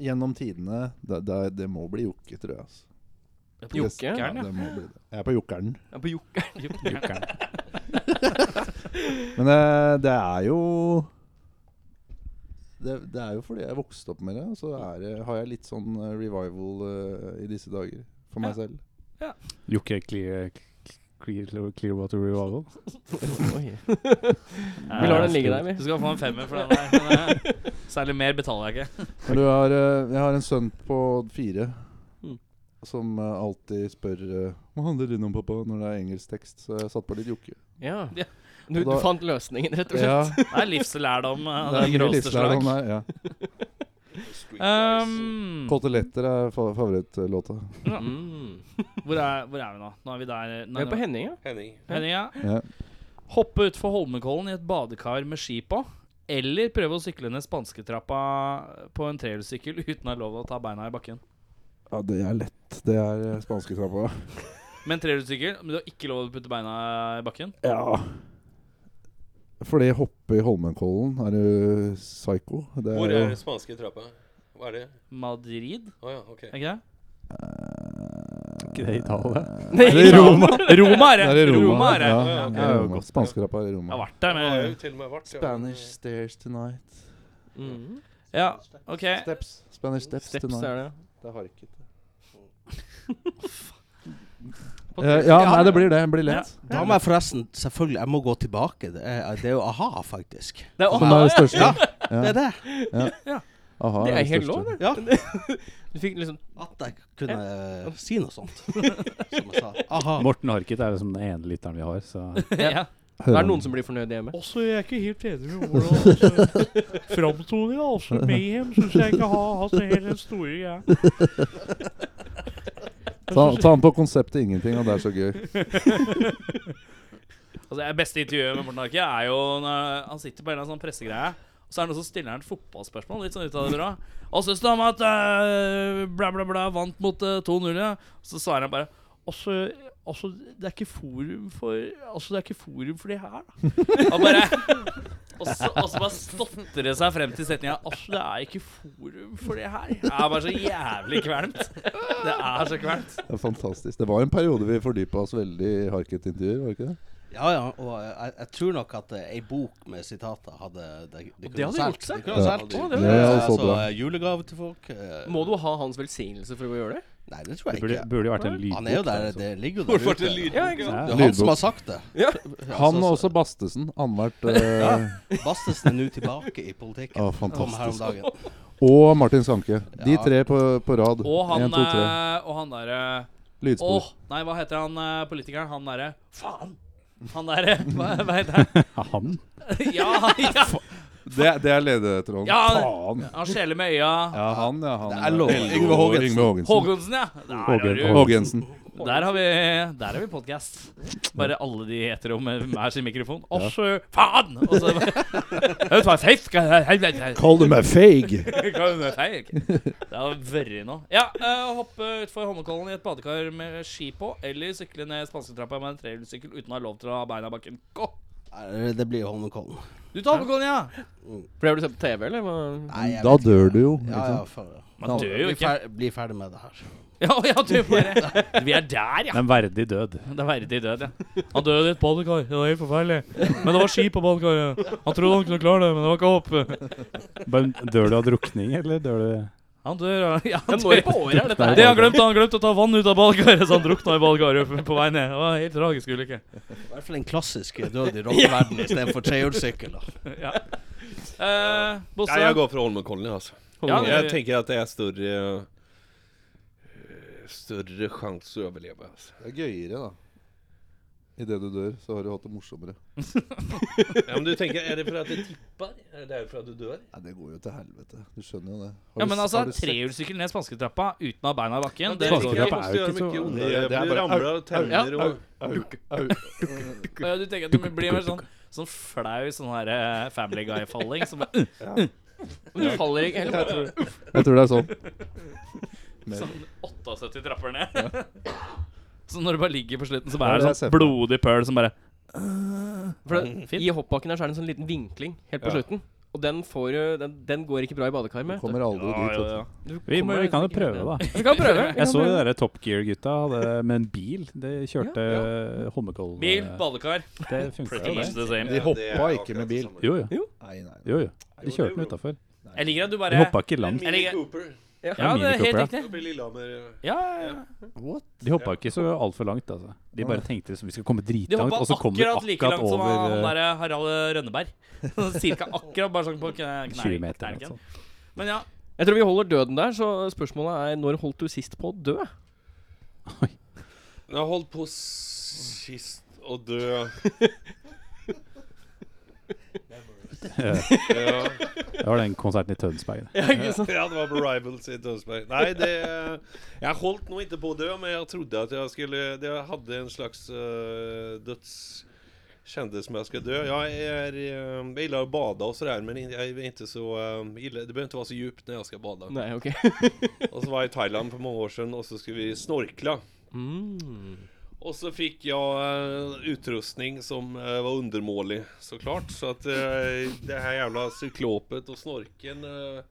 S6: Gjennom tidene Det, det, det må bli jokke, tror jeg. Altså.
S3: Jokke?
S5: Jokkeren, ja.
S6: det må bli det. Jeg er på jokkeren.
S3: Ja, På jokke.
S6: Men eh, det er jo det, det er jo fordi jeg vokste opp med det, og så er det, har jeg litt sånn eh, revival eh, i disse dager. For meg selv.
S4: Jokke Clear, clear, Clearwater Revival.
S3: Vi lar den ligge der, vi.
S5: Du skal få en femmer for den der. men, eh, Særlig mer betaler jeg ikke.
S6: Men du har, eh, jeg har en sønn på fire
S3: Mm.
S6: som eh, alltid spør eh, Hva handler den om, pappa? når det er engelsk tekst. Så jeg satte på litt jokke.
S3: Ja.
S5: Ja.
S3: Du, du
S6: Da-
S3: fant løsningen, rett og slett?
S6: Ja,
S5: Det er livslærdom eh, av
S6: det
S5: det
S6: er mye
S5: gråeste slag.
S6: livslærdom
S5: Mm.
S6: der. Ja.
S8: Streetwise.
S5: Um,
S6: Koteletter er fa favorittlåta.
S3: Mm.
S5: hvor, er, hvor er vi nå? Nå er vi der. eh,
S3: Vi
S5: Nei,
S3: er på
S5: nå-
S3: Henning, ja.
S8: Henning.
S5: Henning, ja.
S6: Ja.
S5: Hoppe utfor Holmenkollen i et badekar med ski på. Eller prøve å sykle ned spansketrappa på en trehjulssykkel uten å ha lov å ta beina i bakken.
S6: ja, det er lett. Det er eh, spansketrappa.
S5: Men trehjulssykkel, men du har ikke lov å putte beina i bakken?
S6: Ja. Fordi hoppe i Holmenkollen, er du psycho? Det
S8: Hvor er
S6: jo-
S8: den spanske trappa? Hva er det?
S5: Madrid,
S8: Å ja, OK.
S5: er ikke det?
S4: Ikke det i Italia?
S3: Nei,
S6: det er Roma.
S5: Roma er det!
S6: Det er i Roma.
S5: Roma er det.
S6: Ja,
S8: Ja,
S6: det er Roma. Spanskerappa er i
S5: Jeg har
S6: Roma.
S5: vært der,
S8: Jeg har jo
S5: men
S8: til og med vært ja.
S6: stairs tonight.
S3: Mm.
S5: Ja, OK.
S6: Steps. Spanish steps,
S3: Steps
S6: tonight.
S3: er det.
S6: Det har ikke det. Eh, ja, nei, det blir det. Det blir lett.
S9: Da må jeg forresten Selvfølgelig, jeg må gå tilbake. Det er, det er jo a-ha, faktisk.
S3: Det er,
S6: Som er det største.
S9: Det
S6: Ja.
S9: er det.
S6: Aha,
S3: det er
S6: det
S3: helt
S6: største.
S3: lov, det.
S9: Ja.
S3: Du fikk liksom
S9: At jeg kunne eh, si noe sånt. Som jeg sa. A-ha.
S4: Eh, Morten Harket er liksom den ene lytteren vi har, så
S5: Ja.
S3: Det er noen som blir fornøyd hjemme.
S1: Altså, jeg er ikke helt enig med hvordan altså, framtoninga. Altså, Mayhem syns jeg ikke har hatt helt den store greia.
S6: Ta, ta han på konseptet ingenting, og det er så gøy.
S5: Altså, det beste intervjuet med Morten Harket er jo når han sitter på en eller annen sånn pressegreie. Og så er det noen som stiller han et fotballspørsmål. Litt sånn ut av det bra. Og syns du om at eh, bla, bla, bla vant mot eh, 2-0, ja? Og så svarer han bare Altså, altså, det er ikke forum for Altså, det er ikke forum for det her, da. Han bare Og Og så, og så bare stotter det seg frem til setninga Asj, det er ikke forum for det her. Det er bare så jævlig kvalmt. Det er så kvalmt.
S6: Det er fantastisk. Det var en periode vi fordypa oss veldig i Harket-intervjuer, var det ikke det?
S9: Ja, ja. Og eh, jeg, jeg tror nok at eh, ei bok med sitater hadde Det, det
S3: det hadde gjort seg.
S9: Det kunne
S6: Ja.
S9: solgt.
S3: Å,
S6: det hadde- Ja, så
S9: så
S6: bra.
S9: eh, julegave til folk eh,
S3: Må du ha hans velsignelse for å gjøre det?
S9: Nei, det tror
S4: Det
S9: jeg
S4: burde,
S9: ikke.
S4: burde jo vært en lydbok.
S9: Han er jo der,
S4: altså.
S9: det ligger jo
S8: Hvorfor
S9: der
S8: til
S9: ute.
S8: lydbok?
S3: Ja, ikke
S4: Ja.
S9: Det er han
S6: Lydbok.
S9: som har sagt det.
S3: Ja.
S6: Han og
S9: så-
S6: også Bastesen. Annenhvert eh,
S9: Bastesen er nå tilbake i politikken.
S6: Å,
S9: Kom her om
S6: fantastisk.
S9: dagen.
S6: Og Martin Skanke. De
S9: Ja.
S6: tre på, på rad.
S5: Og han,
S6: En, to, tre.
S5: eh, og han derre Åh,
S6: Lydspor.
S5: nei, hva heter han eh, politikeren? Han derre Faen! Han derre hva, hva heter han?
S4: Han?
S5: Ja, ja,
S6: Det, det er ledetråden.
S5: Ja, det-
S6: Faen.
S5: han skjeler med øya.
S6: Ja, han, ja. Han,
S9: Det er lov.
S6: Helge
S9: Yngve Haagensen.
S6: Yngve Haagensen.
S5: Haagensen, ja. Der, har
S4: Haagen-
S5: du-
S4: Haagen.
S6: Haagensen.
S5: der har vi, der har vi podkast. Bare alle de heter om eh, hver sin mikrofon. Asj, faen! Og så bare Vet du hva, feigt skal jeg- helvete.
S6: Kall du meg feig?
S5: Kan du feie, ikke? Det er verre nå. Ja, eh, hoppe utfor Holmenkollen i et badekar med ski på, eller sykle ned spansketrappa med en trehjulssykkel uten å ha lov til å ha beina i bakken. Gå!
S9: Nei, Det blir Holmenkollen.
S5: Du tar Holmenkollen, ja!
S3: Ble du sett på TV, eller? Hva?
S9: Nei, jeg
S6: Da
S9: vet ikke.
S6: dør du jo.
S9: Ja,
S6: Ikke
S9: ja,
S6: sant?
S9: for,
S5: Man dør jo
S9: bli,
S5: ikke.
S9: fer bli ferdig med det her.
S5: Ja, ja, du bare Vi er der, ja.
S4: En verdig død.
S5: Det er verdig død, ja. Han døde i et badekar. Det var helt forferdelig. Men det var ski på badekaret. Han trodde han kunne klare det, men det var ikke håp.
S4: Men dør du av drukning, eller dør du
S5: Han dør, ja. ja
S3: Ja,
S5: han
S3: når
S5: dør.
S3: på året er dette her?
S5: Det han glemte, han glemte å ta vann ut av badekaret, så han drukna i badekaret på vei ned. Det var en helt tragisk ulykke.
S9: I hvert fall en klassisk død i rockeverdenen istedenfor trehjulssykkel.
S5: Ja. Eh, Bosse.
S8: Nei, jeg går for Holmenkollen, jeg, altså.
S5: Ja,
S8: Jeg
S5: det-
S8: tenker at det er større eh, Større sjanse å overleve. Altså.
S6: Det er gøyere, da. Idet du dør, så har du hatt det morsommere.
S8: Ja, men du tenker, Er det for at det tipper? Er det derfor at du dør?
S6: Nei, Det går jo til helvete. Du skjønner jo det. Har
S5: Ja,
S6: du
S5: men
S6: s-
S5: altså,
S6: har du sett-
S5: trehjulssykkel ned spansketrappa uten å ha beina i bakken
S8: Det
S5: det,
S8: er
S5: går ikke.
S8: ikke, jeg måtte gjøre mye
S6: Det er-
S8: ondere.
S6: det er
S8: Du
S6: bare-
S8: ramler av
S5: Ja.
S8: tenner og
S5: Og ja, Du tenker at du blir mer sånn, sånn flau sånn her eh, Family Guy-falling. Som bare,
S3: Du faller ikke heller.
S6: Jeg tror det er sånn.
S5: sånn 78 trapper ned. Så når du bare ligger på slutten, så
S6: Ja,
S5: bare er
S6: det
S5: det
S6: har jeg sett
S5: sånn
S6: på.
S5: blodig pøl som bare
S3: For det,
S5: Fint.
S3: I hoppbakken her så er det en sånn liten vinkling helt på
S6: Ja.
S3: slutten. Og den, får, jo- den, den går ikke bra i badekar med.
S6: Kommer aldri dit. altså. vet du.
S3: Du
S4: Vi, må,
S3: kommer
S4: vi kan jo
S3: ikke helt
S4: prøve,
S3: ned.
S4: da.
S3: Vi kan prøve. vi kan
S4: Jeg så de
S3: prøve.
S4: der Top Gear-gutta hadde med en bil. De kjørte Holmenkollen.
S5: Bil, badekar.
S4: Det funka
S5: Pretty much
S4: jo.
S5: the same.
S6: De hoppa ikke med bil.
S4: Jo, jo.
S6: Nei, nei.
S4: jo, jo. De kjørte den utafor.
S5: Jeg liker at du
S4: De
S5: bare
S4: hoppa ikke i land.
S5: Jeg
S8: Mini
S5: liker,
S8: Cooper.
S5: ja, det er
S4: Mini
S5: helt
S4: Cooper,
S5: riktig.
S8: Det blir Lillehammer.
S5: Ja, ja, ja.
S4: De hoppa ikke så altfor langt, altså. De bare tenkte liksom, vi skal komme
S5: De
S4: dritlangt,
S5: hoppa
S4: og så kommer vi
S5: akkurat like
S4: akkurat
S5: langt som han han
S4: over eh,
S5: der Harald Rønneberg. Sånn Cirka akkurat bare sånn på kne-
S4: 20
S5: kne-
S4: meter. eller noe
S5: knærken.
S4: sånt.
S5: Men ja,
S3: Jeg tror vi holder døden der, så spørsmålet er når holdt du sist på å dø?
S8: Jeg har holdt på sist å dø. ja.
S4: Det var den konserten i Tønsberg. det.
S8: ja, det var på Rivals i Tønsberg. Nei, det Jeg holdt nå ikke på å dø, men jeg trodde at jeg skulle Jeg hadde en slags eh, døds... Kjente som jeg skulle dø. Jeg er eh, Jeg gillar å bada og sådär, men jeg er ikke så eh, gillar, Det behøver ikke være så djupt når jeg skal bada.
S3: Nei, ok.
S8: Og så var jeg i Thailand for mange år siden, og så skulle vi snorkla.
S3: Mm.
S8: Og så fikk jeg eh, utrustning som eh, var undermålig, så klart. Så at eh, det her jævla syklopet og snorken eh,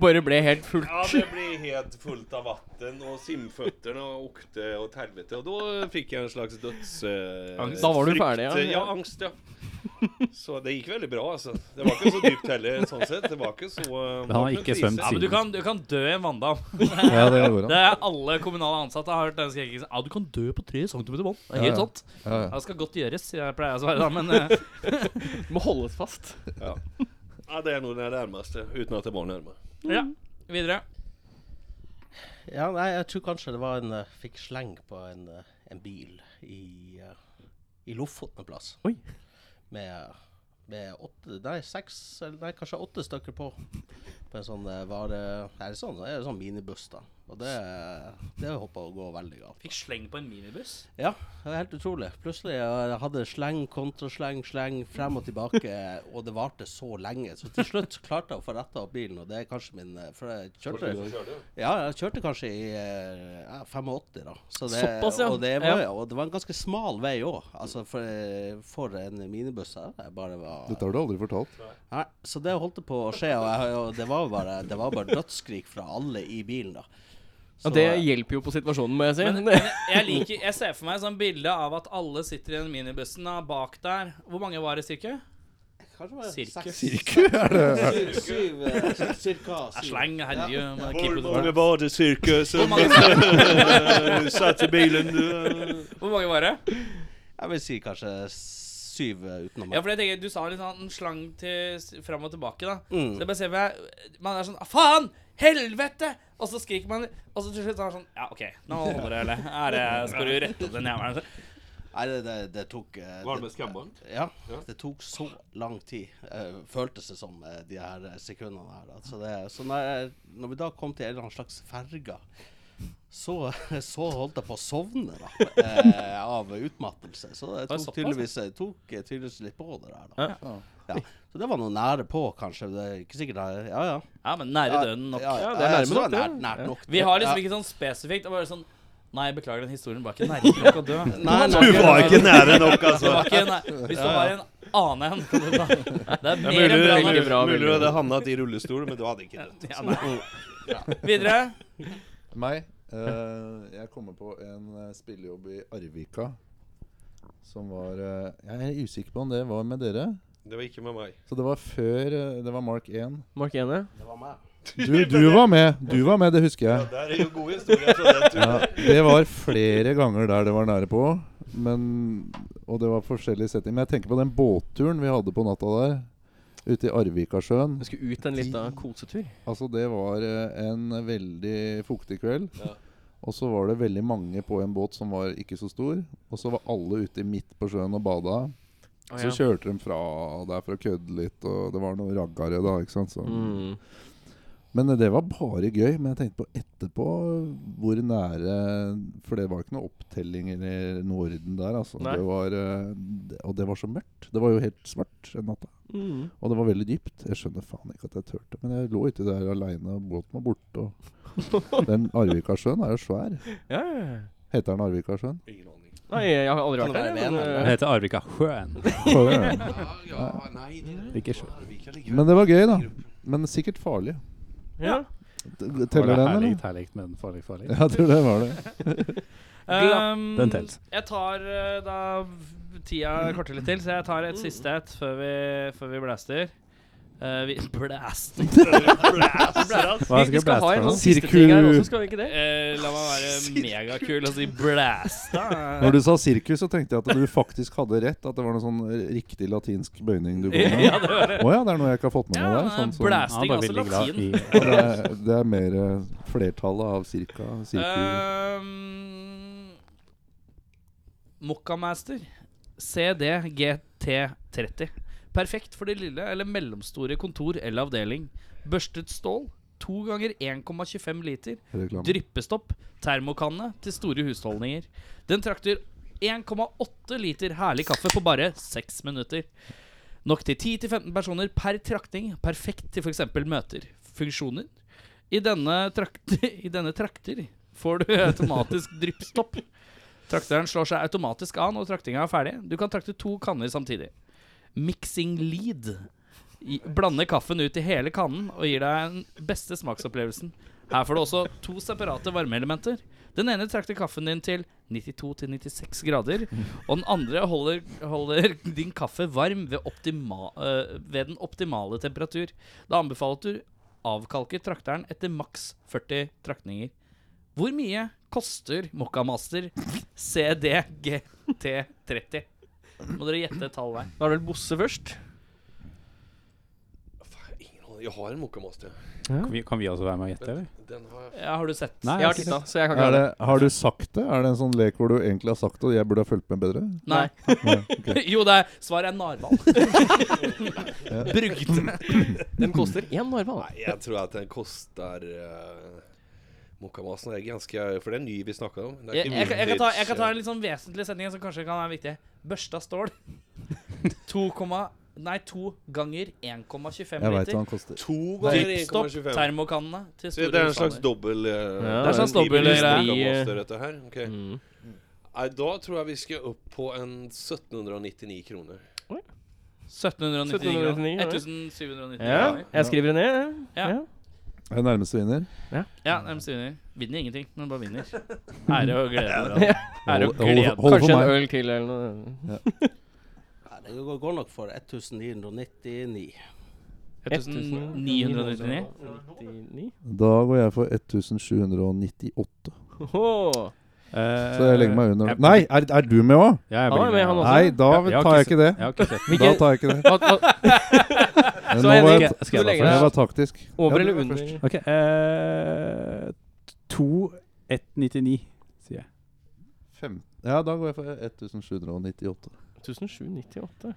S3: Bare ble helt fullt.
S8: Ja, det ble helt fullt av vann, og simføttene åkte og helvete. Og da fikk jeg en slags døds... eh,
S3: Angst. Da var du
S8: frykt.
S3: ferdig, ja.
S8: Ja, angst, ja. Så det gikk veldig bra, altså. Det var ikke så dypt heller, sånn sett. Det var ikke så eh,
S4: Men han har
S8: det var
S4: ikke
S8: en krise.
S4: svømt
S5: ja men du kan, du kan dø i en vanndam.
S6: Ja, det går
S5: Det
S6: an.
S5: er alle kommunale ansatte har hørt den skrekkingen. Ja, du kan dø på tre centimeter vann. Det er
S6: Ja,
S5: helt
S6: ja.
S5: sant.
S6: Ja,
S5: Ja,
S6: ja.
S5: Det skal godt gjøres, jeg pleier å svare da, men eh,
S3: Må holdes fast.
S8: Ja, det er noe det nærmeste, uten at det var nærme.
S5: ja. Videre.
S9: Ja, nei, jeg tror kanskje det var en eh, Fikk sleng på en, eh, en bil i, eh, i Lofoten en plass.
S3: Oi.
S9: Med, med åtte, nei, seks, eller nei, kanskje åtte stykker på. På en sånn eh, vare... Er det sånn? Er det sånn minibuss, da? Og det, det hoppa å gå veldig galt.
S5: Fikk sleng på en minibuss.
S9: Ja, det var helt utrolig. Plutselig eh, hadde sleng, kontrasleng, sleng frem og tilbake, og det varte så lenge. Så til slutt klarte jeg å få retta opp bilen, og det er kanskje min eh, For jeg kjørte,
S8: Hvordan kjørte du?
S9: ja, jeg kjørte kanskje i eh, ja, 85, da. Så det,
S3: Såpass, ja.
S9: Og det var,
S3: Ja.
S9: og det var en ganske smal vei òg. Altså for, eh, for en minibuss her. Jeg bare var
S6: Dette har du aldri fortalt.
S9: Nei, så det holdt på å skje, og, jeg, og det, var bare, det var bare dødsskrik fra alle i bilen, da. Så, eh,
S3: Og det hjelper jo på situasjonen, må jeg si.
S5: Men, men jeg liker Jeg ser for meg sånn bilde av at alle sitter i den minibussen da, bak der. Hvor mange var det, cirka?
S9: Kanskje var det
S5: Sirkus.
S9: seks-
S6: Ikke er det
S9: Syv, syv, eh, syv, cirka.
S5: Ja,
S9: syv.
S5: Sleng, herregud.
S9: Ja.
S5: må jeg keep
S2: Hvor
S5: it up.
S2: mange var det cirka
S5: Hvor
S2: som
S5: mange,
S2: eh, satt i bilen? eh?
S5: hvor mange var det?
S9: Jeg vil si kanskje syv eh, utenom
S5: Ja,
S9: meg.
S5: for jeg tenker, Du sa litt sånn slang til s- fram og tilbake, da.
S9: Mm.
S5: Så jeg bare ser for meg Man er sånn «Ah, Faen! Helvete! Og så skriker man, og så til slutt så er det sånn Ja, OK, nå holder det, eller? Er det, skal du rette opp den jævelen?
S9: Nei, det, det, det tok eh,
S8: Var det med
S9: det-
S8: skremmer?
S9: Ja,
S8: Ja.
S9: det tok så lang tid. eh, føltes det som eh, de her eh, sekundene her. da. Så, det, så når, når vi da kom til en eller annen slags ferge, så, så holdt jeg på å sovne da, eh, av utmattelse. Så
S5: Oi,
S9: det tok
S5: såpass, ja.
S9: tydeligvis, eh, tok eh, tydeligvis litt på det der, da.
S6: Ja.
S9: Ja. Så det var noe nære på, kanskje. Det er ikke sikkert det er- Ja, ja.
S5: Ja, men nære døden nok.
S9: Ja, ja,
S3: det er
S9: ja,
S3: nærme
S9: så det var
S3: nok, det.
S9: nært, nært nok.
S5: Vi har
S9: Ja.
S5: liksom ikke sånn spesifikt. Det var sånn Nei, beklager, den historien var ikke nærme nok å dø.
S9: Nei,
S5: Du
S9: nei,
S2: Du var
S9: nei.
S2: ikke nære nok,
S5: Det
S2: altså.
S5: var ikke nei, Hvis det var en annen en kan du ta. Det er
S2: Det er
S5: mer
S2: mulig,
S5: enn bra
S2: mulig,
S5: nok.
S3: bra,
S2: mulig
S3: veldig
S2: du hadde havnet i rullestol, men du hadde ikke dødd.
S5: Ja, nei. Videre.
S6: Meg? eh, jeg kommer på en eh, spillejobb i Arvika som var eh, Jeg er usikker på om det var med dere.
S8: Det var ikke med meg.
S6: Så det var før eh, Det var Mark 1.
S3: Mark Ene.
S9: Det var meg.
S6: Du, du var med! Du var med, det husker jeg.
S2: Det er jo gode historier fra den turen.
S6: Ja, det var flere ganger der det var nære på. Men, og det var forskjellige settinger. Men jeg tenker på den båtturen vi hadde på natta der. Ute i Arvikasjøen.
S3: Vi skulle ut en lita kosetur.
S6: Altså, det var eh, en veldig fuktig kveld. Og så var det veldig mange på en båt som var ikke så stor. Og så var alle ute midt på sjøen og bada. Så kjørte de fra der for å kødde litt, og det var noe raggere da. ikke sant? Så.
S3: Mm.
S6: Men eh, det var bare gøy. Men jeg tenkte på etterpå hvor nære For det var ikke noe opptelling eller noe orden der. altså.
S3: Nei.
S6: Det var, eh, det- og det var så mørkt. Det var jo helt svart den natta.
S3: Mm.
S6: Og det var veldig dypt. Jeg skjønner faen ikke at jeg turte. Men jeg lå uti der aleine, og båten var borte. Og den Arvikasjøen er jo svær.
S3: Ja, ja, ja.
S6: Heter den Arvikasjøen?
S8: Ingen aning.
S3: Nei, jeg har aldri
S9: Kan
S3: vært
S9: det
S3: der. men,
S9: være Ven,
S3: eh,
S9: eller?
S4: Det heter Arvika Sjøen.
S6: Sjøen.
S8: Ja, ja, nei, det er
S4: Ikke sjø.
S6: Men det var gøy, da. Men sikkert farlig.
S3: Ja.
S6: T-
S4: Var
S6: Teller
S4: det
S6: den,
S4: herlig,
S6: eller?
S4: herlig, men farlig, farlig?
S6: Ja, jeg tror det var det.
S5: Um,
S4: Den tels.
S5: Jeg tar eh, da Tida korter litt til, så jeg tar et siste et før vi, før vi blaster. Eh, vi Blaster
S4: Hva
S3: Vi, vi skal ha en sånn siste
S6: Sirku-
S3: ting her også, skal vi ikke det?
S5: Eh, La meg være megakul og si blasta.
S6: Når du sa sirkus, så tenkte jeg at du faktisk hadde rett. At det var noe sånn riktig latinsk bøyning du kom med.
S5: Ja, det var det.
S6: Å ja, det er noe jeg ikke har fått med meg der. Sånn, som-
S4: Han
S5: blæsting,
S4: var
S5: altså
S4: veldig glad
S5: latin.
S4: i
S6: Ja, det, er, det er mer eh, flertallet av cirka.
S5: Eh,
S6: Sirku.
S5: Um, Mokkamaster CD GT30. Perfekt for de lille eller mellomstore kontor eller avdeling. Børstet stål. 2 ganger 1,25 liter.
S6: reklame.
S5: Dryppestopp. Termokanne til store husholdninger. Den trakter 1,8 liter herlig kaffe på bare 6 minutter. Nok til 10-15 personer per trakting. Perfekt til f.eks. møter. Funksjoner. I denne, trakt, I denne trakter får du automatisk dryppstopp. Trakteren slår seg automatisk av når traktinga er ferdig. Du kan trakte to kanner samtidig. Mixing lead. I- Blande kaffen ut i hele kannen og gir deg den beste smaksopplevelsen. Her får du også to separate varmeelementer. Den ene trakter kaffen din til 92-96 grader, og den andre holder, holder din kaffe varm ved, optima, øh, ved den optimale temperatur. Da anbefaler du avkalker trakteren etter maks 40 traktninger. Hvor mye koster Mokkamaster CDGT30? Må dere gjette et tall hver.
S3: eh, Da er det vel Bosse først.
S8: Faen, Ingen aning. Jeg har en Mokkamaster.
S4: Kan vi, kan vi også være med og gjette, eller?
S8: Den har jeg
S5: Ja, har du sett?
S4: Nei,
S3: Jeg har titta, så jeg kan
S6: Er
S3: klare det.
S6: det, har du sagt det? Er det en sånn lek hvor du egentlig har sagt det, og jeg burde ha fulgt med bedre?
S5: Nei. jo, det er, svaret er narhval. Brugte.
S3: Den koster én narhval.
S8: Nei, jeg tror at den koster uh, Munkamasen er ganske For det er ny vi snakker om. Det er
S5: Jeg,
S8: ikke
S5: jeg, kan- jeg, kan ta, jeg kan ta en
S8: vintage,
S5: litt sånn vesentlig setning som kanskje kan være viktig. Børsta stål. 2, komma- nei, 2 ganger 1,25
S6: Jeg veit hva
S5: liter.
S6: han koster.
S8: To ganger
S5: Dyppstopp
S8: 1,25.
S5: termokannene til
S8: Så
S5: store
S8: det er en slags
S5: husstander.
S8: dobbel eh,
S3: det er en
S5: slags dobbel eh,
S8: industri-
S3: greie.
S8: Munkamaster, dette her. Ok.
S3: Mm.
S8: Nei, da tror jeg vi skal opp på en 1799 kroner.
S5: 1799
S3: 1799,
S5: kroner.
S3: ja.
S5: 1799
S3: Ja,
S5: kroner.
S3: jeg skriver det ned.
S5: Ja.
S6: Er det nærmeste vinner?
S5: Ja, de vinner. Vinner ingenting, men bare vinner. Ære og glede. Ære og
S6: Hold- hold-
S5: glede.
S6: hold for
S3: Kanskje en
S6: meg.
S3: øl til eller noe.
S9: Nei, det går- går nok for 1999.
S5: 1999.
S3: 99.
S6: Da går jeg for 1798.
S3: Åhå.
S6: Så jeg legger meg
S3: Eh,
S6: under.
S4: Jeg-
S6: Nei, er, er du med òg?
S4: Eh, Ja, jeg
S3: Han
S4: blir
S3: er
S4: med.
S3: med, han også.
S6: Nei, da tar jeg ikke
S4: Jeg
S6: det.
S4: har ikke sett den.
S6: Da
S3: Hvilken-
S6: tar jeg ikke det.
S3: Hva- hva-
S6: Men
S3: Så
S6: nå
S3: Henrik,
S6: var jeg,
S3: skal jeg
S6: det
S3: legge deg
S6: var taktisk.
S3: over
S6: Ja, du
S3: eller
S6: var
S3: under?
S6: først.
S4: Ok, eh, 2199, sier jeg.
S6: Fem. Ja, da går jeg for 1798.
S3: 1798.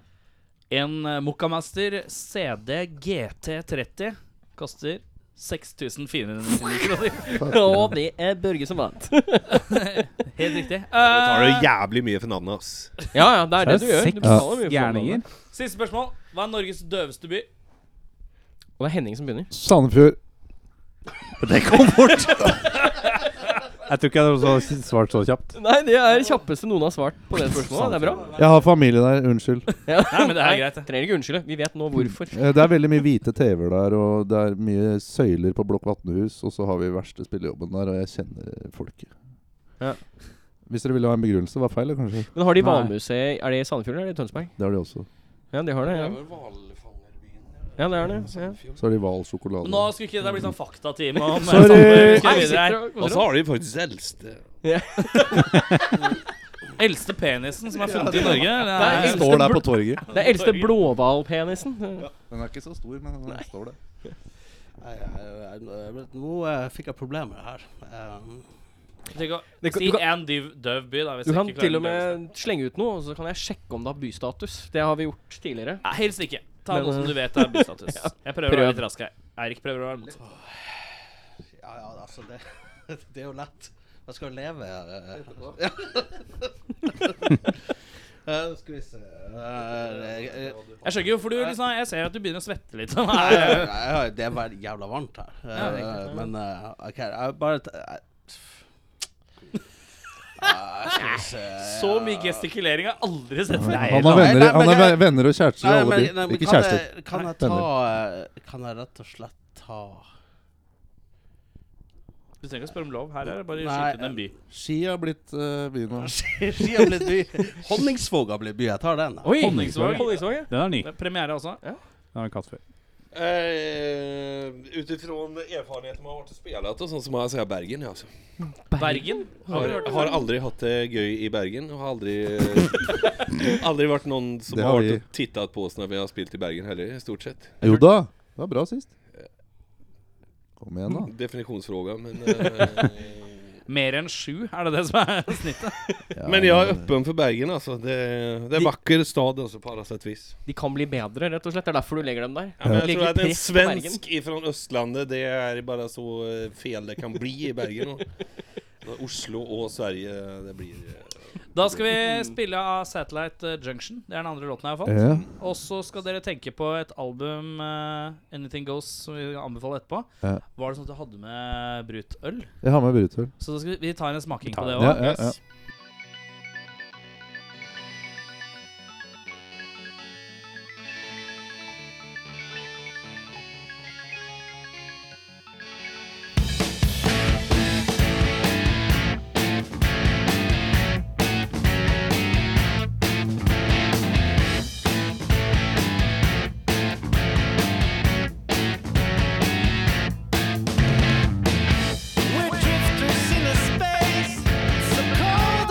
S5: En eh, Mokkamaster CD GT30 koster 6499 kroner.
S3: Og det er Børge som vant.
S5: Helt riktig.
S8: Da tar
S5: Eh,
S8: du jævlig mye for navnet, ass.
S3: Ja, ja, det er det du gjør. Du
S4: seks
S3: betaler mye for
S4: gærninger.
S3: det.
S5: Siste spørsmål. Hva er Norges døveste by?
S3: Og det er Henning som begynner.
S6: Sandefjord.
S4: Jeg tror ikke jeg hadde også svart så kjapt.
S3: Nei, det er kjappeste noen har svart på det spørsmålet. Det er bra.
S6: Jeg har familie der, unnskyld.
S3: Ja.
S5: Nei, men det er
S3: Nei,
S5: greit, det.
S3: Trenger ikke unnskylde. Vi vet nå hvorfor.
S6: Eh, Det er veldig mye hvite TV-er der, og det er mye søyler på Blokk Vatnehus. Og så har vi verste spillejobben der, og jeg kjenner folket.
S3: Ja.
S6: Hvis dere ville ha en begrunnelse, var feil, kanskje?
S3: Men har de
S4: Nei.
S3: hvalmuseet Er det i Sandefjord eller er det i Tønsberg?
S6: Det har de også.
S3: Ja, de har det.
S8: Det
S3: Ja,
S8: er vel hvalfangerbyen.
S3: ja det er det. Ja.
S6: Så har de Hval
S5: Men
S6: sjokolade.
S5: Nå skulle ikke det bli sånn faktatime om
S6: Sorry.
S5: Skal vi videre her?
S8: Og så har de faktisk eldste.
S5: Eldste penisen som er funnet i Norge. Det
S3: Nei,
S5: er
S3: eldste
S6: Står der
S3: bl-
S6: på torget.
S3: Det er eldste blåhvalpenisen.
S6: Den er ikke så stor, men den står der.
S9: Nei, jeg- jeg- jeg- Nå eh, fikk jeg problemer her. Um,
S5: Tenk å
S3: Det kan-
S5: Si
S3: du kan-
S5: en døv, døv by, da. Hvis
S3: Du
S5: jeg
S3: kan
S5: ikke klarer
S3: til og
S5: den døveste.
S3: med slenge ut noe, og så kan jeg sjekke om det har bystatus. Det har vi gjort tidligere.
S5: Nei, Helst ikke. Ta
S3: Men,
S5: noe som
S3: eh,
S5: du vet er bystatus. Jeg prøver å
S3: Prøv.
S5: være litt rask her. Eirik prøver å være mot.
S9: ja, ja, altså det, det er jo lett. Man skal jo leve her. skal vi se Eh, eh,
S5: Jeg skjønner ikke hvorfor du liksom Jeg ser at du begynner å svette litt.
S9: Nei,
S5: Nei,
S9: nei, det er bare jævla varmt her. Eh,
S5: Ja, det er klart.
S9: men eh, OK, jeg bare t- jeg- Eh, Skal vi se
S5: Så mye gestikulering har jeg aldri sett før.
S6: Han har
S9: nei,
S6: venner,
S9: nei,
S6: han
S9: men
S6: har
S9: jeg-
S6: ve- venner og kjærester i
S9: Nei,
S6: alle
S9: men, nei,
S6: byer.
S9: men
S6: Ikke
S9: kan,
S6: kjærester.
S9: jeg, kan jeg ta eh, Kan jeg rett og slett ta
S5: Du trenger ikke å spørre om lov. Her er det bare å
S9: Nei,
S5: skyte ned en by.
S6: Ski har blitt eh, byen nå.
S9: Skia blir by. Honningsvåga blir by. Jeg tar den.
S3: Oi!
S4: Honningsvåg.
S3: Honningsvåg, ja.
S4: Den er ny.
S5: Det er premiere altså. også.
S4: Den har vi kalt før.
S8: Eh, Utifrån erfarenheten man har vært og spilt og sånn, så må jeg si Bergen. Ja, altså.
S5: Bergen. Har
S8: har,
S5: du hørt om
S8: har
S5: det?
S8: aldri hatt det gøy i Bergen. Og har aldri eh, Aldri vært noen som
S6: Det
S8: har
S6: har
S8: vært
S6: vi.
S8: og tittet på oss når vi har spilt i Bergen heller, stort sett.
S6: Jo da, det var bra sist. Kom igjen, da.
S8: Definisjonsfråga, men eh,
S5: Mer enn sju, er det det som er snittet?
S6: Ja,
S8: Men jeg er åpen for Bergen, altså. Det, det er en vakker stad, altså, på alle sett vis.
S3: De kan bli bedre, rett og slett. Det er derfor du legger dem der.
S8: Ja, men jeg
S3: Legger
S8: tror at en
S3: press på Bergen.
S8: svensk fra Østlandet, det er bare så eh, fel det kan bli i Bergen. Og, og Oslo og Sverige, det blir eh,
S5: Da skal vi spille av Satellite eh, Junction. Det er den andre låten jeg har fått.
S6: Ja.
S5: Og så skal dere tenke på et album, eh, Anything Goes, som vi anbefaler etterpå.
S6: Ja.
S5: Var det sånn at du hadde med brut øl?
S6: Jeg har med Brutøl.
S5: Så da skal vi, vi ta en smaking
S4: Vi tar
S5: på det
S4: det.
S5: òg.
S6: Ja, ja, ja.
S10: We're drifters in a space so cold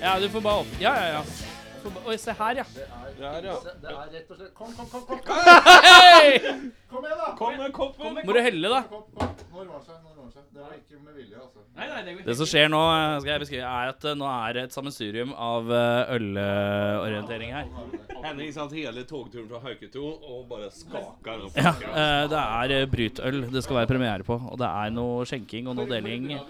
S5: Ja, du får bare opp. Ja, ja, ja. Får ba- Oi, se her, ja.
S10: Det er rett og slett Kom, kom, kom! kom,
S5: Hei!
S10: kom igjen, da! Kom med koppen!
S5: Må du helle, da.
S6: Når var seg, når var seg. Det var ikke med vilje, altså.
S5: Det som skjer nå, eh, skal jeg beskrive, er at eh, nå er det et sammensurium av eh, ølorientering her.
S8: Henning satt hele togturen fra Hauketo og bare skaka den opp.
S5: Ja, eh, det er eh, brytøl det skal være premiere på, og det er noe skjenking og noe deling. Eh,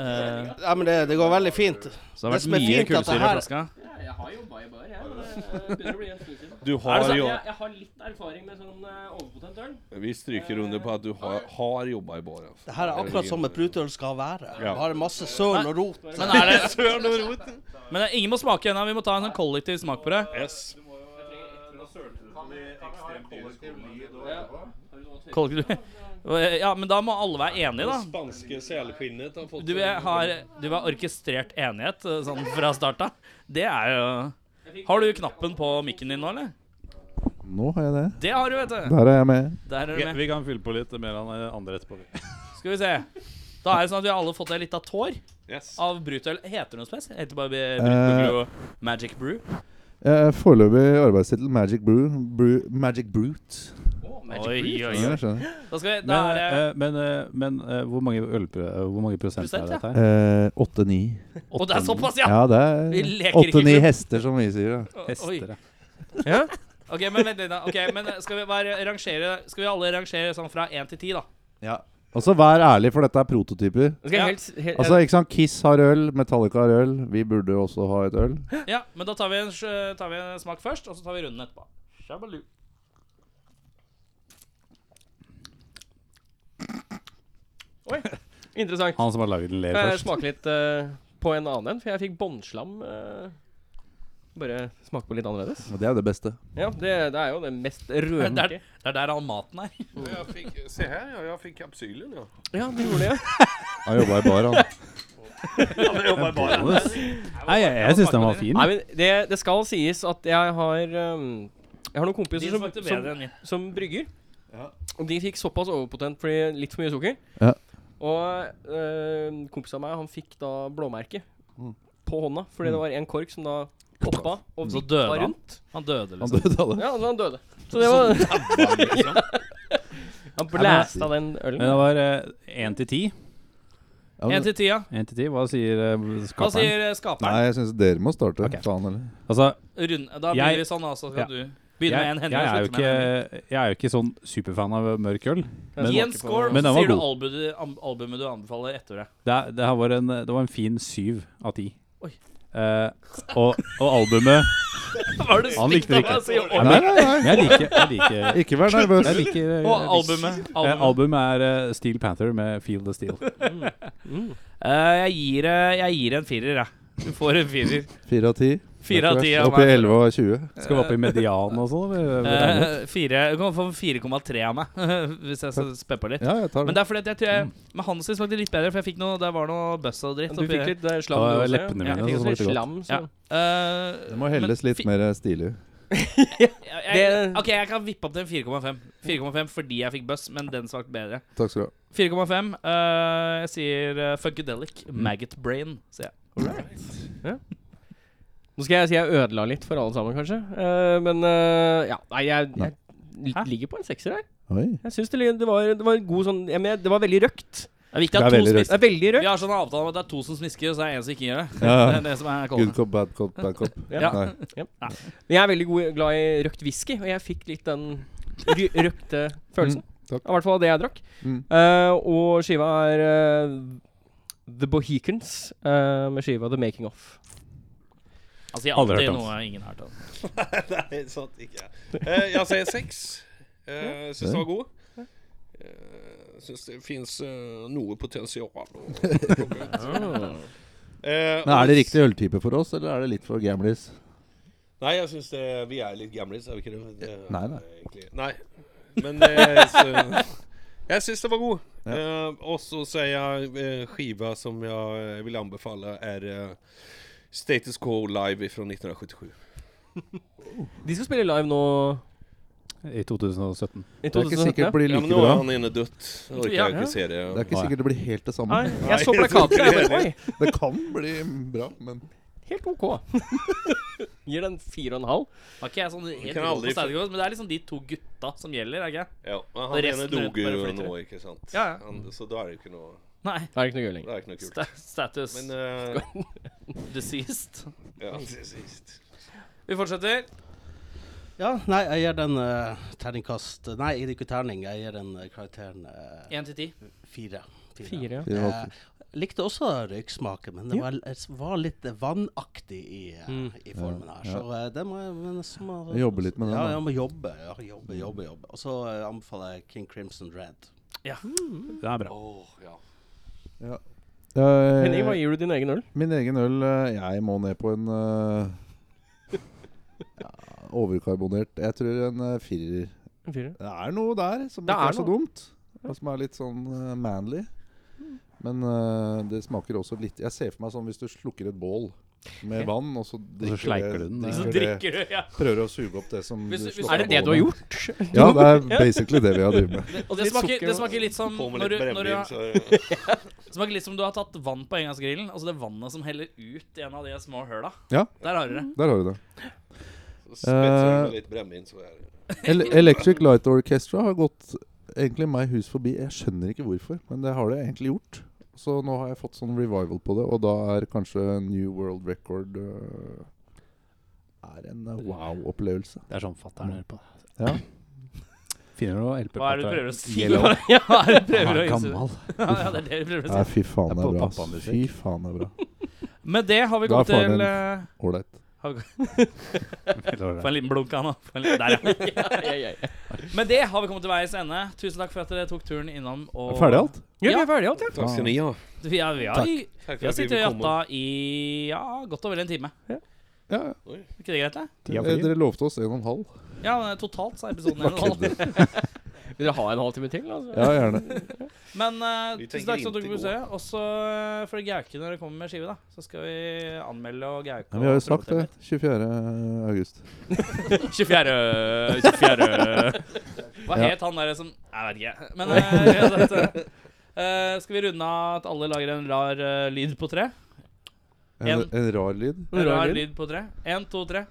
S9: Ja, men det, det går veldig fint.
S5: så det har
S9: Det
S5: vært
S9: som er
S5: mye
S9: fint at det
S5: kullsyre i
S9: her-
S5: flaska.
S3: Jeg har jobba i bar, jeg. Men det begynner å bli en stund siden.
S8: Du har jo
S3: Jeg, jeg har litt erfaring med sånn eh, overpotent øl. Eh,
S8: Vi stryker under på at du har, har jobba i altså. baren.
S9: Det her er akkurat som et brutøl skal være.
S8: Ja.
S9: Bare masse søl og rot.
S5: Men, er det, men eh, ingen må smake ennå. Vi må ta en sånn kollektiv smak på det.
S8: Yes.
S5: Kollektiv. Eh, Ja, men da må alle være enige, da.
S8: Spanske selskinnet har fått
S5: Du vil, har, du vil ha orkestrert enighet eh, sånn fra starta. Det er jo Har du knappen på mikken din nå, eller?
S6: Nå har jeg det.
S5: Det har du, vet du.
S6: Der er jeg med.
S5: Der er
S4: Vi,
S5: du med.
S4: vi kan fylle på litt mer enn andre etterpå. vi.
S5: Skal vi se. Da er det sånn at vi har alle fått ei lita tår
S8: Yes.
S5: av brutøl. Heter det noe spes? Heter det bare Brut Brew og Magic Brew?
S6: Eh, Foreløpig arbeidstittel Magic Brew. Brew Magic Brute.
S5: Oi, oi,
S6: Ja,
S5: oi.
S6: jeg skjønner.
S5: Da skal vi Da
S4: Men,
S5: er det
S4: eh, men, eh, men eh, hvor mange ølprø... eh, Hvor mange prosent
S5: Prosent,
S4: er
S5: ja.
S4: dette her?
S6: Eh, Åtte-ni.
S5: Å, det er såpass, ja!
S6: Ja, det
S5: Vi
S6: er
S5: leker ikke
S6: åtte-ni
S5: klubb.
S6: hester, som vi sier. da.
S5: Oi.
S4: Hester, ja.
S5: OK, men vent litt, da. Ok, men eh, skal vi bare rangere Skal vi alle rangere sånn fra én til ti, da?
S6: Og så vær ærlig, for dette er prototyper.
S3: Skal
S5: Ja.
S3: jeg helst, he,
S6: Altså, ikke sant, Kiss har øl, Metallica har øl. Vi burde også ha et øl.
S5: Ja, men da tar vi en, sj- tar vi en smak først, og så tar vi runden etterpå. Shabaloo.
S3: Interessant.
S4: Han som har laget den, ler
S3: Kan jeg
S4: først.
S3: smake litt eh, på en annen en? For jeg fikk båndslam. eh, bare smake på litt annerledes.
S6: Og det er det beste.
S3: Ja, det, det er jo det mest
S5: Det
S3: rødmørke.
S5: er, det er der all maten er.
S8: Jeg fikk, se her, ja. Jeg fikk kapsylen, ja.
S3: Ja, det gjorde jeg.
S6: Han jobba i bar, han.
S4: Nei, jeg, jeg syns den var fin.
S3: Nei, men det, det skal sies at jeg har um, Jeg har noen kompiser
S5: Din
S3: som,
S5: smakte
S3: som,
S5: bedre enn min.
S3: som brygger. Og de fikk såpass overpotent fordi litt for mye sukker.
S6: Ja.
S3: Og øh, kompisen av meg, han fikk da blåmerke
S6: Mm.
S3: på hånda fordi det var en kork som da poppa og
S5: Så
S3: vippa
S5: døde han.
S3: rundt.
S5: Han døde,
S6: Han
S5: liksom.
S6: døde alle.
S3: Ja, så han døde. Så det var Han blæsta den
S4: Men
S3: ølen.
S4: det var én til ti.
S6: Ja, men-
S5: Én til ti, ja.
S4: Én til ti. Hva sier eh,
S5: Hva
S4: skaperen?
S5: sier eh, skaperen?
S6: Nei, jeg syns dere må starte.
S4: Ok.
S6: Faen, eller?
S4: Altså,
S5: Rund, da blir
S4: Jeg-
S5: vi sånn, altså.
S4: Ja.
S5: Kan du begynne med
S4: jeg, jeg,
S5: en Henning og
S4: er jo
S5: slutte med en Henning?
S4: ikke, jeg er jo ikke sånn superfan av mørk øl.
S5: Gi
S4: Men
S5: en score,
S4: Men den
S5: og så
S4: var
S5: sier du
S4: god.
S5: albumet, am- albumet du anbefaler etter det.
S4: det, er- det her var en, det var en fin syv av ti.
S5: Oi.
S4: Eh, og, og albumet
S5: Var det
S4: Han likte
S5: stygt av
S4: det
S5: meg å si
S6: Nei,
S5: år?
S6: nei,
S4: Men
S6: nei.
S4: jeg liker Jeg liker,
S6: Ikke vær nervøs.
S4: jeg liker jeg
S5: Og
S4: liker-
S5: albumet.
S4: Eh,
S5: albumet.
S4: albumet er eh, Steel Panther med Feel the Steel.
S5: Eh, jeg, gir, eh, jeg gir en firer, jeg. Du får en firer.
S6: Fire av ti.
S5: Fire av ti. av
S6: Opp i
S5: meg.
S6: 11 og 20.
S4: Skal vi opp i median og sånn? eller?
S5: Eh, fire, du kan få 4,3 av meg, hvis jeg så pepper litt.
S6: Ja, jeg tar
S5: Men
S6: den.
S5: det er fordi at jeg tror jeg Med Hans sin smakte det litt bedre, for jeg fikk noe, det var noe bøss og dritt.
S3: Du fikk litt eh, slam,
S4: Ja,
S3: du også.
S4: leppene
S3: ja.
S4: mine,
S3: Jeg
S4: så
S3: fikk også litt
S4: smakte godt.
S3: slam, så
S5: Ja. Eh,
S6: Det må helles
S5: men
S6: litt
S5: fi-
S6: mer stilig.
S5: jeg, jeg,
S3: Det-
S5: OK, jeg kan vippe opp til en 4,5. 4,5 fordi jeg fikk bøss, men den smakte bedre.
S6: Takk skal du ha.
S5: 4,5. eh, jeg sier uh, Funkadelic. Maggot Brain, sier jeg.
S3: Nå skal jeg si jeg ødela litt for alle sammen, kanskje. Eh, men eh, ja, nei, jeg, jeg
S5: Hæ?
S3: ligger på en sekser her.
S6: Oi.
S3: Jeg syns det, li- det, var, det var en god sånn jeg mener, Det var veldig røkt.
S5: Det er viktig
S6: Det
S5: at
S6: er
S5: to
S6: veldig
S5: smisker.
S3: Det er veldig
S5: Vi
S3: røkt.
S5: har sånn avtale om at det er to som smisker, og så er det én som ikke gjør det.
S6: Ja,
S5: Det
S6: ja.
S5: er det som er
S6: Good
S5: kolden.
S6: cop, bad cop, bad cop.
S3: Ja.
S6: Nei.
S3: Men jeg er veldig god, glad i røkt whisky, og jeg fikk litt den ry- røkte følelsen.
S4: Mm,
S6: takk.
S3: I hvert fall av det jeg drakk.
S6: Mm.
S3: Eh, og skiva er eh, The Bohicans eh, med skiva The Making Of.
S5: Altså, jeg har
S4: Aldri
S5: alltid
S4: hørt om.
S5: noe ingen har hørt om.
S8: Nei, sant ikke. Eh, jeg sier seks. Eh, Syns den var god. Eh, Syns det fins eh, noe potensial. å- Eh,
S6: Ah. Men
S8: og-
S6: Er det riktig øltype for oss, eller er det litt for gamlis?
S8: Nei, jeg syns det Vi er litt gamlis, er vi ikke det? det
S6: Nei, nei.
S8: egentlig- Nei. Men eh, så, jeg syns det var god.
S6: Ja.
S8: Eh, og så sier jeg eh, skiva som jeg eh, vil anbefale, er eh, Status Quo Live fra 1977.
S3: De skal spille live nå
S4: I
S3: i
S4: 2017.
S6: Det er ikke
S3: 2017.
S6: sikkert det blir
S8: Ja, men
S6: like
S8: nå er
S6: bra.
S8: han inne dødt. Jeg orker
S5: Ja.
S8: ikke se det.
S6: Det er ikke sikkert det blir helt det
S3: Nei,
S6: samme.
S3: jeg så plakaten. og Jeg bare, Oi,
S6: Det kan bli bra, men
S3: helt OK. Gir den fire og en halv.
S5: Var ikke jeg sånn helt
S8: kan
S5: rå
S8: aldri
S5: på Steinergården, men det er liksom de to gutta som gjelder, er ikke jeg?
S8: Ja, men han
S5: Og
S8: ene
S5: resten rundt
S8: dog
S5: bare
S8: jo
S5: flytter
S8: nå,
S5: ut.
S8: ikke sant?
S5: Ja, ja.
S8: Han, så da er det jo ikke noe
S5: Nei.
S3: Det er ikke noe gøy lenger.
S8: Da er det ikke noe kult.
S5: Sta status
S8: Men eh,
S5: deceased.
S8: ja, til sist.
S5: Vi fortsetter.
S9: Ja, nei, jeg gir den eh, terningkast Nei, jeg gir ikke terning. Jeg gir den eh, karakteren eh,
S5: Én til ti.
S9: fire. Fire.
S3: Fire, ja.
S6: Fire og en halv.
S9: Eh, likte også røyksmaken, men det var, s- var litt eh, vannaktig i, eh,
S3: Mm.
S9: i formen her. Så eh, det må jeg men så må,
S6: Jeg jobber litt med den,
S9: Ja,
S6: da.
S9: jeg må jobbe, ja, jobbe, jobbe, jobbe. Og så eh, anbefaler jeg King Crimson Red.
S4: Det er bra.
S8: Åh, ja.
S6: Eh,
S3: Henning, hva gir du din egen øl?
S6: Min egen øl eh, Jeg må ned på en eh, ja, Overkarbonert. Jeg tror en eh, firer.
S3: En firer.
S6: Det er noe der som
S3: Det
S6: ikke
S3: er
S6: er så
S3: noe.
S6: dumt. Og som er litt sånn eh, manly. Men eh, det smaker også litt Jeg ser for meg sånn hvis du slukker et bål med vann, og så drikker
S4: sleiker du
S6: det,
S4: den, ja.
S5: Så
S6: drikker det
S5: drikker du, ja.
S6: Prøver å suge opp det som
S5: Hvis- hvis-
S6: slukket
S3: Er det det du har
S6: bålet.
S3: gjort?
S6: Ja, det er basically det vi har drevet med.
S5: Og det
S3: Litt
S5: smaker,
S3: sukker
S5: det
S3: og-
S5: smaker litt som
S8: På med
S5: når
S8: litt
S5: du, når du
S8: brennevin,
S5: har,
S8: så er det
S5: det smaker litt som du har tatt vann på engangsgrillen, og så det vannet som heller ut i en av de små høla.
S6: Ja.
S5: Der har du det.
S6: Der har du det.
S8: så spetser det
S6: Eh,
S8: med litt brennevin, så er det
S6: Ele Electric Light Orchestra har gått egentlig meg hus forbi. Jeg skjønner ikke hvorfor, men det har det egentlig gjort. Så nå har jeg fått sånn revival på det, og da er kanskje New World Record øh, Er en øh, wow-opplevelse.
S4: Det er sånn fatter'n hører på.
S6: Ja.
S4: Finner du noe LP
S5: Hva er det du prøver å si?
S4: Yellow.
S5: Ja, hva er det du prøver å
S4: Han er
S5: innse?
S4: gammal.
S5: Ja, det er det du prøver å
S6: Nei,
S5: si.
S6: fy faen,
S4: Det er
S6: det
S4: på
S6: er bra. ass.
S4: pappamusikk.
S6: Fy faen, det er bra.
S5: Med det har vi
S6: Da
S5: gått
S6: får han
S5: til
S6: en-
S5: eh,
S6: Ålreit.
S5: Få en liten blunk av nå. Få en liten- Der, ja. Med det har vi kommet til veis ende. Tusen takk for at dere tok turen innom. Og
S6: Ferdig alt?
S3: Ja, vi er ferdige alt, ja.
S8: Takk skal ni ha.
S5: Vi har, vi har, vi har
S8: Takk for at vi
S5: sittet og
S8: fikk komme.
S5: jatta i ja, godt og vel en time.
S6: Ja,
S5: Er ikke det greit, det?
S4: Ja,
S6: eh, dere lovte oss en og en halv.
S5: Ja, men totalt så er episoden en og en halv.
S3: Vil dere ha en halvtime til? Altså?
S6: Ja, gjerne.
S5: Men eh,
S8: Vi
S5: tusen
S8: trenger
S5: takk for at dere
S8: inte
S5: kom
S8: gå.
S5: besøk. Og så eh, får dere gauke når dere kommer med skive, da. Så skal vi anmelde og gauke.
S6: Men vi har jo sagt det. 24. august.
S5: 24. 24. Hva
S6: Ja.
S5: het han der som Jeg vet ikke. Men eh, vi har sagt, det. Eh, skal vi runde av at alle lager en rar eh, lyd på tre?
S6: En,
S5: En.
S6: en rar lyd.
S5: En rar lyd på tre. Én, to, tre.